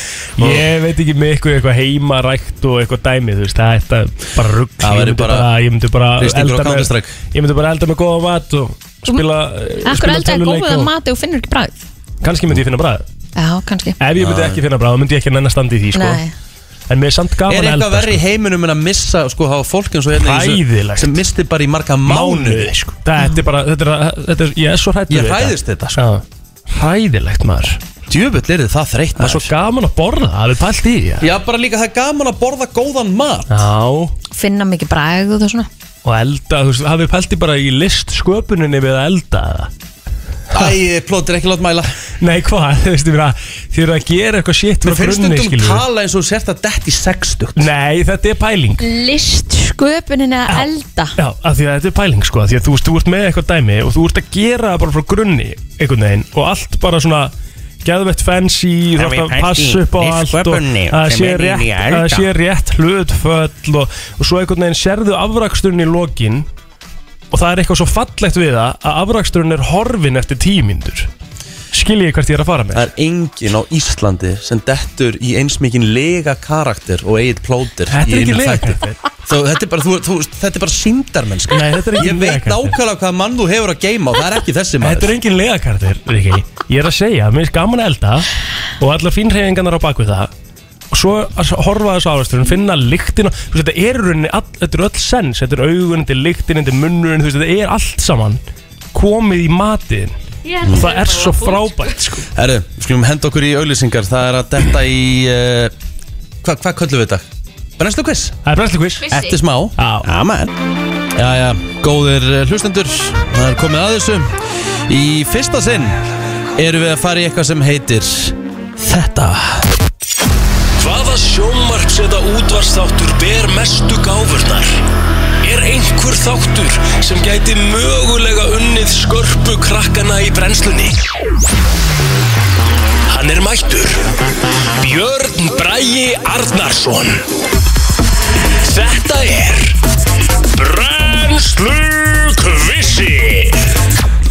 [SPEAKER 4] Ég veit ekki með eitthvað, eitthvað heimarækt og eitthvað dæmi, þú veist, það er þetta bara rugg
[SPEAKER 2] Það
[SPEAKER 4] Ég
[SPEAKER 2] væri
[SPEAKER 4] myndi
[SPEAKER 2] bara
[SPEAKER 4] bara, ég myndi bara
[SPEAKER 2] hristingur og
[SPEAKER 4] með,
[SPEAKER 2] Counter-Strike.
[SPEAKER 4] ég myndi bara elda með góða mat og spila, eh,
[SPEAKER 3] Akkur
[SPEAKER 4] spila
[SPEAKER 3] elda er góð að
[SPEAKER 4] og
[SPEAKER 3] mati og finnur ekki bræð
[SPEAKER 4] kannski myndi ég finna bræð
[SPEAKER 3] Já, kannski
[SPEAKER 4] Ef ég myndi ekki finna bræð, þá myndi ég ekki nenn að standa í því, sko
[SPEAKER 3] Nei.
[SPEAKER 4] En mér er samt gaman
[SPEAKER 2] Er
[SPEAKER 4] að
[SPEAKER 2] eitthvað
[SPEAKER 4] elda, sko.
[SPEAKER 2] verri í heiminum en að missa sko, hafa fólk eins og hérna í þessu-
[SPEAKER 4] Hræðilegt.
[SPEAKER 2] sem misti bara í marga mánuði sko.
[SPEAKER 4] Þetta er bara, þetta er, þetta er, ég er svo hrættur
[SPEAKER 2] Ég hræðist þetta, sko.
[SPEAKER 4] Hræðilegt maður
[SPEAKER 2] Djöfull er það þreytt
[SPEAKER 4] Það er svo
[SPEAKER 2] maður.
[SPEAKER 4] gaman að borða, það er pælt í því
[SPEAKER 2] Já, bara líka það er gaman að borða góðan mat
[SPEAKER 4] Já,
[SPEAKER 3] Finna mikið bræð og það svona
[SPEAKER 4] og elda, þú veist, hafið pælti bara í list sköpuninni við að elda það
[SPEAKER 2] Æ, plótir ekki látt mæla
[SPEAKER 4] Nei, hvað, *laughs* þú veist, ég meina, þið eru að gera eitthvað shit
[SPEAKER 2] Mér finnst
[SPEAKER 4] frá grunni,
[SPEAKER 2] stundum
[SPEAKER 4] skilur við.
[SPEAKER 2] tala eins og þú sért að detti sextugt
[SPEAKER 4] Nei, þetta er pæling
[SPEAKER 3] List sköpunin að elda
[SPEAKER 4] Já, af því að þetta er pæling, sko, af því að þú veist, þú ert með eitthvað dæmi og þú ert að gera það bara frá grunni einhvern veginn og allt bara svona geðveitt fancy, þú
[SPEAKER 6] Það er
[SPEAKER 4] ert að
[SPEAKER 6] pælt
[SPEAKER 4] passa
[SPEAKER 6] í
[SPEAKER 4] upp á allt og
[SPEAKER 6] listsköpunni
[SPEAKER 4] að
[SPEAKER 6] sem
[SPEAKER 4] sé
[SPEAKER 6] er inni í
[SPEAKER 4] rétt, að
[SPEAKER 6] elda.
[SPEAKER 4] sé rétt hlutföll og, og svo einhvern veginn sérðu afraksturinn í lokin og það er eitthvað svo fallegt við það að afraksturinn er horfin eftir tímindur skil ég hvert ég er að fara með
[SPEAKER 2] Það er engin á Íslandi sem dettur í eins mikinn lega karakter og eigið plótir
[SPEAKER 4] Þetta er ekki leikar
[SPEAKER 2] Þó, þetta, er bara, þú, þú, þetta er bara síndarmennska
[SPEAKER 4] Nei, þetta er ekki
[SPEAKER 2] Ég veit
[SPEAKER 4] leikarakter.
[SPEAKER 2] nákvæmlega hvað mann þú hefur að geima og það er ekki þessi
[SPEAKER 4] Þetta
[SPEAKER 2] maður
[SPEAKER 4] er engin legakartir, Riki Ég er að segja, mér finnst gaman að elda og allar fínhreyfingarnar á bakvið það og svo að horfa á þessu árasturum, finna lyktina þú veist, þetta er í rauninni, all, þetta er öll sens þetta er augun, þetta er lyktin, þetta er munnurinn þú veist, þetta er allt saman komið í matinn og það er svo frábært sko.
[SPEAKER 2] Herru, við skulum henda okkur í auglýsingar Það er að detta í uh, Hvað hva köllum við þetta? Brennslu quiz?
[SPEAKER 4] Það er brenslu quiz
[SPEAKER 2] Eftir smá
[SPEAKER 4] Já.
[SPEAKER 2] Amen Já, já, góðir eh, hlustendur Það er komið að þessu Í fyrsta sinn erum við að fara í eitthvað sem heitir Þetta
[SPEAKER 1] Hvaða sjónvarps eða útvarsþáttur ber mestu gáfurnar? Er einhver þáttur sem gæti mögulega unnið skörpu krakkana í brennslunni? Hann er mættur. Björn Bragi Arnarsson. Þetta er Brennslu Kvissi.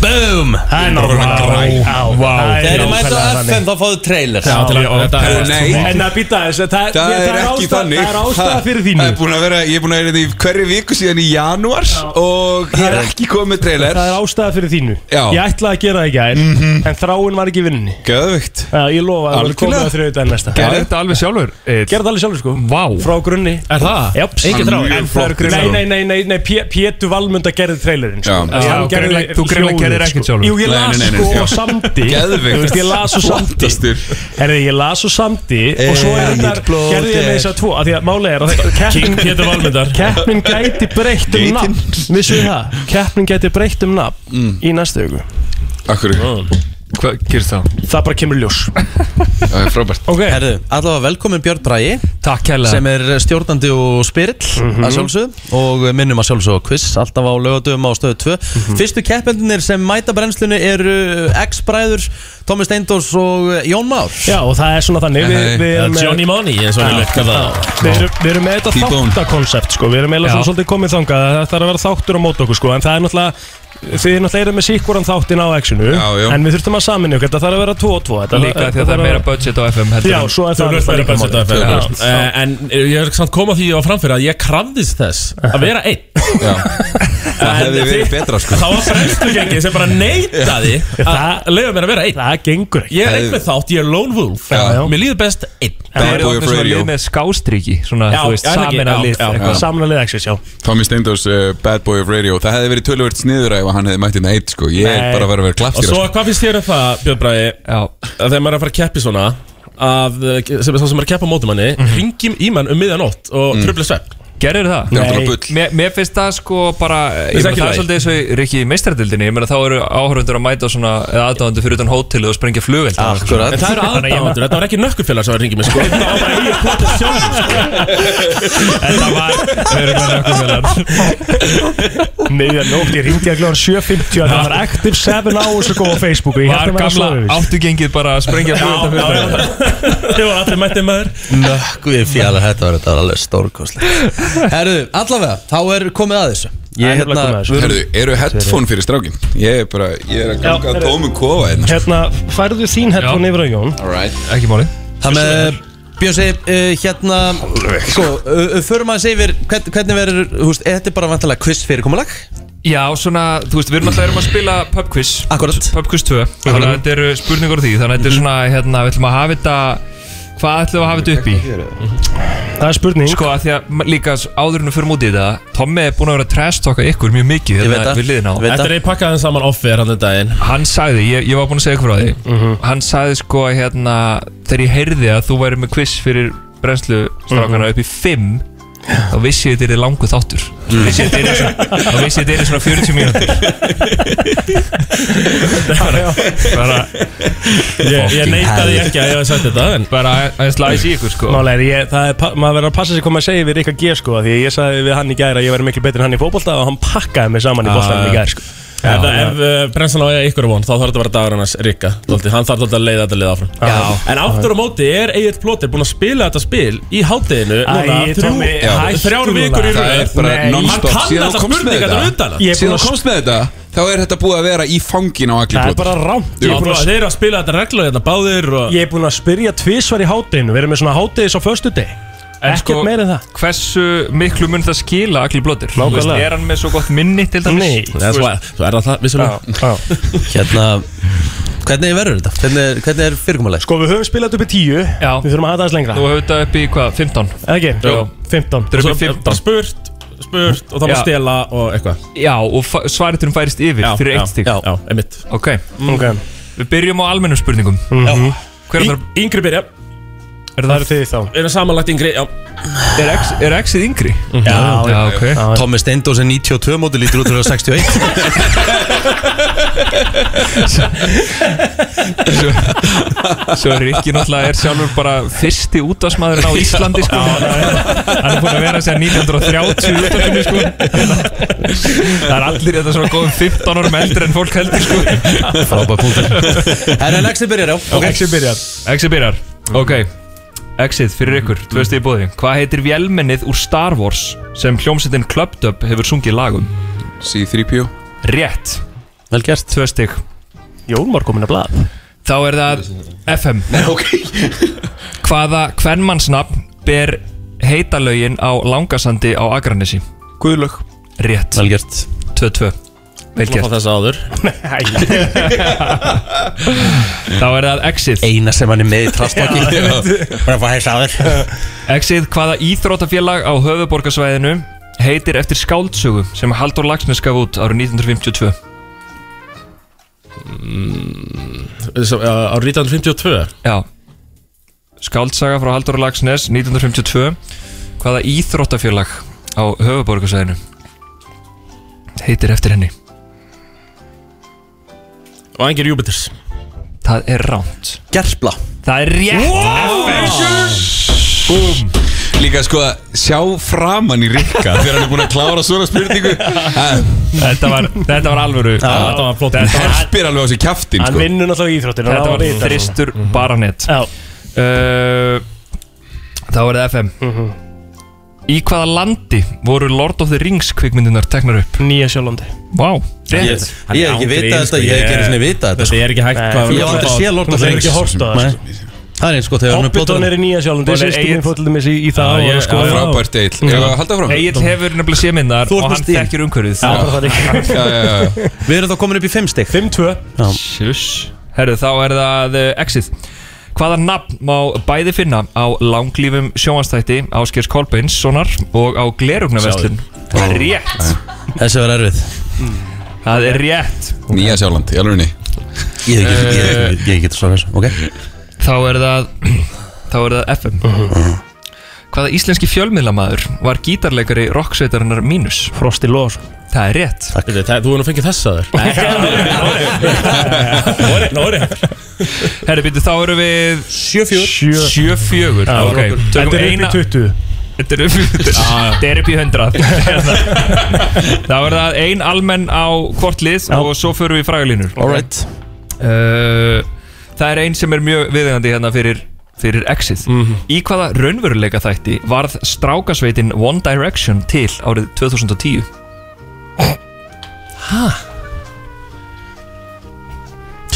[SPEAKER 2] Boom
[SPEAKER 4] Það er náttúrulega
[SPEAKER 2] Þegar
[SPEAKER 4] Það
[SPEAKER 2] þið mæta á FM þá fáðu trailer
[SPEAKER 4] Já, til að-
[SPEAKER 7] Já,
[SPEAKER 4] þetta er-
[SPEAKER 7] nei.
[SPEAKER 4] En eh, að býta þess, það er-
[SPEAKER 7] Það
[SPEAKER 4] það
[SPEAKER 7] er
[SPEAKER 4] er
[SPEAKER 7] ekki
[SPEAKER 4] ástæða-
[SPEAKER 7] þannig
[SPEAKER 4] það er ástæða
[SPEAKER 7] Það-
[SPEAKER 4] fyrir
[SPEAKER 7] Það
[SPEAKER 4] þínu
[SPEAKER 7] er búin að vera, ég er búin að vera því hverju viku síðan í janúar Og ég er ekki komið með trailer
[SPEAKER 4] Það er ástæða fyrir þínu
[SPEAKER 7] Já.
[SPEAKER 4] Ég ætlaði að gera það í gær En þráin var ekki í vinnunni
[SPEAKER 7] Gæðvögt
[SPEAKER 4] Já, Ég lofa að það var komið
[SPEAKER 7] Algjörlega.
[SPEAKER 4] að þriðu daginn næsta
[SPEAKER 7] Gerðu.
[SPEAKER 4] Gerði
[SPEAKER 7] Gerðu.
[SPEAKER 6] þetta alveg sjálfur Egill?
[SPEAKER 4] það alveg sjálfur sko
[SPEAKER 6] Vá
[SPEAKER 4] Frá grunni
[SPEAKER 6] Er það?
[SPEAKER 4] Japs
[SPEAKER 6] Engin þrá
[SPEAKER 7] Mjög
[SPEAKER 6] En
[SPEAKER 7] flott.
[SPEAKER 6] það eru
[SPEAKER 4] Nei,
[SPEAKER 6] grunni
[SPEAKER 4] nei, nei, nei, nei Pé- Pétur Valmund að gerði trailerinn sko.
[SPEAKER 7] Já.
[SPEAKER 4] Þannig að
[SPEAKER 6] Já,
[SPEAKER 4] hann gerði
[SPEAKER 6] greinilega- þú greinilega
[SPEAKER 4] hljóðið,
[SPEAKER 6] gerðir
[SPEAKER 4] sko.
[SPEAKER 6] ekkert sjálfur.
[SPEAKER 4] Jú, ég
[SPEAKER 7] Nei,
[SPEAKER 4] las
[SPEAKER 7] nei, nei, nei,
[SPEAKER 4] sko
[SPEAKER 7] já.
[SPEAKER 4] og samdi
[SPEAKER 7] Geðveikt.
[SPEAKER 4] Þú veist, ég las og samdi
[SPEAKER 7] Flottastur.
[SPEAKER 4] Herri, ég las og samdi Og svo er
[SPEAKER 2] Egill
[SPEAKER 4] þetta
[SPEAKER 2] Blóter.
[SPEAKER 4] Gerði ég með þess að tvo af Því að málega er að King Pétur Valmundar Keppnin gæti breytt um nafn Vissu þið það? Keppnin gæti breytt um nafn Í næstu hugu
[SPEAKER 7] Akkur,
[SPEAKER 4] Mm.
[SPEAKER 6] Hvað gerist þá?
[SPEAKER 4] Það bara kemur í ljós
[SPEAKER 7] það er frábært
[SPEAKER 4] Ok
[SPEAKER 2] Herðu, allavega velkomin Björn Bragi
[SPEAKER 6] Takk kærlega
[SPEAKER 2] sem er stjórnandi og spyrill að sjálfsögðu og minnum að sjálfsögðu á quiz alltaf á lögadöfum á stöðu 2 Fyrstu keppendunir sem mæta brennslunni eru X-bræður, Tómi Steindors og Jón Már
[SPEAKER 4] Já og það er svona þannig við,
[SPEAKER 7] Nei.
[SPEAKER 4] við erum með-
[SPEAKER 8] Johnny Money eins og
[SPEAKER 4] Já,
[SPEAKER 8] hann vil kalla
[SPEAKER 4] já.
[SPEAKER 8] það
[SPEAKER 4] Við erum, við erum með þetta
[SPEAKER 7] T-bone.
[SPEAKER 4] þáttakoncept sko. Við erum eiginlega svona
[SPEAKER 6] Já.
[SPEAKER 4] svolítið komið þangað að Það þarf að vera þáttur á mót okkur sko. En það er náttúrulega Þið er náttúrulega eruð með síkkuran þáttinn á X-inu
[SPEAKER 7] Já, já.
[SPEAKER 4] En við þurftum að saminni okkur Þetta þarf að vera 2 og 2 þetta,
[SPEAKER 6] Líka því að það er meira budget á FM heldur
[SPEAKER 4] Já,
[SPEAKER 6] en-
[SPEAKER 4] svo er
[SPEAKER 8] Þú
[SPEAKER 4] það
[SPEAKER 8] veist það líka
[SPEAKER 4] málið.
[SPEAKER 8] mótið
[SPEAKER 4] Já.
[SPEAKER 8] Eh, En ég er samt koma því á framfyrir að ég krafðist þess að vera einn *laughs*
[SPEAKER 7] Já. Það hefði verið betra sko
[SPEAKER 8] Þá var frestugengið sem bara neitaði
[SPEAKER 4] Það-
[SPEAKER 8] að leiða mér að vera einn
[SPEAKER 4] Það gengur ekki
[SPEAKER 8] Ég er einn með þátt, ég er lone wolf
[SPEAKER 7] Já.
[SPEAKER 8] Mér líður best einn
[SPEAKER 7] Bad
[SPEAKER 6] Eru
[SPEAKER 7] Boy
[SPEAKER 6] ofta
[SPEAKER 7] of
[SPEAKER 6] svona
[SPEAKER 7] Radio
[SPEAKER 6] lið með skástríki Svona,
[SPEAKER 8] Já,
[SPEAKER 6] þú veist,
[SPEAKER 8] já, ekki,
[SPEAKER 6] samin
[SPEAKER 8] já,
[SPEAKER 6] að lið
[SPEAKER 8] já,
[SPEAKER 6] eitthvað.
[SPEAKER 4] Samanlega X-ins, já
[SPEAKER 7] Tommy Steindors, uh, Bad Boy of Radio Það hefði verið tölvöld sniður ef hann hefði mætt inn eitt sko Ég er
[SPEAKER 4] Nei.
[SPEAKER 7] bara að vera að
[SPEAKER 8] Og
[SPEAKER 7] vera klaftýra
[SPEAKER 8] svo
[SPEAKER 7] sko.
[SPEAKER 8] hvað finnst þér um það, Björn Bræði
[SPEAKER 6] Já,
[SPEAKER 8] að þegar maður er að fara að keppi svona að, eh, sem er það sem er að keppa á mótum manni ringjum í mann um miðjanótt og mm. tröfla svepp
[SPEAKER 6] Gerður það?
[SPEAKER 7] Það er náttúrulega bull
[SPEAKER 6] Mér, mér finnst það sko bara ég
[SPEAKER 8] Finnst
[SPEAKER 6] meina,
[SPEAKER 8] ekki
[SPEAKER 6] Það er
[SPEAKER 8] lagi?
[SPEAKER 6] svolítið eins og í- Rikki í meistardildinni Ég meina þá eru áhörfundur að mæta svona eða aðdáðandi fyrir utan hótelu og sprengja flugvild
[SPEAKER 2] Akkurat
[SPEAKER 8] En það eru aðdáðandur, þetta var ekki nökkufélag sem var að ringið mig sko Þetta var bara ég plata sjálf sko.
[SPEAKER 4] Þetta var Miðja nótt, ég ringdi að glóðan 7.50 að Það var Active 7 hours ago á Facebooku Ég
[SPEAKER 6] Var
[SPEAKER 4] held að vera
[SPEAKER 6] gamla
[SPEAKER 4] slavið
[SPEAKER 6] áttugengið bara að sprengja flugvild
[SPEAKER 8] Já, já, já. Þegar allir mættið maður
[SPEAKER 2] Nökku við fjallar, þetta var, þetta var alveg stórkoslega Herðu, allavega, þá er komið að þessu hérna,
[SPEAKER 4] Það er nefnilega komið að þessu.
[SPEAKER 7] Herðu, eru headphone fyrir strákin? Ég er bara, ég er að
[SPEAKER 4] Já,
[SPEAKER 7] ganga að
[SPEAKER 4] heyrðu.
[SPEAKER 7] tómum kofa hérna
[SPEAKER 4] Hérna, færðu þín headphone yfir á Jón
[SPEAKER 7] Alright
[SPEAKER 6] Ekki máli
[SPEAKER 2] Það með Björnsi, uh, eh, hérna Sko, uh, uh, förum aðeins yfir hvern, Hvernig verður, þú veist, þetta er bara vantilega quiz fyrirkomulag
[SPEAKER 6] Já, svona, þú veist, við erum alltaf erum að spila pub quiz
[SPEAKER 2] Akkurat.
[SPEAKER 6] Pub quiz 2 Þannig að þetta eru spurningar úr því Þannig að þetta er svona, hérna, við ætlum að hafa þetta Hvað ætlum við að hafa þetta upp í?
[SPEAKER 4] Það er spurning
[SPEAKER 6] Sko að því að ma- líka s- áður en við förum út í þetta Tommi er búin að vera að trash talka ykkur mjög mikið
[SPEAKER 2] Ég veit
[SPEAKER 6] hérna
[SPEAKER 2] það,
[SPEAKER 6] við liðin á
[SPEAKER 2] veit
[SPEAKER 8] Þetta
[SPEAKER 2] það
[SPEAKER 8] er ég pakkaði hann saman offer hann þetta daginn
[SPEAKER 6] Hann sagði, ég, ég var búin að segja ykkur frá því Hann sagði sko að hérna Þegar ég heyrði að þú væri með quiz fyrir brennslu strákana upp í 5 Þá vissi ég að þetta er langu þáttur Þá vissi ég að þetta yrði svona- þá vissi ég að þetta er svona 40 mínútur bara, bara,
[SPEAKER 8] Ég, ég neitaði ekki að ég hef sagt þetta en
[SPEAKER 6] bara aðeins læs í ykkur sko
[SPEAKER 4] Málega, ég, það er, pa- maður verður að passa sig hvað maður segir við Rikka G sko Því að ég sagði við hann í gæra að ég verður miklu betur en hann í fótbolta Og hann pakkaði mig saman í
[SPEAKER 8] Ah.
[SPEAKER 4] boltanum í gæra sko
[SPEAKER 8] Ef, ef uh, brennslan á eiga ykkur von þá þarf þetta að vera dagur hans Rikka dálítið. Hann þarf þetta að leiða þetta lið áfram
[SPEAKER 4] Já.
[SPEAKER 8] En aftur á móti er Egil Plóter búinn að spila þetta spil í hátteginu núna
[SPEAKER 4] Æ,
[SPEAKER 8] þrjú-
[SPEAKER 4] Tommi,
[SPEAKER 8] Já.
[SPEAKER 4] hættu
[SPEAKER 8] þrjár
[SPEAKER 4] núna.
[SPEAKER 8] vikur í
[SPEAKER 7] Það er
[SPEAKER 8] röð
[SPEAKER 7] bara
[SPEAKER 4] Nei,
[SPEAKER 8] Hann
[SPEAKER 7] non-stop
[SPEAKER 8] kann
[SPEAKER 7] Síðan
[SPEAKER 8] alltaf
[SPEAKER 7] þú komst með
[SPEAKER 8] spurningar
[SPEAKER 7] þetta
[SPEAKER 8] utan
[SPEAKER 4] Ég er
[SPEAKER 8] að
[SPEAKER 4] búin
[SPEAKER 7] Síðan
[SPEAKER 4] að
[SPEAKER 7] þú komst með þetta Þá er þetta búið að vera í fangin á allir
[SPEAKER 4] Það er bara rámt Ég
[SPEAKER 8] Ég
[SPEAKER 4] er búin
[SPEAKER 8] prófa,
[SPEAKER 4] að-
[SPEAKER 8] þeir eru að spila þetta reglulega hérna báðir og...
[SPEAKER 4] ég er búin að spyrja tvísvar í hátteginu Við erum með svona hátegis á föstu deg
[SPEAKER 6] En
[SPEAKER 4] Ekkert
[SPEAKER 6] sko-
[SPEAKER 4] meira en það
[SPEAKER 6] Hversu miklu mun það skila allir blóttir? Þú veist,
[SPEAKER 4] Nákvæmlega.
[SPEAKER 6] Er hann með svo gott minni til dæmis?
[SPEAKER 4] Nei.
[SPEAKER 6] Þú
[SPEAKER 8] Nei,
[SPEAKER 6] veist,
[SPEAKER 8] svo, er- svo er það það, vissulega
[SPEAKER 4] Já, já.
[SPEAKER 2] Hérna, hvernig verður þetta? Hvernig er, hvernig er fyrirkomulag?
[SPEAKER 4] Sko við höfum spilað upp í 10
[SPEAKER 6] Já.
[SPEAKER 4] Við þurfum að hafa það aðeins lengra
[SPEAKER 6] Þú hefur þetta upp í hvað? 15?
[SPEAKER 4] Eða ekki?
[SPEAKER 6] Jú.
[SPEAKER 4] 15
[SPEAKER 6] Þetta er
[SPEAKER 8] Svo
[SPEAKER 6] upp í
[SPEAKER 8] er
[SPEAKER 6] 15
[SPEAKER 8] bara spurt, spurt og það var
[SPEAKER 6] Já.
[SPEAKER 8] stela og eitthvað
[SPEAKER 6] Já, og fa- svariturum færist yfir
[SPEAKER 8] Já,
[SPEAKER 6] fyrir
[SPEAKER 8] já,
[SPEAKER 6] eitt stík
[SPEAKER 8] Já, einmitt
[SPEAKER 6] Ok,
[SPEAKER 4] Ok
[SPEAKER 6] við byrjum á almennum spurningum Hver er,
[SPEAKER 8] Í- Yngri byrja,
[SPEAKER 4] Er það þið þá?
[SPEAKER 8] erum samanlagt yngri Já,
[SPEAKER 6] er, ex, er exið yngri?
[SPEAKER 4] Já,
[SPEAKER 6] já, ok
[SPEAKER 2] Tommi Steindós er 92 móti, lítur út fyrir að 61
[SPEAKER 6] Svo, *laughs* svo er Rikki náttúrulega er sjálfur bara fyrsti útvarsmaðurinn á Íslandi sko. Hann er búin að vera sér 1930 í útvarpinu sko. Það er allir þetta svona góðum 15 árum eldri en fólk heldur sko.
[SPEAKER 2] Frábæð punktur Herra, en Exit byrjar á Ok.
[SPEAKER 4] Exi byrjar
[SPEAKER 6] Exið byrjar Ok, Exið fyrir ykkur, tvö stið bóði Hvað heitir vélmennið úr Star Wars sem hljómsettin Club Dub hefur sungið lagum?
[SPEAKER 7] C-3PO
[SPEAKER 6] Rétt,
[SPEAKER 2] Vel gert
[SPEAKER 6] tvö stygg
[SPEAKER 4] Jólmar komin að blað
[SPEAKER 6] Þá er það FM
[SPEAKER 7] Nei, ok
[SPEAKER 6] *laughs* Hvaða kvennmannsnafn ber heitalögin á Langasandi á Akranesi?
[SPEAKER 7] Guðlög
[SPEAKER 6] Rétt,
[SPEAKER 2] *laughs* Vel gert
[SPEAKER 6] 2-2 Vel
[SPEAKER 8] maður
[SPEAKER 6] gert
[SPEAKER 8] fá þess áður
[SPEAKER 6] Þá er það Exið
[SPEAKER 2] Eina sem hann er *laughs* með í trastokki Bara að fá hægsa á þér
[SPEAKER 6] Exið, hvaða íþrótafélag á höfuborgarsvæðinu heitir eftir skáldsögu sem Haldur Laxnes gaf út árið 1952
[SPEAKER 8] Svo, uh, Á 1952
[SPEAKER 6] Já Skáldsaga frá Haldur Laxnes 1952 Hvaða íþrótafélag á höfuborgarsvæðinu heitir eftir henni?
[SPEAKER 8] Og engir Júpiters
[SPEAKER 6] Það er ránt
[SPEAKER 2] Gerpla
[SPEAKER 6] Það er rétt
[SPEAKER 7] Líka sko að sjá framan í Rikka Þegar hann er búin að klára svona
[SPEAKER 4] *laughs*
[SPEAKER 7] spurningu Það
[SPEAKER 6] Þetta var, þetta var alvöru Þetta var flott Þetta
[SPEAKER 4] sko.
[SPEAKER 6] var,
[SPEAKER 7] herpir alveg á sig kjaftin
[SPEAKER 4] Hann
[SPEAKER 7] sko
[SPEAKER 4] vinnur náttúrulega í íþróttir
[SPEAKER 6] þetta var þristur baranett
[SPEAKER 4] Já
[SPEAKER 6] uh, Þá er það FM Í hvaða landi voru Lord of the Rings kvikmyndunar teknar upp?
[SPEAKER 4] Nýja sjálflandi
[SPEAKER 6] Vá,
[SPEAKER 2] Ég
[SPEAKER 6] rétt
[SPEAKER 2] ég hef ekki vitað þetta, sko, ég hef ekki einu sinni vitað þetta sko.
[SPEAKER 8] Þetta er ekki hægt
[SPEAKER 4] Nei,
[SPEAKER 8] hvað
[SPEAKER 4] ég
[SPEAKER 2] Ég hef aldrei séð Lord of the Rings
[SPEAKER 4] Þú hefur ekki horft á það,
[SPEAKER 2] Nei. Það er eins gott þegar hann er
[SPEAKER 4] Hobbiton er
[SPEAKER 2] blóttur
[SPEAKER 4] í nýja sjálflandi
[SPEAKER 6] Hún er
[SPEAKER 4] Sýstum
[SPEAKER 6] Egill.
[SPEAKER 4] við fóttum við í það
[SPEAKER 8] Já,
[SPEAKER 4] og
[SPEAKER 8] ég-
[SPEAKER 4] sko
[SPEAKER 8] já,
[SPEAKER 7] Frábært eill Ef að halda fram
[SPEAKER 6] Egil hefur nefnilega sé minnar
[SPEAKER 2] Þú ert með
[SPEAKER 6] og hann
[SPEAKER 2] stíl.
[SPEAKER 6] þekkir umhverfið
[SPEAKER 4] Já, bara það er ekki
[SPEAKER 7] Já, já, já
[SPEAKER 2] Við erum þá komin upp í 5 stygg
[SPEAKER 4] 5-2
[SPEAKER 6] Sjuss Herðu, þá er það uh, Exit Hvaða nafn má bæði finna á langlífum sjónvastætti Áskers Kolbeinssonar og á Glerugnaveslun? Það er rétt
[SPEAKER 2] Þessi var erfið
[SPEAKER 6] Það er rétt
[SPEAKER 7] Nýja sjálfland, í alveg
[SPEAKER 2] Ég hef ekki- ég hef ekki-
[SPEAKER 6] *clears throat*
[SPEAKER 2] ég hef ekki getað svarað þessu Ok
[SPEAKER 6] Þá er það Þá er það FM Hvaða íslenski fjölmiðlamaður var gítarleikari rocksveitarinnar Mínus?
[SPEAKER 4] Frosti Lóðs
[SPEAKER 6] Það er rétt
[SPEAKER 8] Þetta er- það- Þú erum fengið þessa þér Nóri
[SPEAKER 6] Herri býttu, þá eru við
[SPEAKER 4] Sjö
[SPEAKER 6] 7-4
[SPEAKER 4] Já,
[SPEAKER 6] Ok, tökum
[SPEAKER 4] Þetta er upp
[SPEAKER 6] eina
[SPEAKER 4] í 20
[SPEAKER 6] Þetta er upp í Þetta er upp í 100 Þá er það ein almenn á hvort lið
[SPEAKER 4] Já.
[SPEAKER 6] og svo förum við í frægulínur
[SPEAKER 2] Alright
[SPEAKER 6] uh, Það er ein sem er mjög viðegandi hérna fyrir fyrir exið.
[SPEAKER 2] Mhm.
[SPEAKER 6] Í hvaða raunveruleika þætti varð strákasveitin One Direction til árið 2010?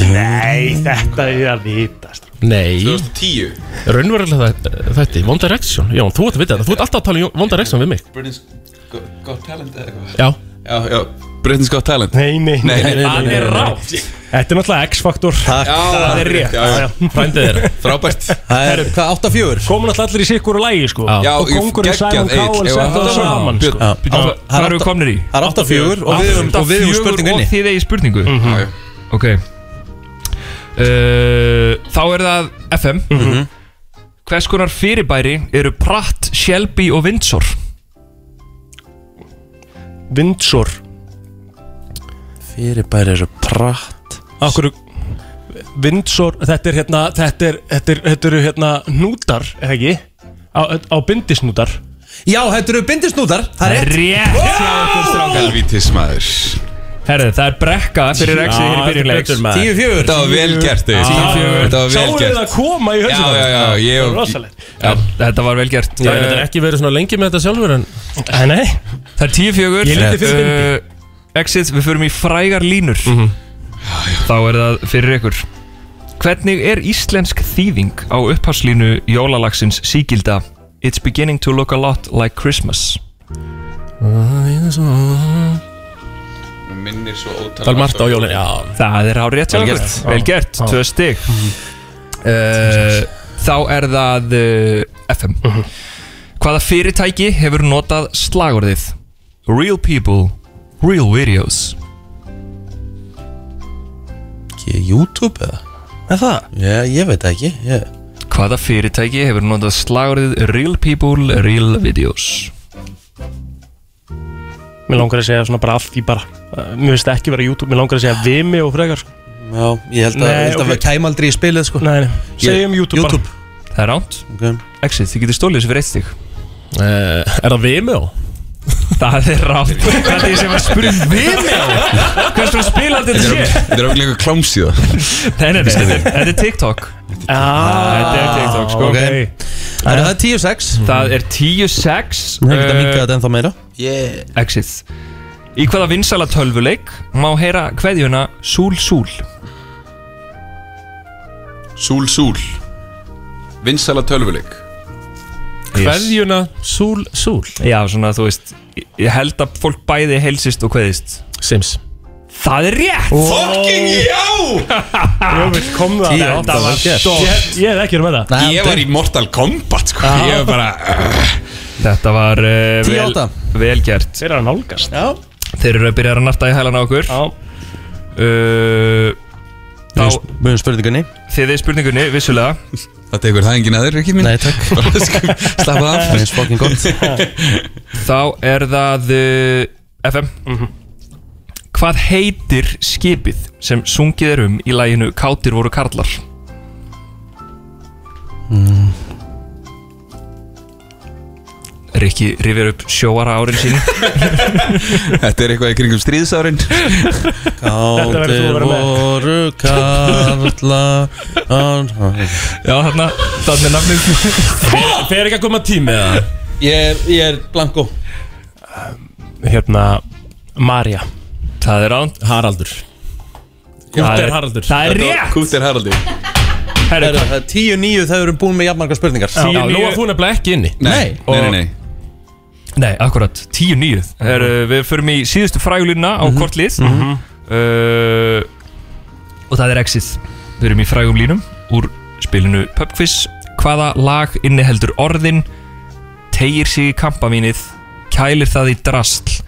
[SPEAKER 4] Nei, þetta er að vitast
[SPEAKER 8] Nei,
[SPEAKER 7] 2010
[SPEAKER 8] raunverulega þæ- þætti One Direction, Jón, þú ert að vita þetta Þú ert alltaf að tala um One Direction við mig
[SPEAKER 7] Britain's Got- Got Talent eða eitthvað
[SPEAKER 8] Já,
[SPEAKER 7] Já, já, Britain's Got Talent
[SPEAKER 4] Nei, nei, nei, nei, nei,
[SPEAKER 6] Það
[SPEAKER 4] nei.
[SPEAKER 6] er rátt
[SPEAKER 4] Þetta er náttúrulega X-faktor
[SPEAKER 7] Já, það
[SPEAKER 4] er rétt.
[SPEAKER 7] Já, já,
[SPEAKER 8] frændið þér
[SPEAKER 7] frábært
[SPEAKER 2] Það er, hvað, 8-4?
[SPEAKER 4] Komin alltaf allir í sikkur og lægi, sko
[SPEAKER 8] Já.
[SPEAKER 7] Já,
[SPEAKER 4] Og kongurinn Simon Cowell
[SPEAKER 7] Ef að-
[SPEAKER 4] setti það saman, sko
[SPEAKER 7] Björn,
[SPEAKER 6] Hvað hvað eru við komnir í?
[SPEAKER 2] Það er 8-4 og við erum, og við erum
[SPEAKER 6] 8-4
[SPEAKER 2] spurningunni
[SPEAKER 6] Og þið eigi spurningu Ah,
[SPEAKER 7] já, já.
[SPEAKER 6] Ok uh, Þá er það FM Hvers konar fyrirbæri eru Pratt, Shelby og Windsor?
[SPEAKER 4] Vindsor
[SPEAKER 2] Fyrirbæri eru pratt
[SPEAKER 4] Akkur Vindsor, þetta er hérna Þetta er, þetta er, þetta eru hérna Nútar, eða ekki Á, á bindisnútar
[SPEAKER 2] Já, þetta eru bindisnútar Það er rétt
[SPEAKER 6] Rétt hjá okkur strákar
[SPEAKER 7] Helvítis maður
[SPEAKER 6] Herðu, það er brekka fyrir exið hér í byrjunleiks
[SPEAKER 8] betur maður
[SPEAKER 2] 10-4
[SPEAKER 7] Þetta var vel gert Egill.
[SPEAKER 6] Tíu, fjögur.
[SPEAKER 7] Þetta var vel
[SPEAKER 4] Sáum við
[SPEAKER 7] gert
[SPEAKER 4] það koma í
[SPEAKER 7] Já,
[SPEAKER 4] hausinu
[SPEAKER 7] já, já, ég
[SPEAKER 4] Rosalegt
[SPEAKER 6] Já, Þetta var vel gert
[SPEAKER 8] Það er
[SPEAKER 6] Uh,
[SPEAKER 8] ekki verið svona lengi með þetta sjálfur en
[SPEAKER 4] Æ, Nei,
[SPEAKER 6] Það er tíu fjögur
[SPEAKER 4] Ég líti fyrir
[SPEAKER 6] uh, Exit, við förum í frægar línur Þá er það fyrir ykkur Hvernig er íslensk þýðing á upphafslínu jólalagsins sígilda It's beginning to look a lot like Christmas
[SPEAKER 7] Minnir svo ótal
[SPEAKER 8] Það er margt á jólinn Já,
[SPEAKER 6] Það er á rétt hjá okkur Vel gert, Mhm. tvö stig uh, Þá er það uh, FM Hvaða fyrirtæki hefur notað slagorðið Real people, real videos
[SPEAKER 2] Ekki YouTube eða?
[SPEAKER 4] er það?
[SPEAKER 2] Já, ég veit það ekki ég...
[SPEAKER 6] Hvaða fyrirtæki hefur notað slagurðið Real People, Real Videos?
[SPEAKER 4] Mér langar að segja svona bara allt í bara Uh, Mér finnst ekki vera YouTube, mér langar að segja vimi og frekar sko.
[SPEAKER 2] Já, ég held að,
[SPEAKER 4] Nei,
[SPEAKER 2] ég held að
[SPEAKER 4] ok.
[SPEAKER 2] við kæm aldrei í spilið sko
[SPEAKER 4] Nei, nei, segjum YouTube,
[SPEAKER 2] YouTube.
[SPEAKER 6] Það er ránt.
[SPEAKER 2] Ok.
[SPEAKER 6] Exit, þið getur stólið þessu fyrir eitt stík.
[SPEAKER 8] Eh, Er það Vimeo?
[SPEAKER 6] Það er *laughs* ránt. Hvað er því sem að spyrja um Vimeo? Hvers vegna spilandi þetta sé?
[SPEAKER 7] Þetta er okkur lengur klámsíða
[SPEAKER 6] Nei, nei, nei. Þetta er TikTok.
[SPEAKER 4] bara ah,
[SPEAKER 6] Þetta er TikTok, sko.
[SPEAKER 2] ok. Það er 10-6
[SPEAKER 6] Það er 10-6.
[SPEAKER 2] Það er ekki að minka þetta ennþá meira
[SPEAKER 6] Eh, Exit. Í hvaða vinsala tölvuleik má heyra kveðjuna Súl Súl?
[SPEAKER 7] Súl, súl Vinsala tölvuleik
[SPEAKER 8] Kveðjuna Súl Súl
[SPEAKER 6] Já, svona, þú veist, ég- ég held að fólk bæði heilsist og kveðist.
[SPEAKER 8] Sims
[SPEAKER 6] Það er rétt!
[SPEAKER 7] Fucking já!
[SPEAKER 4] Jöfnvill kom það
[SPEAKER 6] Þetta var stórt.
[SPEAKER 4] Ég, ég hef ekki verið með það
[SPEAKER 7] Ég var í Mortal Kombat sko Ég var bara
[SPEAKER 6] Þetta var uh, vel,
[SPEAKER 2] 10-8.
[SPEAKER 6] vel gert
[SPEAKER 4] Þeir eru að nálgast Já,
[SPEAKER 6] Þeir eru að byrja að narta í hælan á okkur
[SPEAKER 4] já.
[SPEAKER 6] uh, Þá
[SPEAKER 2] Mjög spurningunni
[SPEAKER 6] þið er spurningunni, vissulega
[SPEAKER 7] Það tekur það enginn aður, ekki minn
[SPEAKER 2] Nei,
[SPEAKER 8] *laughs*
[SPEAKER 2] takk
[SPEAKER 7] Slappa af
[SPEAKER 2] Það er spokkin gott
[SPEAKER 6] Þá er það uh, FM Hvað heitir skipið sem sungið er um í læginu Kátir voru karlar? Rikki rifjar upp sjóara árin sín
[SPEAKER 7] Þetta er eitthvað í kringum stríðsárin
[SPEAKER 4] verður þú að
[SPEAKER 2] Kátir
[SPEAKER 4] vera með.
[SPEAKER 2] voru karla án-
[SPEAKER 6] Já, þarna, þarna er nafnið
[SPEAKER 8] Fer ekki að koma tími eða?
[SPEAKER 2] Ég ég er blanko
[SPEAKER 4] Hérna, Marja
[SPEAKER 6] Það er án
[SPEAKER 8] Haraldur
[SPEAKER 6] Það
[SPEAKER 8] Kúter
[SPEAKER 6] er-
[SPEAKER 8] Haraldur
[SPEAKER 6] Það er rétt
[SPEAKER 7] Kúttir Haraldi
[SPEAKER 6] Herru,
[SPEAKER 2] Það er 10-9 þegar við erum búin með jafnmarga spurningar
[SPEAKER 8] Já, nú var þú nefnilega ekki inni
[SPEAKER 7] Nei,
[SPEAKER 6] Og-
[SPEAKER 7] nei, nei, nei.
[SPEAKER 6] Nei, akkurat, 10-9 uh, Við förum í síðustu frægulínuna á kort lið uh, Og það er exit Við erum í frægum línum úr spilinu Pubquiz Hvaða lag inniheldur orðin Tegir sig í kampamínið Kælir það í drastl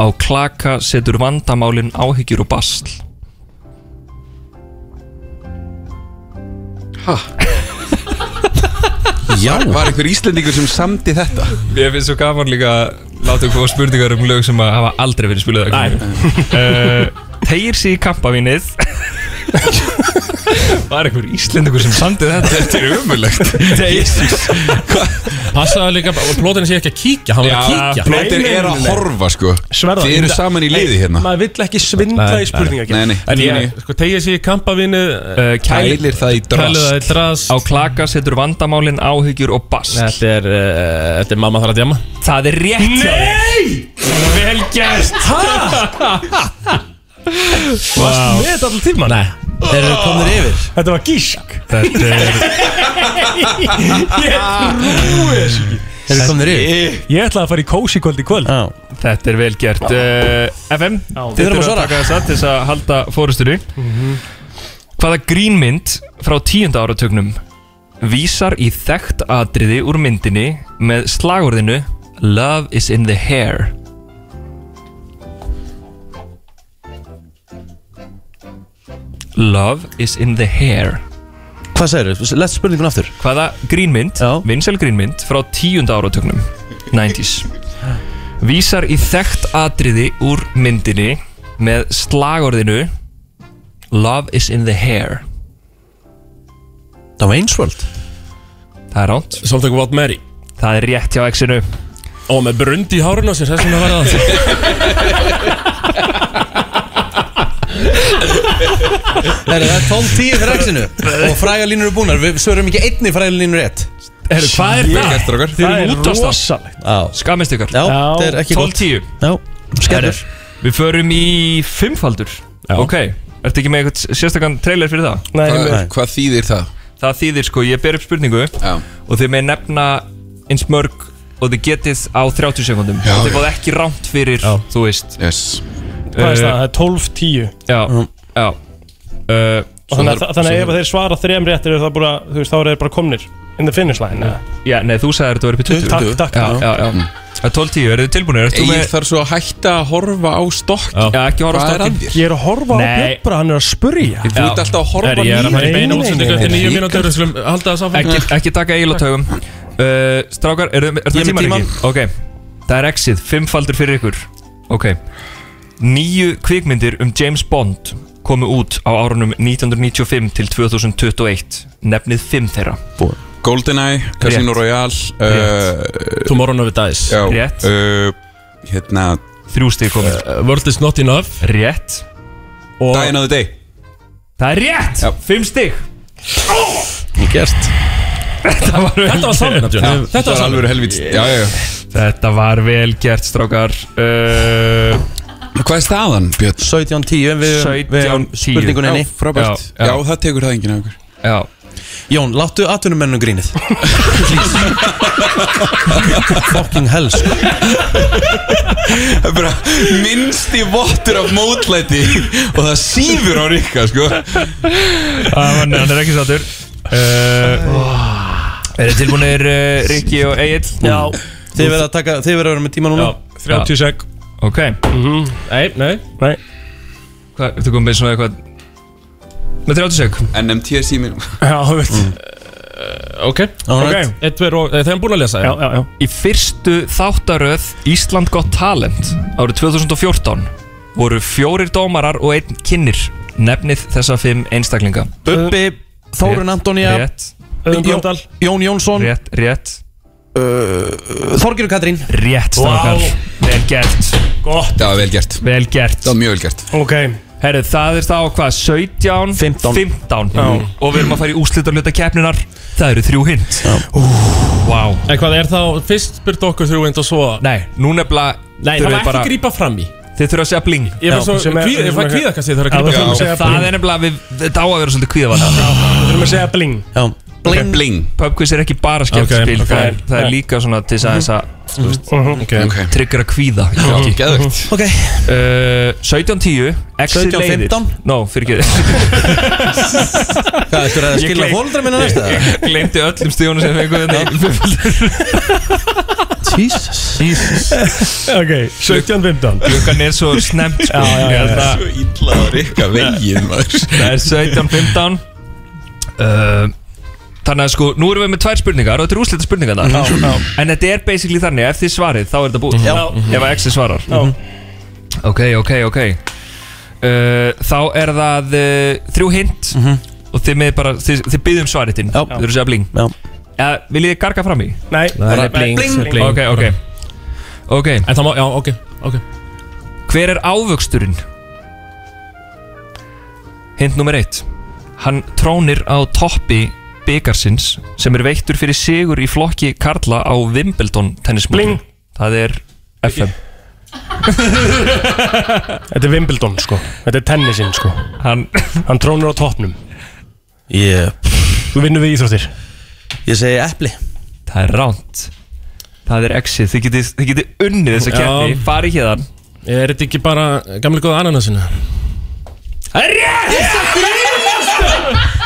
[SPEAKER 6] Á klaka setur vandamálin áhyggjur og bastl
[SPEAKER 2] Já.
[SPEAKER 7] Var einhver Íslendingur sem samdi þetta?
[SPEAKER 6] Ég finnst svo gaman líka að láta okkur spurningar um lög sem að hafa aldrei verið spiluð *laughs* Nei Tegir Eh, sig í kampavínið *laughs* Var einhver Íslendingur sem samdi þetta
[SPEAKER 7] Þetta er *laughs* ömulegt
[SPEAKER 6] Tegir sig
[SPEAKER 8] Passaðu líka, og plótin sé ekki að kíkja Hann var að kíkja
[SPEAKER 7] Plóter
[SPEAKER 4] Nei, nei,
[SPEAKER 7] er að
[SPEAKER 4] nei, nei.
[SPEAKER 7] horfa sko
[SPEAKER 4] Sverða,
[SPEAKER 7] Þið eru saman í liði hérna
[SPEAKER 4] Maður vill ekki svindla
[SPEAKER 8] Nei,
[SPEAKER 4] í spurninga
[SPEAKER 7] Nei, nei
[SPEAKER 8] En ég, sko, tegja sig í kampavinu uh,
[SPEAKER 7] Kælir það í
[SPEAKER 8] Kæliða
[SPEAKER 7] drast
[SPEAKER 8] í drast
[SPEAKER 6] Eh, Á klaka setur vandamálin áhyggjur og bast
[SPEAKER 8] Þetta er, uh, þetta er mamma þarf að djama
[SPEAKER 6] Það er rétt Nei
[SPEAKER 8] Vel gert
[SPEAKER 4] Varst með þetta allir tíma? Nei
[SPEAKER 2] Erum við komin yfir?
[SPEAKER 4] Þetta var gísk
[SPEAKER 6] Þetta er
[SPEAKER 2] Erum við komin yfir?
[SPEAKER 4] Ég ætlaði að fara í kósi kvöld í kvöld
[SPEAKER 2] Já
[SPEAKER 6] Þetta er vel gert uh, FM, þið
[SPEAKER 2] Við þurfum að
[SPEAKER 6] þurfum að
[SPEAKER 2] svara. Mhm.
[SPEAKER 6] taka þess að til þess að halda fórustunni Hvaða grínmynd frá tíunda áratögnum vísar í þekkt atriði úr myndinni með slagurðinu Love is in the hair Love is in the hair
[SPEAKER 2] Hvað segir þú? Lest spurningun aftur
[SPEAKER 6] Hvaða grínmynd,
[SPEAKER 2] Já.
[SPEAKER 6] vinsæl grínmynd frá tíunda áratögnum 90s Vísar í þekkt atriði úr myndinni með slagorðinu Love is in the hair
[SPEAKER 2] Það var einsvöld
[SPEAKER 6] Það er ránt
[SPEAKER 8] Svolítið ekki What Mary
[SPEAKER 6] Það er rétt hjá X-inu
[SPEAKER 8] Og með brundi í hárun á sér, þess vegna var það
[SPEAKER 2] Það er 12-10 fyrir exinu Og frægalínur eru búnar Við sögurum ekki einni frægalínur rétt
[SPEAKER 6] Heru, Hvað er
[SPEAKER 7] Vel
[SPEAKER 6] það?
[SPEAKER 7] gert drakar
[SPEAKER 6] Þið eru út á stað
[SPEAKER 4] rosalegt
[SPEAKER 2] Já
[SPEAKER 6] Skamist ykkur
[SPEAKER 2] Já, þetta er ekki gott
[SPEAKER 6] 12-10
[SPEAKER 2] Já, skellur
[SPEAKER 6] Við förum í fimmfaldur Ok, ertu ekki með eitthvað sérstakann trailer fyrir það?
[SPEAKER 4] Nei,
[SPEAKER 7] Hvað-
[SPEAKER 2] nei.
[SPEAKER 7] Hvað þýðir það?
[SPEAKER 6] Það þýðir sko, ég ber upp spurningu
[SPEAKER 7] Já.
[SPEAKER 6] og þið með nefna eins mörg og þið getið á 30 sekundum
[SPEAKER 7] Já,
[SPEAKER 6] og þið
[SPEAKER 7] já.
[SPEAKER 6] fáð ekki rámt fyrir, þú veist
[SPEAKER 7] Yes
[SPEAKER 4] hvað er það? Það er 12-10
[SPEAKER 6] Já, já uh,
[SPEAKER 4] Og Þannig að þannig að ef þeir svara þrejum réttir er það bara, þú veist, þá eru þeir bara komnir in the finish line eða?
[SPEAKER 6] Já, nei, þú sagðir þetta var upp í 20
[SPEAKER 4] Takk, takk
[SPEAKER 6] Já, já, já Það er 12-10, eru þið tilbúinir? Ertu
[SPEAKER 7] Ég
[SPEAKER 6] með,
[SPEAKER 7] þarf svo að hætta að horfa á stokk
[SPEAKER 6] já, ekki horfa á
[SPEAKER 7] Hvað er að
[SPEAKER 6] stokkin
[SPEAKER 7] þér?
[SPEAKER 4] Ég er að horfa á
[SPEAKER 6] Nei.
[SPEAKER 4] Björn bara, hann er að spurja
[SPEAKER 7] Þú ert alltaf að
[SPEAKER 8] Er
[SPEAKER 7] horfa
[SPEAKER 8] ég er að fara í
[SPEAKER 4] Nei,
[SPEAKER 8] beina
[SPEAKER 4] nei,
[SPEAKER 8] útsendingu
[SPEAKER 4] nei,
[SPEAKER 8] eftir
[SPEAKER 7] nei.
[SPEAKER 8] nýju mínútur Við skulum halda það sáfram
[SPEAKER 6] ekki, ekki taka eigilatagum uh, Strákar, eru þið
[SPEAKER 2] Ég
[SPEAKER 6] er
[SPEAKER 2] er með
[SPEAKER 6] með tíman ekki? Ok, það er exið, fimmfaldur fyrir ykkur Ok Nýju kvikmyndir um James Bond komu út á árunum 1995 til 2021 Nefnið fimm þeirra
[SPEAKER 7] GoldenEye, Casino Royale uh,
[SPEAKER 8] Tomorrow Never Dies
[SPEAKER 7] já,
[SPEAKER 6] Rétt.
[SPEAKER 7] uh, Hérna
[SPEAKER 6] Þrjú stig komið
[SPEAKER 8] Uh, World is not enough
[SPEAKER 6] Rétt
[SPEAKER 8] Og
[SPEAKER 7] Dying of the Day
[SPEAKER 6] Það er rétt!
[SPEAKER 7] Já.
[SPEAKER 6] Fimm stig
[SPEAKER 2] Gert
[SPEAKER 8] Þetta var samvinna, Jón Þetta var samvinna
[SPEAKER 7] alveg helvít Já, já, já
[SPEAKER 6] Þetta var vel gert strákar uh,
[SPEAKER 7] Hvað er staðan, Björn?
[SPEAKER 2] 17-10 Við
[SPEAKER 6] 17-10.
[SPEAKER 2] spurningun enni
[SPEAKER 7] frábært
[SPEAKER 6] Já,
[SPEAKER 7] já.
[SPEAKER 6] já.
[SPEAKER 7] það tekur það enginn af ykkur
[SPEAKER 6] Já
[SPEAKER 2] Jón, láttu atvinnumennum grínið *laughs* Please Fucking hell sko.
[SPEAKER 7] Það er bara minnsti vottur af mótlæti Og það síður á Rikka, sko
[SPEAKER 6] Það var nefnir ekki sattur uh, Er þið tilbúinir uh, Rikki og Egil? Já
[SPEAKER 2] Þið verða að taka Þið verða að vera með tíma núna
[SPEAKER 8] 30 sek
[SPEAKER 6] Ok
[SPEAKER 8] Nei, nei
[SPEAKER 4] Nei,
[SPEAKER 6] Mhm. Hvað, ertu komið með svona eitthvað Með 30 sek
[SPEAKER 7] NMT símin
[SPEAKER 4] já, þú veist
[SPEAKER 8] Ok
[SPEAKER 2] Alright.
[SPEAKER 8] Ok, eitt verið og eh, Þeir eru búin að lesa
[SPEAKER 4] Já, já, já
[SPEAKER 6] Í fyrstu þáttaröð Ísland Gott Talent Árið 2014 Voru fjórir dómarar og einn kynir Nefnið þessa fimm einstaklinga
[SPEAKER 2] Bubbi Þórun Antonija
[SPEAKER 6] Rétt,
[SPEAKER 4] Öðum
[SPEAKER 2] Jón,
[SPEAKER 4] Blöndal
[SPEAKER 2] Jón Jónsson
[SPEAKER 6] rétt, rétt
[SPEAKER 2] Þorgjur Katrín
[SPEAKER 6] Rétt strákar
[SPEAKER 4] Vá.
[SPEAKER 6] Vel gert,
[SPEAKER 4] Gott
[SPEAKER 7] Það var vel gert
[SPEAKER 6] vel gert
[SPEAKER 7] Það var mjög vel gert
[SPEAKER 4] Ok,
[SPEAKER 6] Herru, það er þá hvað, 17
[SPEAKER 2] 15.
[SPEAKER 6] 15 Og við erum að fara í úslitarluta keppninar Það eru þrjú hint Ú, Vá
[SPEAKER 8] En hvað er þá Fyrst spurt okkur þrjú eint og svo
[SPEAKER 6] Nei, nú nefnilega
[SPEAKER 8] Nei, það
[SPEAKER 6] þurfum
[SPEAKER 8] var
[SPEAKER 6] við
[SPEAKER 8] ekki
[SPEAKER 6] bara-
[SPEAKER 8] grípa fram í
[SPEAKER 6] Þið þurfa að segja bling
[SPEAKER 8] Ég
[SPEAKER 4] Já,
[SPEAKER 8] var svo
[SPEAKER 4] sem er-
[SPEAKER 8] kvíða- Ég
[SPEAKER 4] sem er-
[SPEAKER 8] var kvíða kannski þegar að
[SPEAKER 4] það
[SPEAKER 8] grípa
[SPEAKER 4] þurfum að
[SPEAKER 8] fram í
[SPEAKER 4] segja
[SPEAKER 6] Það er nefnilega, við, þetta á að vera svolítið kvíðavann
[SPEAKER 4] Við þurfum að segja bling
[SPEAKER 2] Já Bling
[SPEAKER 7] Bling
[SPEAKER 6] Pubquiz er ekki bara skemmtispil
[SPEAKER 8] Ok,
[SPEAKER 6] það, er,
[SPEAKER 8] ok.
[SPEAKER 6] það er líka svona til þess að þess að
[SPEAKER 8] Mhm. Ok
[SPEAKER 7] Ok
[SPEAKER 6] tryggra kvíða
[SPEAKER 7] Já,
[SPEAKER 8] Mhm.
[SPEAKER 7] geðvegt
[SPEAKER 2] Ok
[SPEAKER 6] uh, 17.10 Exit
[SPEAKER 2] 17:15?
[SPEAKER 6] leiðir Nó, fyrir ekki
[SPEAKER 2] Hvað, ættu að skilja fólundra minna næsta?
[SPEAKER 6] Glemdi öllum stíðunum sem hérna fengur þetta
[SPEAKER 2] Jesus
[SPEAKER 4] Ok, 17-15
[SPEAKER 6] Klukkan er svo snemt sko.
[SPEAKER 4] já, já,
[SPEAKER 6] Hérna,
[SPEAKER 7] Svo illa á Rikka veginn, maður
[SPEAKER 6] Það er 17.15 uh, Þannig að sko, nú erum við með tvær spurningar og þetta eru úrslita spurningar En þetta er basically þannig, ef þið svarið þá er þetta búið Mhm. Ef að X svarar Ok, ok, ok uh, Þá er það uh, þrjú hint og þið, með bara, þið, þið byðum svarið þinn
[SPEAKER 2] Já.
[SPEAKER 6] Þið eru að segja bling
[SPEAKER 2] Já.
[SPEAKER 6] uh, Viljið þið garga fram í?
[SPEAKER 4] Nei,
[SPEAKER 8] Nei, bling,
[SPEAKER 4] bling.
[SPEAKER 8] bling.
[SPEAKER 6] Ok, ok Ok,
[SPEAKER 8] En það má, já, ok, ok
[SPEAKER 6] hver er ávöxturinn? Hint nummer eitt Hann trónir á toppi byggarsins sem er veittur fyrir sigur í flokki Karla á Wimbledon tennismótinu
[SPEAKER 4] Bling.
[SPEAKER 6] Það er FM
[SPEAKER 4] Þetta er Wimbledon sko Þetta er tennisinn sko
[SPEAKER 6] Hann, *laughs*
[SPEAKER 4] Hann trónur á toppnum
[SPEAKER 2] Ég,
[SPEAKER 4] Þú vinnur við íþróttir
[SPEAKER 2] ég segi epli
[SPEAKER 6] það er ránt Það er exið, þið getið, þið getið unnið þessa
[SPEAKER 8] Já.
[SPEAKER 6] keppni, farið héðan
[SPEAKER 8] Er þetta ekki bara gamli góða ananasinu?
[SPEAKER 6] Það er rétt!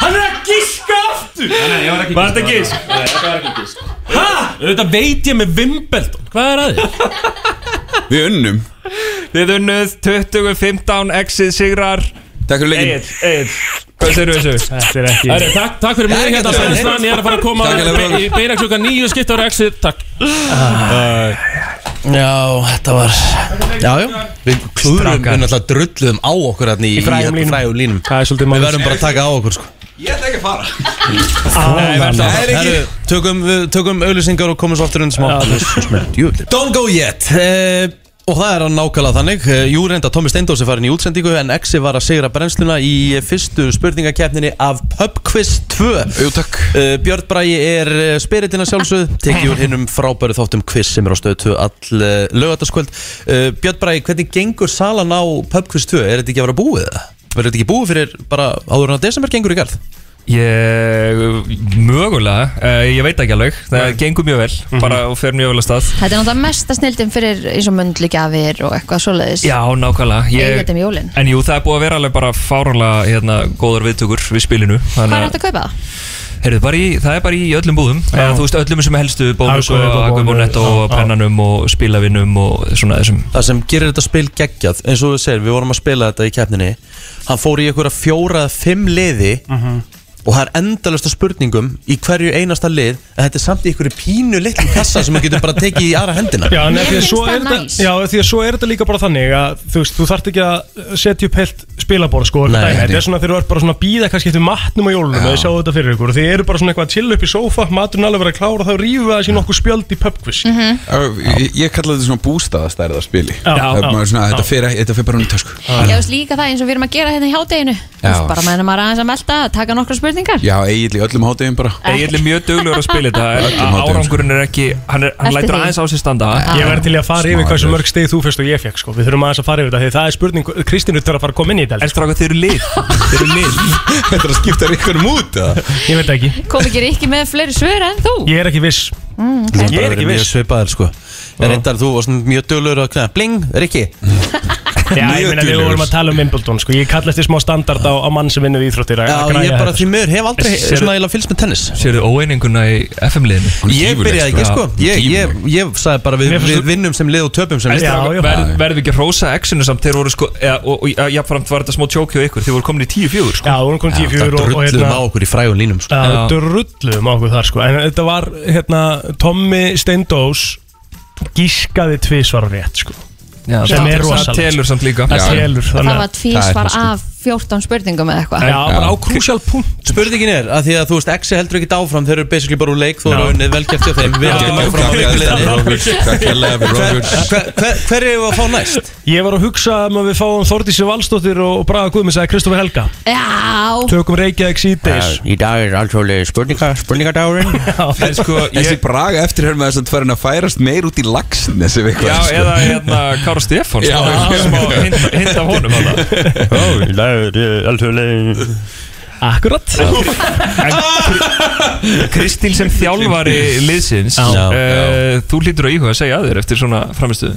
[SPEAKER 8] Hann er að gíska aftur!
[SPEAKER 6] Var
[SPEAKER 8] Var þetta gísk? Nei, þetta var ekki gísk Hæ? Þetta veit ég með Wimbledon Hvað er að þér?
[SPEAKER 7] Við unnum
[SPEAKER 6] Þið unnuð 2015 exið sigrar
[SPEAKER 7] Takk fyrir leikin
[SPEAKER 6] Egil, Egil, hvað segir þessu?
[SPEAKER 4] Þetta er
[SPEAKER 8] Herri,
[SPEAKER 4] ekki
[SPEAKER 8] takk, takk fyrir mig hérna Sænsnan, ég er að fara að koma
[SPEAKER 7] Takk hérlega fyrir.
[SPEAKER 8] í beina klukka nýju skipt ára exit Takk
[SPEAKER 2] Já, þetta var Já, já, við klúðurum
[SPEAKER 6] Strákar.
[SPEAKER 2] Við náttúrulega drulluðum á okkur hérna í,
[SPEAKER 4] Í frægum
[SPEAKER 2] hérna
[SPEAKER 4] línum.
[SPEAKER 2] frægum línum
[SPEAKER 4] Það er svolítið
[SPEAKER 2] Við
[SPEAKER 4] máli
[SPEAKER 2] verðum bara að taka á okkur sko
[SPEAKER 7] Ég ætla ekki að fara
[SPEAKER 2] Það
[SPEAKER 7] er ekki-
[SPEAKER 2] tökum, við tökum auðlýsingar og komum svo aftur undir smá Djöfull. Don't go yet uh, Og það er hann nákvæmlega þannig Eh, Jú reynda Tómi Steindós er farin í útsendingu En Exi var að sigra brennsluna í fyrstu spurningakeppninni Af PubQuiz 2
[SPEAKER 7] Jú takk
[SPEAKER 2] Uh, Björn Bragi er uh, spiritina sjálfsögð tekið úr hinnum frábæru þáttum quiz sem er á stöðu 2 all uh, lögataskvöld uh, Björn Bragi, hvernig gengur salan á pubquiz 2? Er þetta ekki að vera búið? eða? Verður þetta ekki búið fyrir bara áður en að desember gengur í garð?
[SPEAKER 6] Ég, mögulega, uh, ég veit ekki alveg Það gengur mjög vel, bara og fer mjög vel að stað
[SPEAKER 3] Þetta er náttúrulega mesta snildin fyrir eins og möndlugjafir og eitthvað svoleiðis
[SPEAKER 6] Já, nákvæmlega
[SPEAKER 3] Eigið þetta
[SPEAKER 6] ég,
[SPEAKER 3] um jólin
[SPEAKER 6] En jú, það er búið að vera alveg bara fáránlega hérna, góðar viðtökur við spilinu
[SPEAKER 3] Hvað
[SPEAKER 6] Þannig
[SPEAKER 3] er
[SPEAKER 6] að,
[SPEAKER 3] hægt að kaupa það?
[SPEAKER 6] heyrðu, bara í, það er bara í öllum búðum Eða, Þú veist, öllum sem helstu bónus og
[SPEAKER 4] Hagkaup og
[SPEAKER 6] akkubónett og
[SPEAKER 4] Bónus, já, já.
[SPEAKER 6] pennanum og spilavinum og svona þessum
[SPEAKER 2] Það sem gerir þetta spil geggjað eins og þú segir, við vorum að spila þetta í keppninni Hann fór í einhverja fjóra eða fimm liði
[SPEAKER 4] Mhm.
[SPEAKER 2] og það er endalasta spurningum í hverju einasta lið en þetta er samt í einhverju pínu litlu kassa sem hann getur bara tekið í aðra hendina
[SPEAKER 4] Já, en
[SPEAKER 3] Mér
[SPEAKER 4] því að
[SPEAKER 3] finnst
[SPEAKER 4] svo
[SPEAKER 3] það
[SPEAKER 4] er
[SPEAKER 3] næs.
[SPEAKER 4] þetta Já, því að svo er þetta líka bara þannig að þú veist, þú þarft ekki að setja upp heilt spilaborð sko,
[SPEAKER 2] Nei,
[SPEAKER 4] Nei,
[SPEAKER 2] nei.
[SPEAKER 4] þetta er svona þegar þú ert bara svona að býða kannski eftir matnum á jólunum og þið sjáu þetta fyrir ykkur og þið eru bara svona eitthvað að chilla upp í sófa maturinn alveg verið að klára og þá rífum við að sé nokkuð spjöld í pubquiz mm -hmm.
[SPEAKER 7] Ég, ég kalla þetta svona bústaðastærða spili
[SPEAKER 4] Já,
[SPEAKER 7] Það
[SPEAKER 4] já,
[SPEAKER 7] er maður svona, þetta fer ekki- þetta fer bara hún í tösku
[SPEAKER 3] Ég veist líka það eins og við erum að gera hérna í hádeginu Þú
[SPEAKER 7] Já.
[SPEAKER 3] veist, Bara meðan maður aðeins að melta, taka nokkra spurningar
[SPEAKER 7] Já, eiginlega í öllum hátegum bara
[SPEAKER 6] Egil er mjög duglegur að spila þetta en
[SPEAKER 7] Öllum hátíðum.
[SPEAKER 6] Árangurinn er ekki, hann, er,
[SPEAKER 3] Eftir
[SPEAKER 6] hann lætur
[SPEAKER 3] því.
[SPEAKER 6] aðeins á sér standa
[SPEAKER 4] Ég verði til í að fara yfir
[SPEAKER 7] Smaður.
[SPEAKER 4] hversu mörg stig þú fyrst og ég fekk sko. Við þurfum aðeins að fara yfir þetta því það er spurning Kristín þarf að fara að koma inn í þetta
[SPEAKER 6] Er stráka, þeir eru lið Þeir eru lið
[SPEAKER 7] Þetta er að skipta einhverjum út eða?
[SPEAKER 4] Ég veit það ekki
[SPEAKER 3] Kom ekki ekki með fleiri svör en þú
[SPEAKER 4] Ég er ekki viss
[SPEAKER 2] Ég
[SPEAKER 4] Ég er ekki
[SPEAKER 2] Mjög
[SPEAKER 4] viss
[SPEAKER 2] svipaður sko En reyndar þú varst mjög dölur að knæða Bling, Rikki
[SPEAKER 4] Mm-hmm. Já, ég
[SPEAKER 7] Mjög
[SPEAKER 4] meina við
[SPEAKER 7] duglegur.
[SPEAKER 4] vorum að tala um Wimbledon sko. Ég kallast því smá standard á, á mann sem vinnur við íþróttir að-
[SPEAKER 2] Já,
[SPEAKER 4] að græja
[SPEAKER 2] ég bara
[SPEAKER 4] þetta, sko.
[SPEAKER 2] því miður hef aldrei
[SPEAKER 6] Sérðu-
[SPEAKER 2] svona eiginlega fylgst með tennis
[SPEAKER 6] *laughs* Sérðu óeininguna í FM-liðinu
[SPEAKER 7] Hún er
[SPEAKER 2] Ég
[SPEAKER 7] gífurleg,
[SPEAKER 2] byrjaði ekki
[SPEAKER 7] sko.
[SPEAKER 2] sko
[SPEAKER 7] Hún er
[SPEAKER 2] Ég, ég,
[SPEAKER 7] gífurleg.
[SPEAKER 2] ég sagði bara við,
[SPEAKER 4] Mér finnst
[SPEAKER 2] við
[SPEAKER 4] þú-
[SPEAKER 2] vinnum sem lið og töpum sem lið
[SPEAKER 4] Já, já.
[SPEAKER 6] Verð, verðum við ekki að hrósa X-inu samt þeir voru sko, eða, og, og, og jafnframt var þetta smó tjók hjá ykkur þeir voru komin í 10-4 sko.
[SPEAKER 4] Já, hún kom 10-4
[SPEAKER 2] Það
[SPEAKER 4] og, og
[SPEAKER 2] drulluðum
[SPEAKER 4] hérna
[SPEAKER 2] á okkur í frægun línum sko.
[SPEAKER 4] Já, drulluðum á okkur þar sko En þetta var, hérna, Tommy Steindós gískaði tvisvar rétt sko
[SPEAKER 6] já,
[SPEAKER 4] sem
[SPEAKER 6] það-
[SPEAKER 4] er rosalegt.
[SPEAKER 6] það telur samt líka
[SPEAKER 4] Það
[SPEAKER 7] Já.
[SPEAKER 4] telur,
[SPEAKER 3] Það
[SPEAKER 4] þannig
[SPEAKER 3] var
[SPEAKER 4] að
[SPEAKER 3] tvísvar
[SPEAKER 7] það er
[SPEAKER 3] af 14 spurningum eða eitthvað
[SPEAKER 4] Já, bara á
[SPEAKER 7] Já.
[SPEAKER 4] crucial punkt
[SPEAKER 2] Spurningin er að því að þú veist Exi heldur ekki áfram Þeir eru basically bara úr leik Þú eru
[SPEAKER 4] Já.
[SPEAKER 2] unnið velgeft hjá þeim Við heldum áfram á leikliðinni
[SPEAKER 7] Takk hérlega fyrir Robert
[SPEAKER 2] Hver, hver, hver er að fá næst?
[SPEAKER 4] Ég var að hugsa um að við fáum Þordísi Valstóttir og Braga Guðmi sagði Kristoffer Helga
[SPEAKER 3] Já,
[SPEAKER 4] Tökum Reykjavík síðdeis
[SPEAKER 2] Í dag er allsjóðlega spurninga, spurningardagurinn
[SPEAKER 6] en sko
[SPEAKER 7] Þessi
[SPEAKER 6] ég,
[SPEAKER 7] braga eftir hér með þess að farin að færast meir út í lagsnes ef
[SPEAKER 6] já,
[SPEAKER 7] eitthvað sko.
[SPEAKER 6] eða hérna Kára Stefáns
[SPEAKER 7] Já.
[SPEAKER 6] það er smá hint, hint af honum hana.
[SPEAKER 2] Í dag er allsjóðlega
[SPEAKER 4] Akkurat
[SPEAKER 6] Kristín sem þjálfari liðsins
[SPEAKER 2] Já.
[SPEAKER 6] uh, þú hlýtur að íhuga að segja að þér eftir svona framistuðu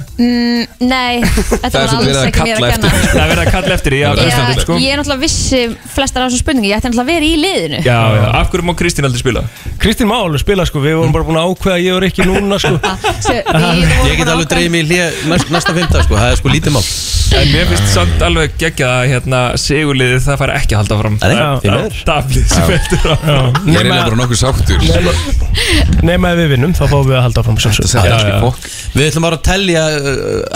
[SPEAKER 3] nei, þetta
[SPEAKER 7] Það er
[SPEAKER 3] var
[SPEAKER 7] svolítið
[SPEAKER 3] alls
[SPEAKER 7] verið að
[SPEAKER 3] ekki mér
[SPEAKER 7] kalla
[SPEAKER 3] að kenna
[SPEAKER 7] eftir.
[SPEAKER 6] það er verið að kalla eftir því já,
[SPEAKER 3] Já,
[SPEAKER 6] já, sko.
[SPEAKER 3] Ég er náttúrulega vissi flestar af þessum spurningum Ég ætti náttúrulega að vera í liðinu
[SPEAKER 6] já, já, af hverju má Kristín aldrei spila
[SPEAKER 4] Kristín má alveg spila sko, við vorum bara búin að ákveða ég og
[SPEAKER 2] *laughs*
[SPEAKER 4] Rikki núna sko
[SPEAKER 3] Svo- við vorum
[SPEAKER 2] Ég get
[SPEAKER 3] bara
[SPEAKER 2] alveg
[SPEAKER 3] ákveðin-
[SPEAKER 2] dreymið í hlið næst, næsta fymta sko, það er sko lítið mál
[SPEAKER 6] En mér finnst samt alveg geggjað að hérna, sigurliðið það fær ekki að halda fram
[SPEAKER 2] Nei, því miður.
[SPEAKER 6] Daflið sem heldur á
[SPEAKER 7] Ég er eiginlega bara nokkuð sáttur
[SPEAKER 4] Nefn að við vinnum, þá fáum við að halda áfram sem svo
[SPEAKER 7] Það er ekki fokk
[SPEAKER 2] Við ætlum bara að tellja uh,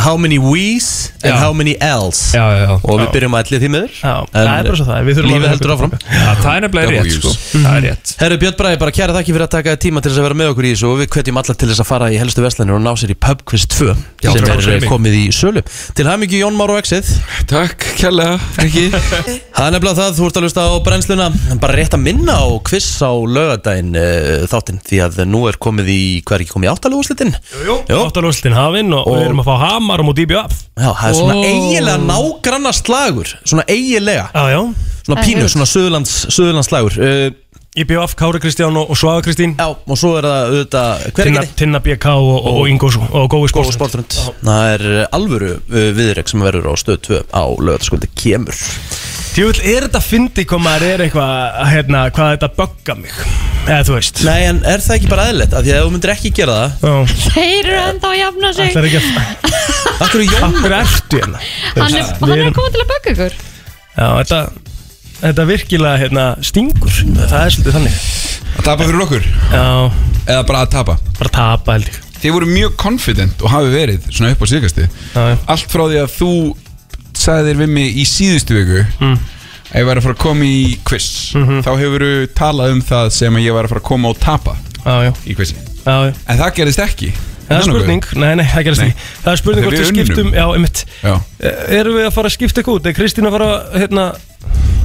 [SPEAKER 2] how many we's and
[SPEAKER 6] Já.
[SPEAKER 2] how many ells
[SPEAKER 6] Já, já, já
[SPEAKER 2] og við byrjum að allir því miður
[SPEAKER 4] Já, það er bara svo það, við þurfum að-
[SPEAKER 2] Lífið heldur áfram
[SPEAKER 6] Það er nefnilega rétt,
[SPEAKER 7] W's.
[SPEAKER 6] sko Það er rétt
[SPEAKER 2] Herru Björn Bræði, bara kæra þakki fyrir að taka þér tíma til þess að vera með okkur í þessu og við hvetjum alla til þess að fara í helstu veslanir og ná sér í Pub Quiz 2 sem er eh, komið í sölu Til hamingi Jón Már og Exið
[SPEAKER 7] Takk, kjærlega, Rikki
[SPEAKER 2] *laughs* Það er nefnilega það, þú ert að hlusta á brennsluna En bara rétt að minna á quiz á lögadaginn uh, þáttinn því að nú er komið í, hvað er ekki komið í áttalegu úrslitin? Jú, jú
[SPEAKER 4] Óttalústin hafinn og, og við erum að fá hamar á móti í bjöf
[SPEAKER 2] Já, það er svona eiginlega nágranna slagur svona eiginlega,
[SPEAKER 4] Já, já
[SPEAKER 2] svona
[SPEAKER 3] Það er
[SPEAKER 2] pínu,
[SPEAKER 3] hugt.
[SPEAKER 2] svona söðurlands, söðurlands slagur uh,
[SPEAKER 4] Í bjöf Kári Kristján og, og Svaga Kristín
[SPEAKER 2] Já, og svo er það auðvitað, hver er
[SPEAKER 4] Tinna,
[SPEAKER 2] ekki
[SPEAKER 4] Tinna BK og, og, og Ingo og Gói
[SPEAKER 2] Góð
[SPEAKER 4] Skórsson
[SPEAKER 2] sportrönd Það er uh, alvöru uh, viðreik sem verður á stöð 2 á lögataskvöldi kemur
[SPEAKER 4] Tjúvill, er þetta fyndi hvað maður er eitthvað hérna, hvað þetta bögga mig eða þú veist
[SPEAKER 2] Nei, en er það ekki bara eðlilegt? Af því að ef þú myndir ekki gera það
[SPEAKER 4] Það
[SPEAKER 3] Þeir eru enda að jafna sig
[SPEAKER 4] er ekki að
[SPEAKER 2] Akkur er Jón
[SPEAKER 4] Akkur ertu hérna Þú
[SPEAKER 3] Hann er,
[SPEAKER 4] veist,
[SPEAKER 3] hann
[SPEAKER 4] við
[SPEAKER 3] er að
[SPEAKER 4] erum-
[SPEAKER 3] koma til að bögga ykkur
[SPEAKER 4] Já, þetta Þetta virkilega hérna, stingur Það er svolítið þannig
[SPEAKER 7] Að tapa fyrir okkur
[SPEAKER 4] Já,
[SPEAKER 7] Eða bara að tapa
[SPEAKER 4] bara tapa held ég
[SPEAKER 7] Þið voru mjög confident og hafi verið svona upp á síðkasti
[SPEAKER 4] Já, já.
[SPEAKER 7] Allt frá því að þú sagði þér við mig í síðustu viku að ég væri að fara að koma í quiz
[SPEAKER 2] Mhm.
[SPEAKER 7] þá hefur þú talað um það sem að ég væri að fara að koma og tapa
[SPEAKER 4] Já, já,
[SPEAKER 7] í quizi
[SPEAKER 4] já, já
[SPEAKER 7] En það gerðist ekki
[SPEAKER 4] Það er spurning, nei, nei, það gerast
[SPEAKER 7] Nei.
[SPEAKER 4] ekki Það er spurning
[SPEAKER 7] Þegar
[SPEAKER 4] hvort við
[SPEAKER 7] við
[SPEAKER 4] skiptum
[SPEAKER 7] unnum.
[SPEAKER 4] Já, einmitt E,
[SPEAKER 7] Já.
[SPEAKER 4] Erum við að fara að skipta eitthvað út? Er Kristín að fara að, hérna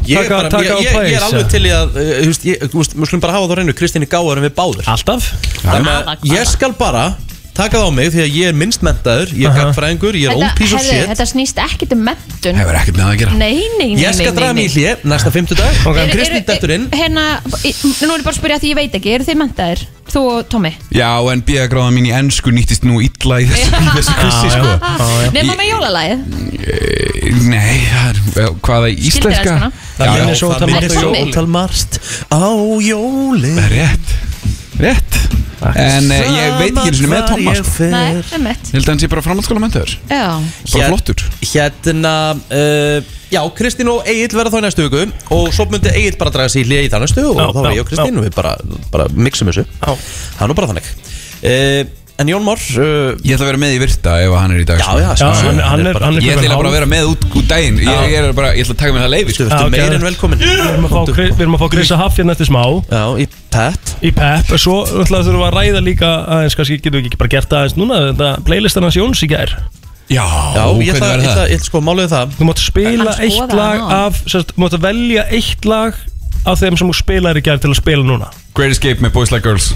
[SPEAKER 2] Ég er,
[SPEAKER 4] Taka-
[SPEAKER 2] bara,
[SPEAKER 4] taka
[SPEAKER 2] ég,
[SPEAKER 4] á
[SPEAKER 2] ég, ég
[SPEAKER 4] plæs,
[SPEAKER 2] er alveg
[SPEAKER 4] ja.
[SPEAKER 2] til í að uh, þú veist, ég- þú veist, Við skulum bara hafa það á reynu Kristín er gáðar en við báður
[SPEAKER 4] Alltaf
[SPEAKER 2] Þannig að ég skal bara taka það á mig því að ég er minnstmentaður Ég er gagnfræðingur, ég er
[SPEAKER 3] Þetta-
[SPEAKER 2] ópís og
[SPEAKER 3] heyrðu,
[SPEAKER 2] shit
[SPEAKER 3] Þetta snýst ekki til mentun
[SPEAKER 7] Hefur ekkert með það að gera
[SPEAKER 3] Nei, nei, nei,
[SPEAKER 2] Ég skal
[SPEAKER 3] nei,
[SPEAKER 2] draga
[SPEAKER 3] nei, nei.
[SPEAKER 2] mig í hlje næsta fimmtudag
[SPEAKER 4] Ok.
[SPEAKER 3] Eru-
[SPEAKER 2] Kristín
[SPEAKER 3] eru-
[SPEAKER 2] dettur inn
[SPEAKER 3] Hérna, í- nú er ég bara að spyrja því ég veit ekki Eru þið mentaðir? Þú og Tommy
[SPEAKER 7] Já, en bíðagráðan mín í ennsku nýttist nú illa í þessu, í þessu quizi, sko
[SPEAKER 4] Ah.
[SPEAKER 3] Nefna með jólalagið
[SPEAKER 7] Eh, Nei, það er, eh, hvaða í íslenska?
[SPEAKER 3] elskana.
[SPEAKER 7] Já,
[SPEAKER 4] Það
[SPEAKER 7] já,
[SPEAKER 4] minnir svo á
[SPEAKER 2] Það
[SPEAKER 4] Tamar-
[SPEAKER 2] minnir svo ótal marst á jólin
[SPEAKER 7] það er rétt Rétt En eh, ég veit ekki einu sinni með Thomas sko.
[SPEAKER 3] Nei, emmitt
[SPEAKER 7] Ég held að hann sé bara framhaldsskóla mentaður
[SPEAKER 3] Já,
[SPEAKER 7] Bara flottur
[SPEAKER 2] Hérna, uh, já, Kristín og Egil verða þá í næstu viku Og svo myndi Egil bara draga sér í hlið í það næstu Og
[SPEAKER 4] Já,
[SPEAKER 2] þá er
[SPEAKER 4] já,
[SPEAKER 2] ég og Kristín og við bara, bara mixum þessu
[SPEAKER 4] Já.
[SPEAKER 2] Það er nú bara þannig uh, En Jón Már uh,
[SPEAKER 7] Ég ætla að vera með í virta ef hann er í dag
[SPEAKER 2] Já,
[SPEAKER 7] sko.
[SPEAKER 2] já,
[SPEAKER 4] Já,
[SPEAKER 2] sko,
[SPEAKER 4] hann, hann er, hann er
[SPEAKER 7] Ég ætla eiginlega bara að vera með út út daginn Ég, ég, er bara, ég ætla að taka með það leiði
[SPEAKER 2] Þú
[SPEAKER 7] sko.
[SPEAKER 2] ertu
[SPEAKER 4] Já,
[SPEAKER 2] meir
[SPEAKER 4] ok.
[SPEAKER 2] en velkomin
[SPEAKER 4] Við erum að fá, Kri- við erum að fá Krissa Haff hérna eftir smá
[SPEAKER 2] Já, í pet
[SPEAKER 4] Í pep Svo ætlaðu þurfum við að ræða líka aðeins Kanski getum við ekki bara gert það aðeins núna Þetta playlistan hans Jóns í gær
[SPEAKER 7] Já,
[SPEAKER 2] Já,
[SPEAKER 7] hvernig
[SPEAKER 2] ég ætla,
[SPEAKER 7] verður
[SPEAKER 2] ég ætla,
[SPEAKER 7] það?
[SPEAKER 2] ég ætla sko málið er það
[SPEAKER 4] Þú mátt spila
[SPEAKER 3] Hann skoðaði
[SPEAKER 4] eitt lag
[SPEAKER 3] hana.
[SPEAKER 4] af sérst, Þú mátt velja eitt lag af þeim sem þú spilaðir í gær til að spila núna
[SPEAKER 7] Great Escape með Boys Like Girls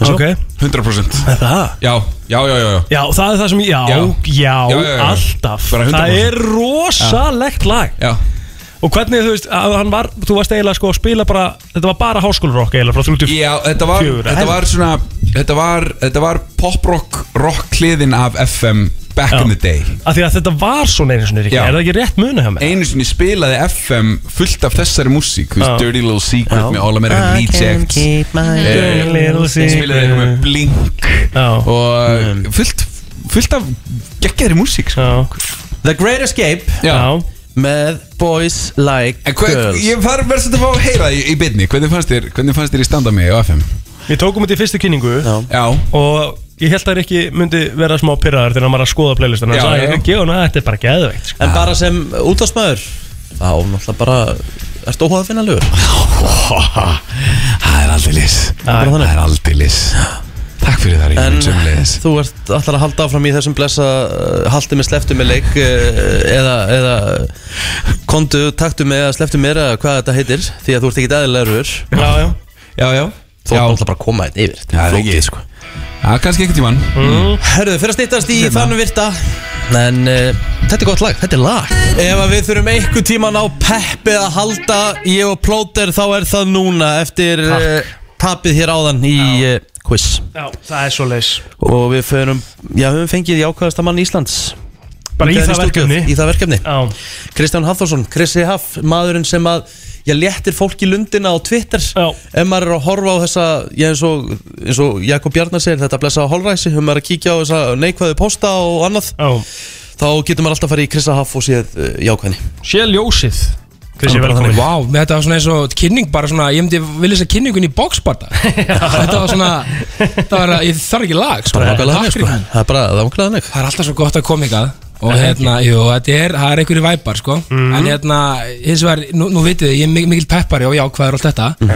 [SPEAKER 4] Ok
[SPEAKER 7] 100%
[SPEAKER 4] Er það?
[SPEAKER 7] Já, já, já, já, já.
[SPEAKER 4] Já, það er það sem ég, já,
[SPEAKER 7] Já.
[SPEAKER 4] já,
[SPEAKER 7] Já, já, já.
[SPEAKER 4] alltaf
[SPEAKER 7] Bara 100%.
[SPEAKER 4] Það er rosalegt lag
[SPEAKER 7] já.
[SPEAKER 4] Og hvernig, þú veist, að hann var, þú varst eiginlega sko að spila bara Þetta var bara háskólarokk eiginlega frá 30
[SPEAKER 7] Já, þetta var,
[SPEAKER 4] Fjögur,
[SPEAKER 7] þetta var svona Þetta var, þetta var poprock rock hliðin af FM back in the day
[SPEAKER 4] Af því að þetta var svona einu sinni, Ríkki,
[SPEAKER 7] Já.
[SPEAKER 4] er það ekki rétt muna hjá mér?
[SPEAKER 7] Einu sinni spilaði FM fullt af þessari músík þú veist,
[SPEAKER 4] Já.
[SPEAKER 7] Dirty Little Secret með All
[SPEAKER 2] Uh,
[SPEAKER 7] American Rejects eh,
[SPEAKER 4] Dirty Little
[SPEAKER 7] Spilaði eitthvað með
[SPEAKER 4] Secret.
[SPEAKER 7] Blink
[SPEAKER 4] Já,
[SPEAKER 7] Og fullt, fullt af geggjari músík sko.
[SPEAKER 4] já,
[SPEAKER 2] The Great Escape
[SPEAKER 7] Já.
[SPEAKER 4] já
[SPEAKER 2] Með Boys Like
[SPEAKER 7] En hver,
[SPEAKER 2] Girls
[SPEAKER 7] ég var verðst að fá að heyra það í, í byrni Hvernig fannst þér, hvernig fannst þér í standa mig á FM?
[SPEAKER 4] Við tókum þetta í fyrstu kynningu
[SPEAKER 2] Já.
[SPEAKER 7] Já,
[SPEAKER 4] Og ég held að Ríkki myndi vera smá pyrraðar þegar hann var að skoða playlistan
[SPEAKER 7] Já,
[SPEAKER 4] Hann
[SPEAKER 7] já.
[SPEAKER 4] sagði, gefa hann að þetta er bara geðveikt sko.
[SPEAKER 2] En bara sem útásmaður Þá náttúrulega bara Ertu óhæða að finna lögur
[SPEAKER 7] það er aldeilis
[SPEAKER 4] bara
[SPEAKER 7] Það er aldeilis Takk fyrir það,
[SPEAKER 2] En
[SPEAKER 7] Ríkjum, sömulegis
[SPEAKER 2] þú ert alltaf að halda áfram í þessum blessa uh, Haldi með sleftu með leik uh, Eða, eða Kondu, taktu með eða sleftu með eða hvað þetta heitir Því að þú ert ekki eðlilega rör Þú
[SPEAKER 4] Já, já
[SPEAKER 7] Já, já
[SPEAKER 2] ert
[SPEAKER 7] Já.
[SPEAKER 2] alltaf bara að koma einn yfir
[SPEAKER 7] Já, það er ekki.
[SPEAKER 2] sko
[SPEAKER 7] Já, kannski einhvern tíman
[SPEAKER 8] Mm.
[SPEAKER 4] Mm.
[SPEAKER 2] Herðu, fyrir að styttast í fannum virta En uh, þetta er gott lag, þetta er lag Ef að við þurfum einhver tíman á peppið að halda Ég og plóter þá er það núna Eftir uh, tapið hér áðan í uh, quiz
[SPEAKER 4] Já, það er svo leis
[SPEAKER 2] Og við förum, já, við höfum fengið jákvæðasta mann Íslands
[SPEAKER 4] Bara í
[SPEAKER 2] Hingað
[SPEAKER 4] það
[SPEAKER 2] stúdíóið,
[SPEAKER 4] verkefni
[SPEAKER 2] Í það verkefni
[SPEAKER 4] Já,
[SPEAKER 2] Kristján Hafþórsson, Krissi Haff, maðurinn sem að ég léttir fólki lundina á Twitter
[SPEAKER 4] Já.
[SPEAKER 2] ef maður er að horfa á þessa ég eins og, eins og Jakob Bjarnar segir þetta blessa á holræsi, ef maður er að kíkja á þessa neikvæðu posta og annað
[SPEAKER 4] já,
[SPEAKER 2] þá getur maður alltaf að fara í Krista Haff og séð uh, jákvæðni
[SPEAKER 4] Sé ljósið Krissi,
[SPEAKER 8] Bara
[SPEAKER 4] velkomin
[SPEAKER 8] þannig, Vá, þetta var svona eins og kynning bara svona, ég myndi vilja þess að kynningun í boxbarta Þetta var svona, það var, ég þarf ekki lag sko.
[SPEAKER 2] bara nákvæmlega
[SPEAKER 8] Takk
[SPEAKER 2] þannig
[SPEAKER 8] fyrir
[SPEAKER 2] sko
[SPEAKER 8] það.
[SPEAKER 2] það er bara það er nákvæmlega þannig
[SPEAKER 8] Það er alltaf svo gott að koma ykkar Og hérna, jú, þetta er, það er einhverju væpar sko En hérna, hins vegar, nú, nú vitið þið, ég er mik- mikill peppari og jákvæður og allt þetta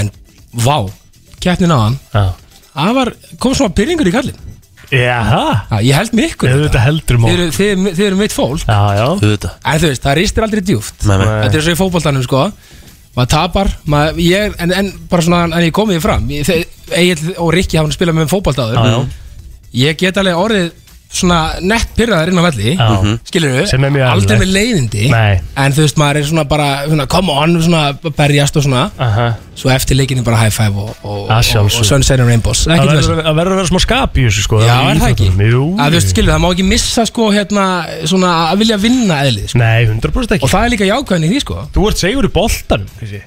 [SPEAKER 8] En, vá, keppnin á hann
[SPEAKER 4] Já.
[SPEAKER 8] Það var, kom svona pyrringur í kallin
[SPEAKER 4] Jaha,
[SPEAKER 8] Ég held með ykkur
[SPEAKER 4] eða þetta heldur
[SPEAKER 8] Þið
[SPEAKER 4] mál
[SPEAKER 8] eru- Þið eru- þið eru mitt fólk
[SPEAKER 4] Já, já
[SPEAKER 2] auðvitað
[SPEAKER 8] En þú veist, það ristir aldrei djúft
[SPEAKER 2] Nei,
[SPEAKER 4] Eh,
[SPEAKER 2] nei.
[SPEAKER 8] Þetta er svo í fótboltanum sko Maður tapar, maður, ég, en, en bara svona En ég komið fram Ég- þeir- Egill og Rikki hafa spilað með
[SPEAKER 4] Já, já.
[SPEAKER 8] fótboltaður Ég get alveg orðið svona nett pyrraðar inn á velli
[SPEAKER 4] Já. Mhm.
[SPEAKER 8] skilur
[SPEAKER 4] Sem er mjög
[SPEAKER 8] aldrei
[SPEAKER 4] eðlilegt.
[SPEAKER 8] með leiðindi
[SPEAKER 4] Nei.
[SPEAKER 8] en þú veist maður er svona bara svona, come on, svona berjast og svona
[SPEAKER 4] Aha.
[SPEAKER 8] svo eftir leikinni bara high five og, og,
[SPEAKER 4] Að
[SPEAKER 8] og,
[SPEAKER 4] sjálfsögðu.
[SPEAKER 8] og sunshine and rainbows
[SPEAKER 4] Það
[SPEAKER 8] Ekkert vesen.
[SPEAKER 4] verður að vera smá skap í þessu sko
[SPEAKER 8] Já,
[SPEAKER 4] í
[SPEAKER 8] er það ekki?
[SPEAKER 4] íþróttunum. Jú
[SPEAKER 8] að þú veist, skilur, það má ekki missa sko hérna, svona að vilja vinna eðlið sko.
[SPEAKER 4] Nei, 100%
[SPEAKER 8] og
[SPEAKER 4] ekki
[SPEAKER 8] það er líka jákvæðin í því sko
[SPEAKER 4] Þú ert segur í boltanum Krissi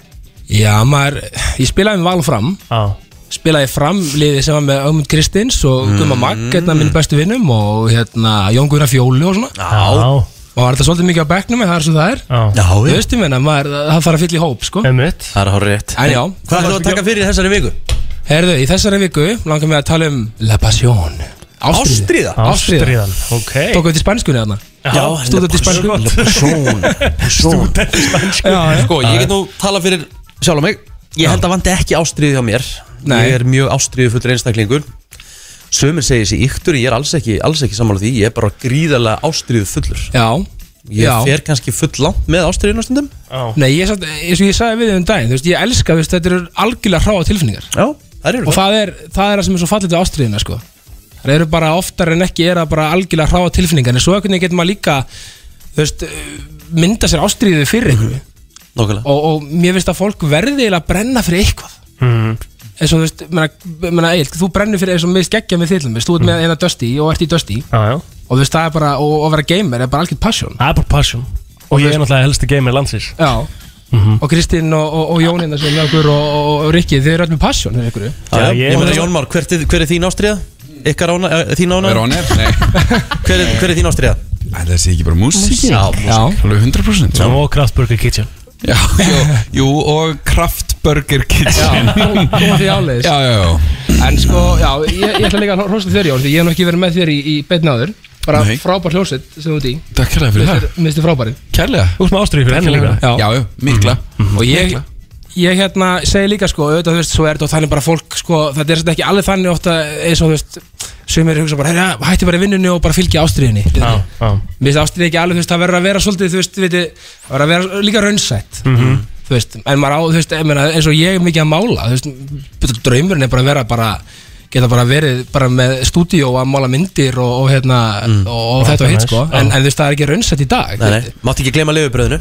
[SPEAKER 8] Já, maður, ég spilaði með Val fram
[SPEAKER 4] Já
[SPEAKER 8] spilaði fram liðið sem var með Ögmund Kristins og Gumma Magg, hérna minn bestu vinnum og hérna Jón Guðra Fjólu og svona
[SPEAKER 4] Já
[SPEAKER 8] og var þetta svolítið mikið á bekknum en það er svo það er
[SPEAKER 4] Já
[SPEAKER 2] já
[SPEAKER 8] Þú
[SPEAKER 2] já.
[SPEAKER 8] veist, ég meina, maður, það þarf að fylla í hóp, sko
[SPEAKER 4] Emmett
[SPEAKER 2] það er hár rétt
[SPEAKER 4] Eh,
[SPEAKER 8] En já,
[SPEAKER 2] hvað er þú að taka fyrir í þessari viku
[SPEAKER 8] herðu, í þessari viku langar við að tala um La Passion
[SPEAKER 2] Ástríða?
[SPEAKER 8] Ástríða
[SPEAKER 4] Ástriðan Ok
[SPEAKER 8] Tókum við til spænskunni þarna
[SPEAKER 2] já
[SPEAKER 8] stúdent í spænsku.
[SPEAKER 2] stúdent
[SPEAKER 8] Já, já.
[SPEAKER 2] sko ég get nú tala fyrir sjálf á mig ég held að vandi ekki ástríði hjá mér
[SPEAKER 8] Nei.
[SPEAKER 2] ég er mjög ástríði fullur einstaklingur sömur segir sér yktur ég er alls ekki, alls ekki sammála því ég er bara gríðarlega ástríðu fullur
[SPEAKER 8] Já,
[SPEAKER 2] ég
[SPEAKER 8] já.
[SPEAKER 2] fer kannski full langt með ástríðinu á stundum
[SPEAKER 8] Nei, ég, satt, eins og ég sagði við þau um daginn, þú veist, ég elska, þú veist, þetta eru algjörlega hráa tilfinningar
[SPEAKER 2] já það eru
[SPEAKER 8] Og það er það er það sem er svo fallið við ástriðina, sko Það eru bara oftar en ekki, er það bara algjörlega hráa tilfinningar En svo einhvern veginn getur maður líka, þú veist, eh, mynda sér ástriðu fyrir einhverju
[SPEAKER 2] nokkulega
[SPEAKER 8] og, og mér finnst að fólk verði eiginlega að brenna fyrir eitthvað eins og þú veist, menna, menna, eil, þú brennur fyrir eins og miðst geggja með þillum þú ert með eina Dusty og ert í Dusty
[SPEAKER 4] Já, já
[SPEAKER 8] og þú veist, það er bara, og, og að vera gamer er bara algjörð passion
[SPEAKER 4] Það er bara passion Og ég er náttúrulega helsti gamer landsins
[SPEAKER 8] já
[SPEAKER 7] Mhm.
[SPEAKER 8] og Kristinn og, og, og Jónina sem er okkur og, og, og Rikki, þið eru allir passion fyrir ykkur
[SPEAKER 2] Já,
[SPEAKER 4] Já,
[SPEAKER 2] já,
[SPEAKER 4] ég-
[SPEAKER 2] ég meina Jón Már, hver, hver er þín ástriða? Ykkar ána, eh, þín ána?
[SPEAKER 7] Vera on air? *laughs* Nei
[SPEAKER 2] Hver, er- hver er þín ástriða?
[SPEAKER 7] Æ, Það sé ekki bara músík
[SPEAKER 2] Já,
[SPEAKER 8] já,
[SPEAKER 7] Alveg 100%
[SPEAKER 4] Og Kraftburger Kitchen *laughs*
[SPEAKER 7] Já, jú, jú, og Kraftburger Kitchen
[SPEAKER 8] koma því áleiðis
[SPEAKER 7] Já, já, já
[SPEAKER 8] en sko, já, ég, ég ætla líka að hrósa þér Jón, því ég hef nú ekki verið með þér í, í beinni áður bara
[SPEAKER 7] Nei.
[SPEAKER 8] frábær hljóset sem þú ert í,
[SPEAKER 7] Takk kærlega fyrir það
[SPEAKER 8] minnstu frábæri
[SPEAKER 7] Kærlega Mm.
[SPEAKER 4] Þú ert með ástriði fyrir henni líka
[SPEAKER 8] já,
[SPEAKER 7] Já, já, mikla
[SPEAKER 8] og ég ég hérna segi líka sko auðvitað þú veist svo er þetta og þannig bara fólk sko þetta er þetta ekki alveg þannig ofta eins og þú veist sem er hugsa bara herja hætti bara í vinnunni og bara fylgja ástriðinni
[SPEAKER 4] Já,
[SPEAKER 8] mér
[SPEAKER 4] já
[SPEAKER 8] finnst ástriðin ekki alveg þú veist það verður að vera svolítið þú veist þú veit það verður að vera líka raunsætt þú veist en maður á þú veist ég meina, eins og ég er mikið að mála þú veist draumurinn er bara að vera bara geta bara verið bara með stúdíó að mála myndir og, og hérna og, og þetta og hitt sko
[SPEAKER 4] nice. Já.
[SPEAKER 8] en, en þú veist það er ekki raunsætt í dag
[SPEAKER 2] Nei, nei, mátti ekki gleyma lefubröðinu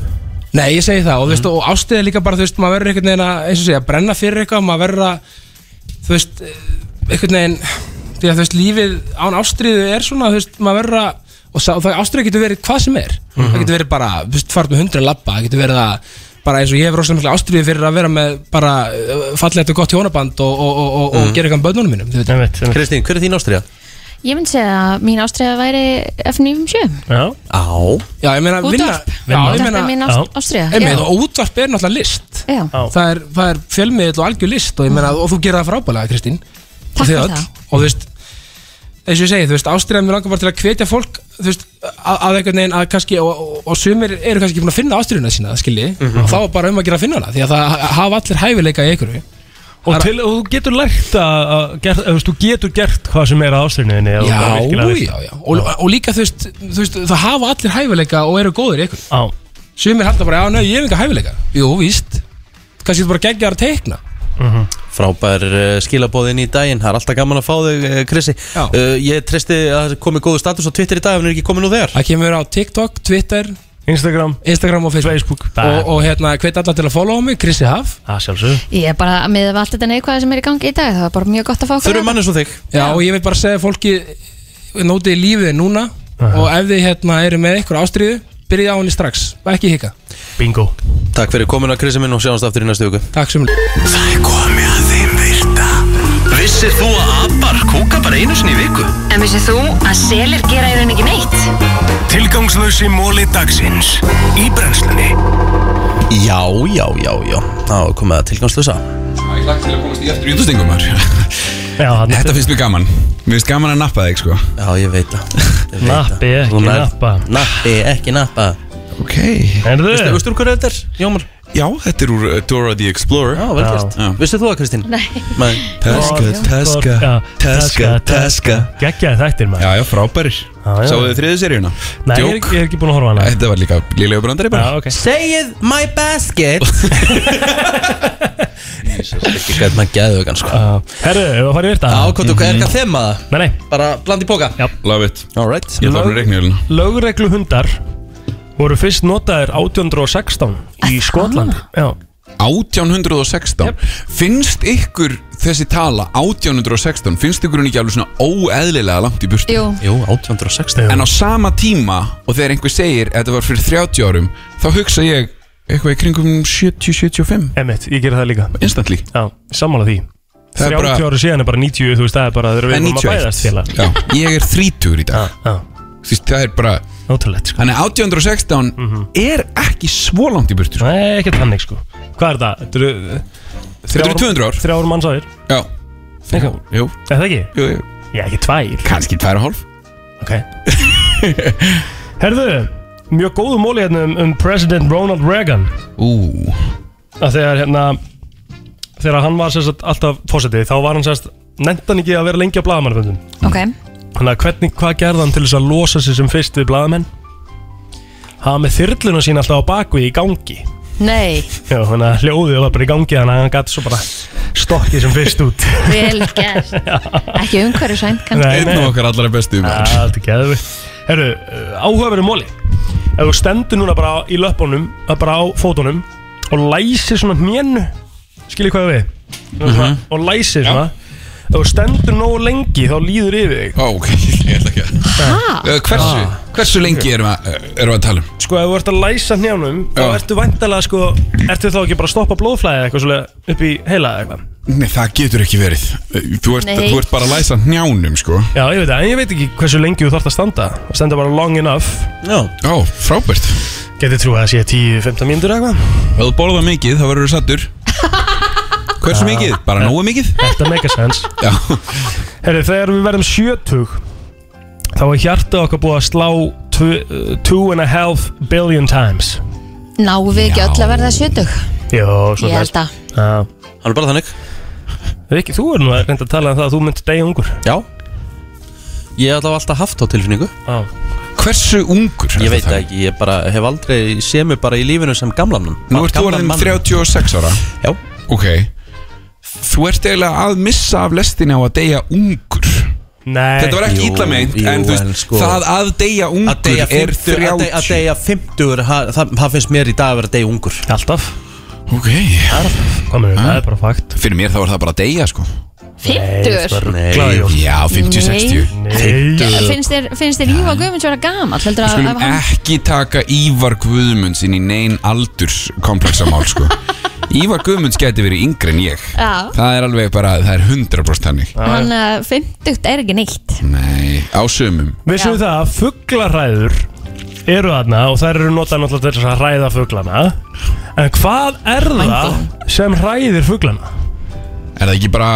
[SPEAKER 8] Nei, ég segi það og, mm. veist, og ástæði líka bara, þú veist, maður verður einhvern veginn að, eins og segja, brenna fyrir eitthvað, maður verður að, þú veist, eh, einhvern veginn, því að þú veist, lífið án ástriðu er svona, þú veist, maður verður að, og, sá, og það ástriðu getur verið hvað sem er, það getur verið bara, þú veist, farið með hundra labba, það getur verið að, bara eins og ég hef rosalega mikla ástriðu fyrir að vera með bara eh, fallegt og gott hjónaband og, og, og, og, og gera eitthvað um börnunum mínum, þú veit.
[SPEAKER 4] Emmett, Emmett
[SPEAKER 2] Kristín, hver er þín ástriða?
[SPEAKER 3] Ég myndi segja að mín ástriða væri F957
[SPEAKER 4] Já
[SPEAKER 2] Á
[SPEAKER 8] Já, ég meina, vinna,
[SPEAKER 3] Útvarp.
[SPEAKER 8] já, ég
[SPEAKER 3] Þetta
[SPEAKER 8] meina,
[SPEAKER 3] er mín
[SPEAKER 4] já.
[SPEAKER 3] ást- ástriða
[SPEAKER 8] einmitt,
[SPEAKER 3] Já,
[SPEAKER 8] og útvarp er náttúrulega list.
[SPEAKER 3] já,
[SPEAKER 4] Já.
[SPEAKER 8] það er, það er fjölmiðill og algjör list og, ég meina, og þú gerir það frábælega Kristín
[SPEAKER 3] Takk
[SPEAKER 8] og þið
[SPEAKER 3] fyrir
[SPEAKER 8] öll.
[SPEAKER 3] það.
[SPEAKER 8] og þú veist eins og ég segi, þú veist, ástriðan mér langar bara til að hvetja fólk þú veist, að, að einhvern veginn að kannski og, og, og sumir eru kannski búin að finna ástriðuna sína skilji, og þá er bara um að gera að finna hana því að það hafa allir hæfileika í einhverju
[SPEAKER 4] Og, til, og þú getur lært að, að gert, þú veist, þú getur gert hvað sem er að ástriðinni
[SPEAKER 8] já, já, já, og, og líka þú veist, þú veist, það hafa allir hæfileika og eru góðir í einhverju
[SPEAKER 4] Já,
[SPEAKER 8] sumir halda bara, já, nei, ég hef enga hæfileika jú, víst, kannski þú bara geggjar að teikna
[SPEAKER 2] Frábær uh, skilabóðin í daginn Það er alltaf gaman að fá þig, uh, Kristi
[SPEAKER 8] Já.
[SPEAKER 2] uh, Ég treysti að það komi góðu status á Twitter í dag ef hann er ekki komin úr þegar
[SPEAKER 8] það kemur á TikTok, Twitter,
[SPEAKER 4] Instagram,
[SPEAKER 8] Instagram og Facebook
[SPEAKER 4] Facebook
[SPEAKER 8] og, og hérna, hvet alla til að followa mig, Krissi Haf
[SPEAKER 4] Það sjálfsög
[SPEAKER 3] Ég er bara með allt þetta neikvæða sem er í gangi í dag Það var bara mjög gott að fá okkur
[SPEAKER 2] Þurfum
[SPEAKER 3] hérna.
[SPEAKER 2] mann eins og þig
[SPEAKER 8] Já, og ég vil bara segja fólki nótið í lífið núna og ef þið hérna eru með eitthvað ástriðu byrjið á henni strax, ekki hika
[SPEAKER 4] Bingo
[SPEAKER 2] Takk fyrir komin að Kristi minn og sjáumst aftur í næstu viku
[SPEAKER 8] Takk sem
[SPEAKER 9] Það er komið að þeim virta Viss
[SPEAKER 1] Vissir þú að abar kúka bara einu sinni í viku?
[SPEAKER 10] En vissið þú að selir gera í rauninni ekki neitt?
[SPEAKER 1] Tilgangslösi móli dagsins í brennslunni
[SPEAKER 2] Já, já, já, já Það var komið að tilgangslösa
[SPEAKER 7] Ég lagt til að komast í eftir júndastingum *laughs*
[SPEAKER 4] Já, hann
[SPEAKER 7] Þetta finnst mér gaman Mér finnst gaman að nappa þig sko
[SPEAKER 2] Já, ég veit það Ég veit það.
[SPEAKER 4] Nappi, ekki
[SPEAKER 2] Þú nærð-
[SPEAKER 4] nappa.
[SPEAKER 2] Nappi, ekki nappa
[SPEAKER 7] Ok
[SPEAKER 4] Herðu,
[SPEAKER 2] Veistu veistu úr hverju þetta er, Jómar?
[SPEAKER 7] Já, þetta er úr uh, Dora the Explorer
[SPEAKER 2] Já, vel gert
[SPEAKER 7] Já.
[SPEAKER 2] Vissir þú það, Kristín?
[SPEAKER 3] Nei.
[SPEAKER 2] Nei
[SPEAKER 7] Taska,
[SPEAKER 4] Já,
[SPEAKER 7] taska, taska, taska
[SPEAKER 4] Gekkjaði þættir maður
[SPEAKER 7] Já, já, frábærir
[SPEAKER 4] Já, já.
[SPEAKER 7] Sáðu þið þriðu seríuna?
[SPEAKER 4] Nei, ég er,
[SPEAKER 7] Djók.
[SPEAKER 4] ekki- ég er ekki búin að horfa á hana
[SPEAKER 7] Þetta var líka lílega brandari bara
[SPEAKER 4] Já, ok
[SPEAKER 2] Segið my basket Ekki hvað maður gæðu þau sko
[SPEAKER 4] Já. Herðu, ef að fara í virta
[SPEAKER 2] Ákvæmdu, hvað er hvað þeim að það?
[SPEAKER 4] Nei, nei,
[SPEAKER 2] Bara bland í póka
[SPEAKER 7] Love it
[SPEAKER 2] Alright
[SPEAKER 7] Ég þarf með reikniðjöluna
[SPEAKER 4] lögreglu hundar voru fyrst notaðir 1816 í Skotlandi Já,
[SPEAKER 7] 1816
[SPEAKER 4] Jep.
[SPEAKER 7] Finnst ykkur þessi tala 1816, finnst ykkur hún ekki alveg svona óeðlilega langt í burtu?
[SPEAKER 3] Jú,
[SPEAKER 2] Jú, 1860
[SPEAKER 7] En á sama tíma og þegar einhver segir að þetta var fyrir 30 árum þá hugsa ég eitthvað í kringum 70-75
[SPEAKER 4] emitt, ég gera það líka
[SPEAKER 7] instantly
[SPEAKER 4] Já, sammála því
[SPEAKER 7] Það er
[SPEAKER 4] 30
[SPEAKER 7] bara-
[SPEAKER 4] ára síðan er bara 90, þú veist, það er bara þegar við
[SPEAKER 7] En
[SPEAKER 4] erum að bæðast
[SPEAKER 7] 91
[SPEAKER 4] félag
[SPEAKER 7] Já, Ég er 30 í dag
[SPEAKER 4] Já,
[SPEAKER 7] Þvist, Það er bara
[SPEAKER 4] ótrúlegt sko
[SPEAKER 7] Þannig að 1816 er ekki svo langt í burtu sko.
[SPEAKER 4] Nei, ekkert þannig sko Hvað er það? Þetta eru eh,
[SPEAKER 7] Þetta eru 200 ár
[SPEAKER 4] Þrjár mannsáðir
[SPEAKER 7] Já,
[SPEAKER 4] Eitthvað,
[SPEAKER 7] jú,
[SPEAKER 4] er það ekki?
[SPEAKER 7] jú, jú.
[SPEAKER 4] Já, ekki tvær
[SPEAKER 7] kannski 2,5 *laughs*
[SPEAKER 4] Ok Herðu, mjög góðu móli hérna um, um President Ronald Reagan
[SPEAKER 7] Ú,
[SPEAKER 4] að þegar hérna þegar hann var sérst alltaf fósitið þá var hann sérst, nefndi hann ekki að vera lengi á blagamannfundum
[SPEAKER 3] ok
[SPEAKER 4] Þannig að hvernig, hvað gerði hann til þess að losa sig sem fyrst við blaðamenn? Hafa með þyrluna sín alltaf á bakvið í gangi
[SPEAKER 3] Nei,
[SPEAKER 4] Já, þannig að hljóðið var bara í gangi þannig að hann gæti svo bara stokkið sem fyrst út
[SPEAKER 3] vel gert Ekki umhverju sænt kannski
[SPEAKER 4] Nei,
[SPEAKER 7] *laughs* einn
[SPEAKER 4] nei,
[SPEAKER 7] af okkar allra bestu
[SPEAKER 4] Ja,
[SPEAKER 7] maður.
[SPEAKER 4] þetta er geðvikt Herru, áhugaverið móli Ef þú stendur núna bara í löpunum bara á fótunum og læsir svona hnénu skiljið hvað ég á við mm
[SPEAKER 7] Mhm.
[SPEAKER 4] og læsir svona ef þú stendur nógu lengi þá líður yfir þig
[SPEAKER 7] Ó, ok, *laughs* ég ætla ekki að
[SPEAKER 3] Ha?
[SPEAKER 7] Eh, Hversu, hversu lengi erum við að, erum við að tala um?
[SPEAKER 4] Sko, ef þú ert að læsa hnjánum þá
[SPEAKER 7] Já.
[SPEAKER 4] ertu væntalega, sko ertu þá ekki bara að stoppa blóðflæði eða eitthvað svolítið upp í heila eða eitthvað
[SPEAKER 7] Nei, það getur ekki verið Eh, Þú ert,
[SPEAKER 3] Nei.
[SPEAKER 7] þú ert bara að læsa njánum, sko
[SPEAKER 4] Já, ég veit það, en ég veit ekki hversu lengi þú þarft að standa að stenda bara long enough
[SPEAKER 2] Já
[SPEAKER 7] Ó, frábært
[SPEAKER 4] Getið trú að það sé 10-15 mínútur eða eitthvað
[SPEAKER 7] Ef þú borða mikið, þá verður þú sattur Hversu mikið? Bara nógu mikið?
[SPEAKER 4] *laughs* Þetta make a sense
[SPEAKER 7] Já,
[SPEAKER 4] Herri, þegar við verðum 70 þá er hjarta okkar búið að slá tw- uh, two and a half billion times
[SPEAKER 3] Náum við ekki öll að verða sjötug?
[SPEAKER 4] Jó,
[SPEAKER 3] Ég held að
[SPEAKER 4] að
[SPEAKER 2] Hann er bara þannig
[SPEAKER 4] Rikki, þú er nú að reynda að tala um það að þú myndir degja ungur
[SPEAKER 2] Já Ég hef allavega alltaf haft á tilfinningu
[SPEAKER 4] Já,
[SPEAKER 7] hversu ungur?
[SPEAKER 2] Ég veit það ekki, ég bara hef aldrei sé mig bara í lífinu sem gamlanum
[SPEAKER 7] Nú ert þú orðin 36 ára
[SPEAKER 2] Já
[SPEAKER 7] Ok Þú ert eiginlega að missa af lestinni á að deyja ungur
[SPEAKER 4] nei
[SPEAKER 7] Þetta var ekki
[SPEAKER 2] Jú,
[SPEAKER 7] illa meint
[SPEAKER 2] jú,
[SPEAKER 7] En þú
[SPEAKER 2] en
[SPEAKER 7] veist,
[SPEAKER 2] sko-
[SPEAKER 7] það að deyja
[SPEAKER 2] Að
[SPEAKER 7] ungur
[SPEAKER 2] deyja
[SPEAKER 7] er
[SPEAKER 2] 50 að dey- að
[SPEAKER 7] 30
[SPEAKER 2] deyja 50 það- Það það finnst mér í dag að vera að deyja ungur
[SPEAKER 4] Alltaf,
[SPEAKER 7] Ok
[SPEAKER 4] kominu, það er bara fakt
[SPEAKER 7] Fyrir mér þá er það bara að deyja, sko
[SPEAKER 3] 50
[SPEAKER 2] Nei.
[SPEAKER 4] Glæðjón
[SPEAKER 7] Já, 50-60
[SPEAKER 4] Nei,
[SPEAKER 3] Finnst þér, finnst þér Ívar Guðmunds vera gamall? Heldur
[SPEAKER 7] Við
[SPEAKER 3] að
[SPEAKER 7] skulum
[SPEAKER 3] ef hann
[SPEAKER 7] ekki taka Ívar Guðmunds inn í neyn aldurskomplexamál sko. Ívar Guðmunds geti verið yngri en ég
[SPEAKER 3] Já.
[SPEAKER 7] Það er alveg bara, það er 100% hannig
[SPEAKER 3] Hann uh, 50 er ekki neitt
[SPEAKER 7] Nei, á sömum
[SPEAKER 4] Vissum við
[SPEAKER 3] Já.
[SPEAKER 4] það að fugglaræður eru þarna og þær eru notað náttúrulega til þess að ræða fugglana En hvað er það sem ræðir fugglana?
[SPEAKER 7] Er það ekki bara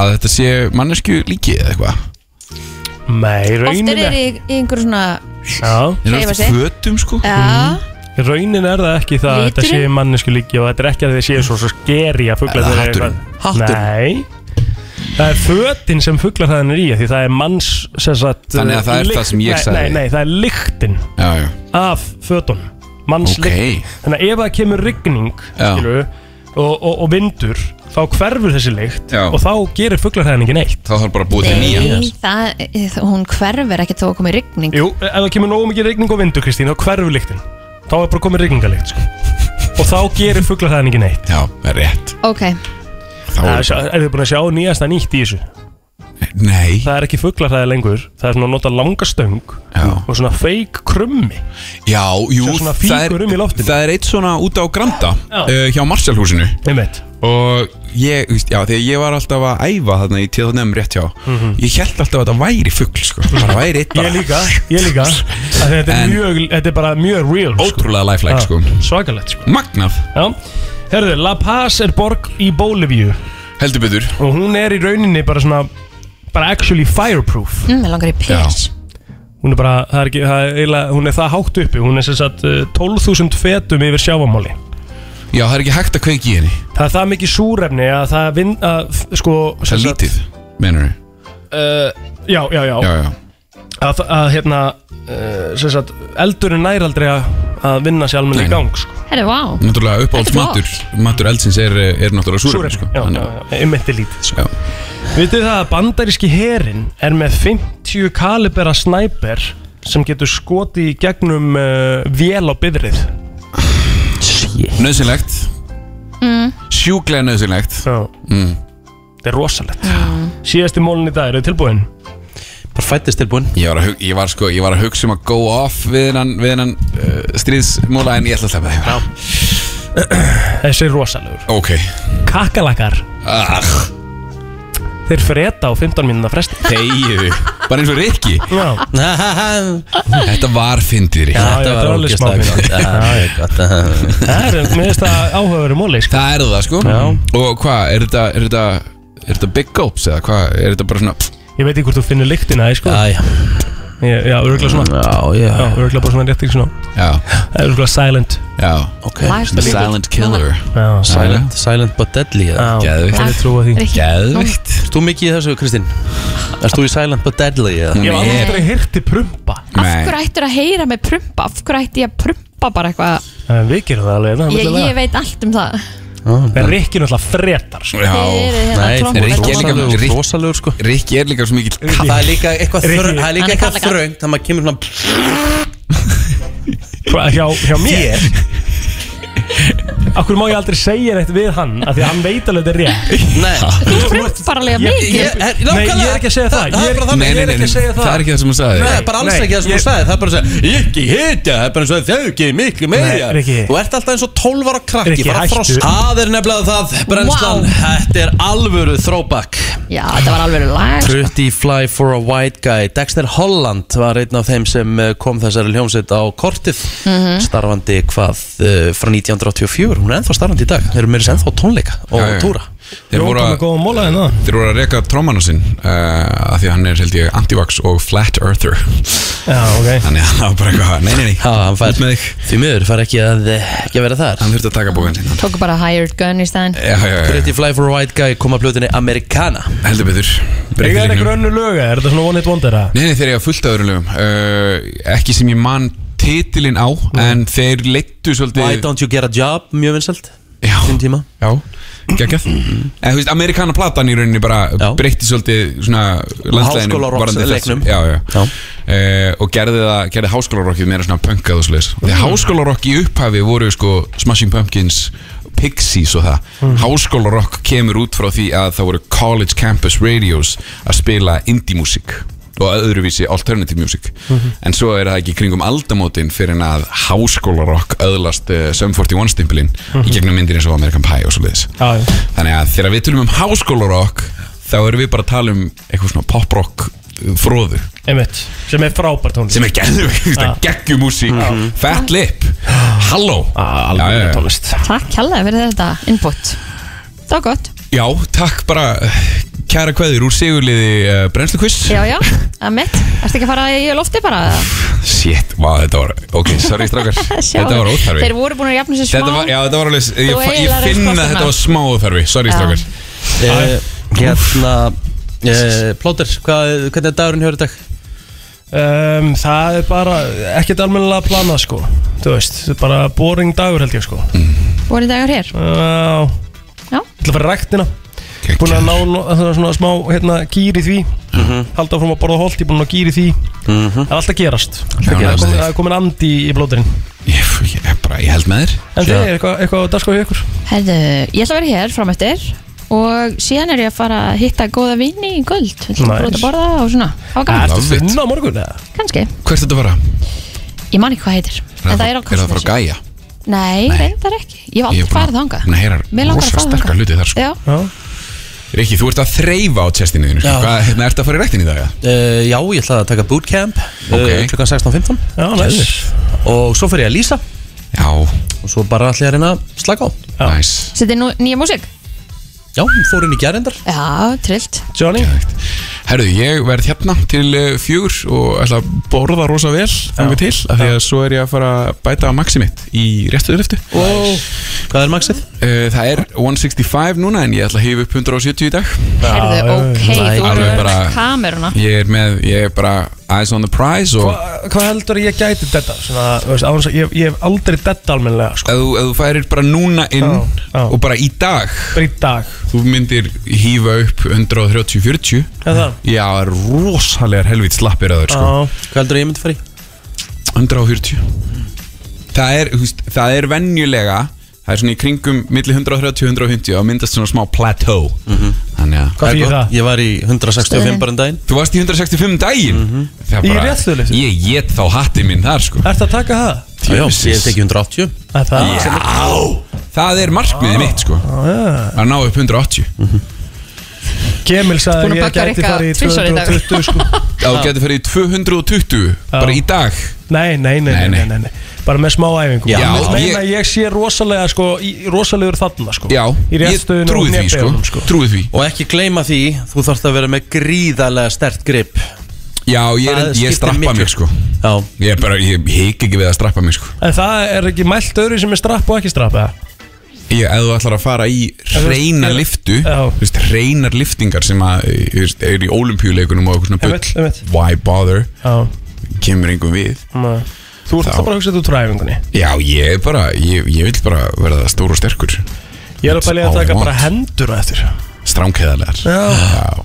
[SPEAKER 7] að þetta sé mannesku líki eða eitthvað?
[SPEAKER 4] Nei,
[SPEAKER 3] Oft er
[SPEAKER 4] raunin
[SPEAKER 3] þeir
[SPEAKER 4] er
[SPEAKER 3] í, í einhver svona
[SPEAKER 4] Já,
[SPEAKER 7] Er
[SPEAKER 3] Hreyfa
[SPEAKER 7] það
[SPEAKER 3] sig.
[SPEAKER 7] fötum sko?
[SPEAKER 3] Já,
[SPEAKER 4] Raunin er það ekki það að þetta
[SPEAKER 3] Liturinn?
[SPEAKER 4] séu mannesku líki og þetta er ekki að þið séu svo, svo skeri að fuglar
[SPEAKER 7] Er það
[SPEAKER 4] þeirra
[SPEAKER 7] hatturinn?
[SPEAKER 4] eitthvað. Nei Það er fötin sem fuglarhæðin er í því það er manns sem sagt,
[SPEAKER 7] Þannig að það er
[SPEAKER 4] lykt-
[SPEAKER 7] það sem ég
[SPEAKER 4] nei,
[SPEAKER 7] sagði.
[SPEAKER 4] Nei, nei, það er lyktin
[SPEAKER 7] Já, já,
[SPEAKER 4] af fötunum Manns
[SPEAKER 7] ok
[SPEAKER 4] lykt Þannig að ef það kemur rigning
[SPEAKER 7] Já.
[SPEAKER 4] skilur, og, og, og vindur þá hverfur þessi lykt
[SPEAKER 7] Já.
[SPEAKER 4] og þá gerir fuglarhæðin ekki neitt
[SPEAKER 7] Þá þarf bara að búa til nýja
[SPEAKER 3] nei, það, hún hverfur ekki þó að koma í rigning
[SPEAKER 4] Jú, ef það kemur nógu mikið rigning og vindur Kristín þá hverfur lyktin þá er bara komið rigningalykt sko. og þá gerir fuglarhæðin ekki neitt
[SPEAKER 7] Já, það er rétt
[SPEAKER 3] Ok,
[SPEAKER 7] Þá
[SPEAKER 4] Það
[SPEAKER 7] er
[SPEAKER 4] er, sjá- er þið búin að sjá nýjasta nýtt í þessu
[SPEAKER 7] Nei,
[SPEAKER 4] Það er ekki fugglarhæði lengur Það er svona að nota langa stöng
[SPEAKER 7] Já.
[SPEAKER 4] Og svona feik krummi
[SPEAKER 7] já, jú
[SPEAKER 4] Sjá svona
[SPEAKER 7] það er,
[SPEAKER 4] fígur um í loftinu.
[SPEAKER 7] það er eitt svona út á Granda
[SPEAKER 4] Já.
[SPEAKER 7] uh, Hjá Marshallhúsinu
[SPEAKER 4] Einmitt
[SPEAKER 7] og ég, þú veist, já, þegar ég var alltaf að æfa þarna í tíðanum rétt hjá ég held alltaf að þetta væri fuggl sko, bara væri eitt
[SPEAKER 4] Ég
[SPEAKER 7] bara
[SPEAKER 4] líka, ég
[SPEAKER 7] *laughs*
[SPEAKER 4] líka Af því Þetta er,
[SPEAKER 7] En-
[SPEAKER 4] mjög, þetta er bara mjög real sko.
[SPEAKER 7] ótrúlega lifelike sko
[SPEAKER 4] Svakalegt sko
[SPEAKER 7] Magnað,
[SPEAKER 4] Já. Herðu, La Paz er borg í Bólivíu
[SPEAKER 7] heldur betur
[SPEAKER 4] Og hún er í rauninni bara svona Bara actually fireproof
[SPEAKER 3] Mm, Mér langar í pils
[SPEAKER 4] Hún er bara, það er ekki, það er eiginlega Hún er það hátt uppi, hún er sem sagt eh, 12.000 fetum yfir sjávamáli
[SPEAKER 7] Já, það er ekki hægt að kveiki í henni
[SPEAKER 4] Það er það mikið súrefni að það vinn að, sko,
[SPEAKER 7] Það
[SPEAKER 4] sem
[SPEAKER 7] er
[SPEAKER 4] sagt-
[SPEAKER 7] lítið, menur við
[SPEAKER 4] Já, já, já,
[SPEAKER 7] Já, já,
[SPEAKER 4] Að, að hérna, uh, sem sagt, eldurinn nær aldrei að að vinna sér almenna í
[SPEAKER 7] Nei.
[SPEAKER 4] gang, sko
[SPEAKER 3] Herri, vá
[SPEAKER 7] náttúrulega uppáhalds
[SPEAKER 3] Þetta er
[SPEAKER 7] matur Matur eldsins er, er náttúrulega súrefni sko.
[SPEAKER 4] já, já,
[SPEAKER 7] Þannig
[SPEAKER 4] já, einmitt er lítið, sko
[SPEAKER 7] Já.
[SPEAKER 4] Vitið það að bandaríski herin er með 50 kalibera snæper sem getur skotið í gegnum uh, vél á byðrið
[SPEAKER 7] að Nauðsynlegt Sjúklega nauðsynlegt
[SPEAKER 4] Já
[SPEAKER 7] Mm.
[SPEAKER 4] Þetta er rosalegt Síðasti mólin í dag, eru þið tilbúin?
[SPEAKER 2] Bara fættist tilbúin
[SPEAKER 7] Ég var, að, hug- ég, var sko, ég var að hugsa um að go off við hennan, við hennan uh, stríðsmúla en ég ætla að sleppa það Já.
[SPEAKER 4] Þessi er rosalegur
[SPEAKER 7] Ok
[SPEAKER 4] Kakalakar,
[SPEAKER 7] ah,
[SPEAKER 4] þeir freda á 15 mínuna
[SPEAKER 7] *laughs*
[SPEAKER 4] fresti
[SPEAKER 7] Þegiðu Bara eins og Rikki
[SPEAKER 4] Já,
[SPEAKER 7] Þetta var fyndið Rikki
[SPEAKER 4] þetta var alveg smá
[SPEAKER 7] *laughs*
[SPEAKER 4] mínútur.
[SPEAKER 2] minn
[SPEAKER 4] það er mér finnst það áhugaveru móli sko.
[SPEAKER 7] Það er það sko Já. Og hvað, er þetta, er þetta Er þetta big gulps eða hvað, er þetta bara svona
[SPEAKER 4] Ég veit ekki hvort þú finnir lyktina því, sko.
[SPEAKER 2] Æja
[SPEAKER 4] Ég- Já, örgulega svona
[SPEAKER 2] *laughs* Já, já,
[SPEAKER 4] Já, örgulega bara svona rétt ekki svona
[SPEAKER 7] Já,
[SPEAKER 4] Örgulega silent
[SPEAKER 7] já
[SPEAKER 2] ok
[SPEAKER 7] Svona Silent killer
[SPEAKER 4] Já,
[SPEAKER 2] Silent, silent but deadly eða?
[SPEAKER 4] Já,
[SPEAKER 7] Geðvikt.
[SPEAKER 4] ég trúa því
[SPEAKER 3] Rikki,
[SPEAKER 7] Geðvikt
[SPEAKER 2] Erst þú mikið í þessu, Kristín? Erst þú í silent but deadly eða?
[SPEAKER 7] Hún
[SPEAKER 4] Ég hef
[SPEAKER 7] er
[SPEAKER 4] aldrei hirti prumpa
[SPEAKER 3] Af
[SPEAKER 7] Nei.
[SPEAKER 3] hverju ættir að heyra með prumpa? Af hverju ætti ég að prumpa bara eitthvað?
[SPEAKER 4] En Við gerum það alveg, það er
[SPEAKER 3] Ég, ég
[SPEAKER 4] mikilvægt
[SPEAKER 3] veit allt um það
[SPEAKER 4] En Rikki náttúrulega fredar sko.
[SPEAKER 3] Þið
[SPEAKER 7] Já
[SPEAKER 3] eru hérna
[SPEAKER 2] Nei,
[SPEAKER 3] trompa-
[SPEAKER 2] þeir eru
[SPEAKER 7] Rikki er líka-
[SPEAKER 2] rosalegur,
[SPEAKER 7] Rikki-
[SPEAKER 2] rosalegur sko
[SPEAKER 7] Rikki er líka svo mikil
[SPEAKER 2] Það er líka eitthvað
[SPEAKER 4] Rikki-
[SPEAKER 2] þröng Það er líka
[SPEAKER 3] Hann er
[SPEAKER 2] eitthvað
[SPEAKER 3] kallakall.
[SPEAKER 2] þröng Það maður kemur svona
[SPEAKER 4] Hva- hjá, hjá mér Akkur má ég aldrei segja neitt við hann af Því að hann veit alveg þetta er rétt
[SPEAKER 2] Nei
[SPEAKER 3] Þú prumpar alveg
[SPEAKER 4] Ég-
[SPEAKER 3] mikið
[SPEAKER 2] Ég- er-
[SPEAKER 4] Nei, ég er
[SPEAKER 2] nákvæmlega.
[SPEAKER 4] ekki að segja það.
[SPEAKER 2] Það er
[SPEAKER 4] Ég er-
[SPEAKER 2] bara þannig, ég er ekki að segja það
[SPEAKER 7] Það er ekki það sem hún sagði
[SPEAKER 2] Nei, bara alls
[SPEAKER 4] Nei,
[SPEAKER 2] ekki það sem
[SPEAKER 4] ég-
[SPEAKER 2] þú sagði Það er bara að segja, ég ekki hitja Það er bara eins og þau ekki miklu meira
[SPEAKER 4] Nei, Rikki.
[SPEAKER 2] Þú ert alltaf eins og 12 ára krakki
[SPEAKER 4] Rikki,
[SPEAKER 2] bara
[SPEAKER 4] hættu.
[SPEAKER 2] frosk. Það er nefnilega það, brennslan
[SPEAKER 3] Vá.
[SPEAKER 2] Þetta er alvöru throwback
[SPEAKER 3] Já, þetta var alveg lag
[SPEAKER 2] Pretty Fly for a White Guy Dexter Holland var einn af þeim sem eh, kom þessari hljómsveit á kortið starfandi hvað uh, frá 1984, hún er ennþá starfandi í dag þeir eru meira sem ennþá á tónleika og
[SPEAKER 7] Já, já, já.
[SPEAKER 2] túra
[SPEAKER 7] Þeir
[SPEAKER 4] Jóka
[SPEAKER 7] voru að
[SPEAKER 4] með hérna. góða móla en það
[SPEAKER 7] Þeir voru að reka trommanu sinn uh, að því að hann er held ég antivax og flat earther
[SPEAKER 4] Já, ok
[SPEAKER 7] Þannig að hann var bara eitthvað, nei nei nei
[SPEAKER 2] Já, hann fær,
[SPEAKER 7] Út með þig
[SPEAKER 2] því miður fær ekki að, eh, ekki að vera þar
[SPEAKER 7] Hann þurfti að taka bókan sinn
[SPEAKER 3] Tóku bara hired gun í staðin
[SPEAKER 7] Já, já, já, já,
[SPEAKER 2] Pretty Fly for a White Guy kom að plötunni Americana
[SPEAKER 7] heldur betur
[SPEAKER 4] Ég
[SPEAKER 7] Breytir
[SPEAKER 4] er
[SPEAKER 7] leiknum.
[SPEAKER 4] eitthvað önnu löga, er þetta svona one hit wonder að
[SPEAKER 7] Nei, nei, þeir eru fullt af öðrum lögum uh, Ekki sem ég man titilinn á En þeir leittu
[SPEAKER 2] Why
[SPEAKER 7] svolítið
[SPEAKER 2] Don't You Get a Job, mjög vinsalt
[SPEAKER 7] Já,
[SPEAKER 2] þinn tíma
[SPEAKER 7] já, geggjað En þú veist, amerikana platan í rauninni bara
[SPEAKER 2] Já.
[SPEAKER 7] breytti svolítið svona landslæðinu
[SPEAKER 2] Háskólarocks
[SPEAKER 7] varðandi þessu.
[SPEAKER 2] leiknum.
[SPEAKER 7] Já, já,
[SPEAKER 2] Já.
[SPEAKER 7] Eh, og gerði það, gerði háskólarokkið meira svona punkað og svoleiðis því að háskólarokk í upphafi voru sko Smashing Pumpkins, Pixies og það háskólarokk kemur út frá því að það voru college campus radios að spila indie music og öðruvísi alternative music en svo er það ekki kringum aldamótin fyrir en að háskólarokk öðlast uh, Sum 41 stimpilinn í gegnum myndir eins og American Pie og svoleiðis
[SPEAKER 4] Já, já.
[SPEAKER 7] þannig að þegar við tölum um háskólarokk þá erum við bara að tala um eitthvað svona poprokk fróðu
[SPEAKER 4] Einmitt, sem er frábært tónlist
[SPEAKER 7] sem er geggjum
[SPEAKER 4] Já.
[SPEAKER 7] geggjumúsík, fat lip halló Já, já,
[SPEAKER 4] Alveg
[SPEAKER 7] já.
[SPEAKER 4] tónlist
[SPEAKER 3] Takk hella fyrir þetta input Það var gott
[SPEAKER 7] já, takk bara eh, kæra kveður úr sigurliði uh, brennslukvist
[SPEAKER 3] Já, já, að mitt Ertu ekki að fara í lofti bara?
[SPEAKER 7] shit, vá, þetta var ok, sorry
[SPEAKER 3] *laughs*
[SPEAKER 7] strákar, þetta var
[SPEAKER 3] Þeir
[SPEAKER 7] óþarfi
[SPEAKER 3] voru búin að jafna sér smá
[SPEAKER 7] þetta var, já, þetta var alveg ég, fa-
[SPEAKER 3] eiginlega
[SPEAKER 7] ég finn
[SPEAKER 3] reynst
[SPEAKER 7] að þetta
[SPEAKER 3] kostirnar.
[SPEAKER 7] var smá óþarfi sorry
[SPEAKER 3] Já.
[SPEAKER 7] strákar
[SPEAKER 2] uh, Hérna uh, Plóter, hvað, hvernig er dagurinn hjá þér í dag?
[SPEAKER 4] um, Það er bara ekkert almennilega að plana sko Þú veist, þetta er bara boring dagur held ég sko Já,
[SPEAKER 3] Voru dagar hér
[SPEAKER 4] ég
[SPEAKER 3] Já,
[SPEAKER 4] ætla að fara í ræktina Búin að ná nó- það er svona smá hérna, gýr í því Halda áfram að borða holt, ég er búin að gýr í því Það er alltaf gerast
[SPEAKER 7] gerast.
[SPEAKER 4] Það er komin andi í blóðurinn
[SPEAKER 7] ég, ég, er bara, ég held með þér
[SPEAKER 4] En þið er eitthvað, eitthvað að daska hjá ykkur
[SPEAKER 3] herðu, ég ætla að vera hér fram eftir Og síðan er ég að fara að hitta góða vini í kvöld Við ætlum
[SPEAKER 4] Nice.
[SPEAKER 3] að brota að borða og svona Það var gaman,
[SPEAKER 4] Ertu
[SPEAKER 7] Love it.
[SPEAKER 4] finna á morgun eða?
[SPEAKER 3] kannski
[SPEAKER 7] hvert er þetta að fara?
[SPEAKER 3] Ég man ekki hvað heitir En það er á
[SPEAKER 7] er það að fara að
[SPEAKER 3] Kristnesi
[SPEAKER 7] gæja?
[SPEAKER 3] Nei,
[SPEAKER 7] Nei.
[SPEAKER 3] reyndar ekki Ég var aldrei
[SPEAKER 7] Ég er búin
[SPEAKER 3] farið þangað
[SPEAKER 7] Nei, hér
[SPEAKER 3] Mig
[SPEAKER 7] er
[SPEAKER 3] langar að
[SPEAKER 7] rosa
[SPEAKER 3] fara
[SPEAKER 7] sterkar
[SPEAKER 3] þangað.
[SPEAKER 7] hluti þar sko.
[SPEAKER 3] Já,
[SPEAKER 7] Rikki, þú ert að þreyfa á tjestinu þínu sko.
[SPEAKER 2] Já.
[SPEAKER 7] Hvað, hérna, ertu að fara í rættin í dag? eða?
[SPEAKER 2] Uh, já, ég ætlaði að taka bootcamp okay.
[SPEAKER 7] Ok.
[SPEAKER 2] uh, klukkan 16.15
[SPEAKER 4] Já, næs
[SPEAKER 2] og svo fer ég að lýsa
[SPEAKER 7] Já,
[SPEAKER 2] og svo bara ætla ég að reyna að slaka á
[SPEAKER 7] næs
[SPEAKER 3] setið nú nýja músík
[SPEAKER 2] Já, fór inn í gerendar
[SPEAKER 3] Já, trillt
[SPEAKER 4] Johnny
[SPEAKER 7] Herðu, ég verð hérna til eh, fjögur og ætla að borða rosa vel þannig til, af því að svo er ég að fara að bæta á maxi mitt í réttu öðruftu
[SPEAKER 2] og hvað er maksið?
[SPEAKER 7] Það er 165 núna en ég ætla að hýfa upp 170 í dag
[SPEAKER 3] Herðu, ok, þú
[SPEAKER 7] Alveg
[SPEAKER 3] erum bara...
[SPEAKER 7] bara-
[SPEAKER 3] kameruna
[SPEAKER 7] Ég er með, ég er bara eyes on the prize og
[SPEAKER 4] Hvað heldur að ég gæti þetta? Svona, þú veist, án þess að ég, ég hef aldrei þetta almennilega sko.
[SPEAKER 7] ef þú, ef þú færir bara núna inn
[SPEAKER 4] Já, já.
[SPEAKER 7] og bara í dag
[SPEAKER 4] Bara í dag
[SPEAKER 7] þú myndir hýfa upp 130-40
[SPEAKER 4] Já, það
[SPEAKER 7] Já, það er rosalegar helvít slappir að þau sko
[SPEAKER 4] Já,
[SPEAKER 2] Hvað heldur ég myndi fara í?
[SPEAKER 7] 140 það er, þú veist, það er venjulega það er svona í kringum milli 130-150 og myndast svona smá plateau
[SPEAKER 2] Mhm.
[SPEAKER 7] þannig að
[SPEAKER 4] Hvað
[SPEAKER 2] er
[SPEAKER 4] fyrir
[SPEAKER 2] gott.
[SPEAKER 4] það?
[SPEAKER 2] Ég var í 165 bara en daginn
[SPEAKER 7] þú varst í 165 um daginn
[SPEAKER 2] Mhm.
[SPEAKER 7] það
[SPEAKER 4] Í réttstöðuleysi.
[SPEAKER 7] ég get þá hatti minn þar sko
[SPEAKER 4] Ertu að taka það?
[SPEAKER 2] Já, já, ég tekið 180
[SPEAKER 4] Er Það
[SPEAKER 7] já það er markmiðið mitt sko
[SPEAKER 2] Ah,
[SPEAKER 7] að ná upp 180
[SPEAKER 2] Mm.
[SPEAKER 4] Kemil
[SPEAKER 3] Búin
[SPEAKER 4] sagði
[SPEAKER 3] að
[SPEAKER 4] að ég
[SPEAKER 3] bagga
[SPEAKER 4] gæti
[SPEAKER 3] Rikka
[SPEAKER 4] farið í
[SPEAKER 3] tvisvar í dag.
[SPEAKER 4] 220
[SPEAKER 3] *laughs*
[SPEAKER 4] sko.
[SPEAKER 7] þá getur fyrir 220 bara í dag
[SPEAKER 4] nei, nei, nei,
[SPEAKER 7] Nei,
[SPEAKER 4] nei,
[SPEAKER 7] nei.
[SPEAKER 4] nei, nei Bara með smá æfingu
[SPEAKER 7] Já,
[SPEAKER 4] Ég meina
[SPEAKER 7] ég-
[SPEAKER 4] að ég sé rosalega sko, í- rosalegu þarna sko.
[SPEAKER 7] já,
[SPEAKER 4] Í
[SPEAKER 7] ég
[SPEAKER 4] réttstöðun og
[SPEAKER 7] trúi því sko,
[SPEAKER 4] nefnum sko.
[SPEAKER 7] trúi því
[SPEAKER 2] Og ekki gleyma því, þú þarfst að vera með gríðarlega stert grip
[SPEAKER 7] já, ég,
[SPEAKER 2] Það
[SPEAKER 7] er- ég
[SPEAKER 2] skiptir
[SPEAKER 7] strappa
[SPEAKER 2] miklu.
[SPEAKER 7] mig sko
[SPEAKER 2] Já,
[SPEAKER 7] ég, er bara, ég hik ekki við að strappa mig sko
[SPEAKER 4] En það er ekki mælt öðru sem er strapp og ekki strapp eða?
[SPEAKER 7] Ég, ef þú ætlar að fara í reynar
[SPEAKER 4] Já.
[SPEAKER 7] liftu
[SPEAKER 4] Já.
[SPEAKER 7] þú veist, reynar liftingar sem að, eh, þú veist, er í olimpíuleikunum og eitthvað svona
[SPEAKER 4] Einmitt, einmitt.
[SPEAKER 7] bull why bother,
[SPEAKER 4] Já
[SPEAKER 7] kemur einhver við
[SPEAKER 4] Nei. Þú ert
[SPEAKER 7] Þá-
[SPEAKER 4] það bara að hugsa þetta út frá æfingunni
[SPEAKER 7] já, ég er bara, ég, ég vil bara verða stór og sterkur
[SPEAKER 4] Ég er að bæli að
[SPEAKER 7] All I
[SPEAKER 4] taka
[SPEAKER 7] want.
[SPEAKER 4] bara hendur á eftir
[SPEAKER 7] stránkheðalegar
[SPEAKER 4] Já.
[SPEAKER 7] já,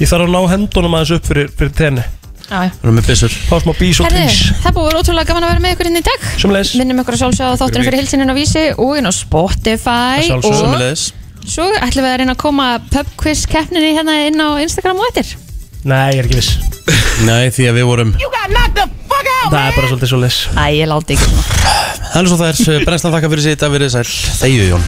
[SPEAKER 4] Ég þarf að ná hendunum aðeins upp fyrir, fyrir tenni
[SPEAKER 3] Já, já.
[SPEAKER 2] erum með byssur
[SPEAKER 4] Fá smá bís og
[SPEAKER 3] Herðu,
[SPEAKER 4] grís
[SPEAKER 3] það búið að vera ótrúlega gaman að vera með ykkur inn í dag
[SPEAKER 4] Sumleis
[SPEAKER 3] Minnum ykkur að sjálfsögða á þáttunum fyrir hilsininn á vísi og inn á Spotify
[SPEAKER 4] Að sjálfsögðu.
[SPEAKER 3] og
[SPEAKER 2] Sömuleiðis
[SPEAKER 3] svo ætlum við að reyna að koma pub quiz keppninni hérna inn á Instagram og eftir
[SPEAKER 4] Nei, ég er ekki viss
[SPEAKER 2] Nei, því að við vorum
[SPEAKER 4] Það er bara svolítið svo les
[SPEAKER 3] Æ, ég láti ekki
[SPEAKER 2] eh, Þannig svo það er, brennslan þakka fyrir sitt að verið sæl Þegið Jón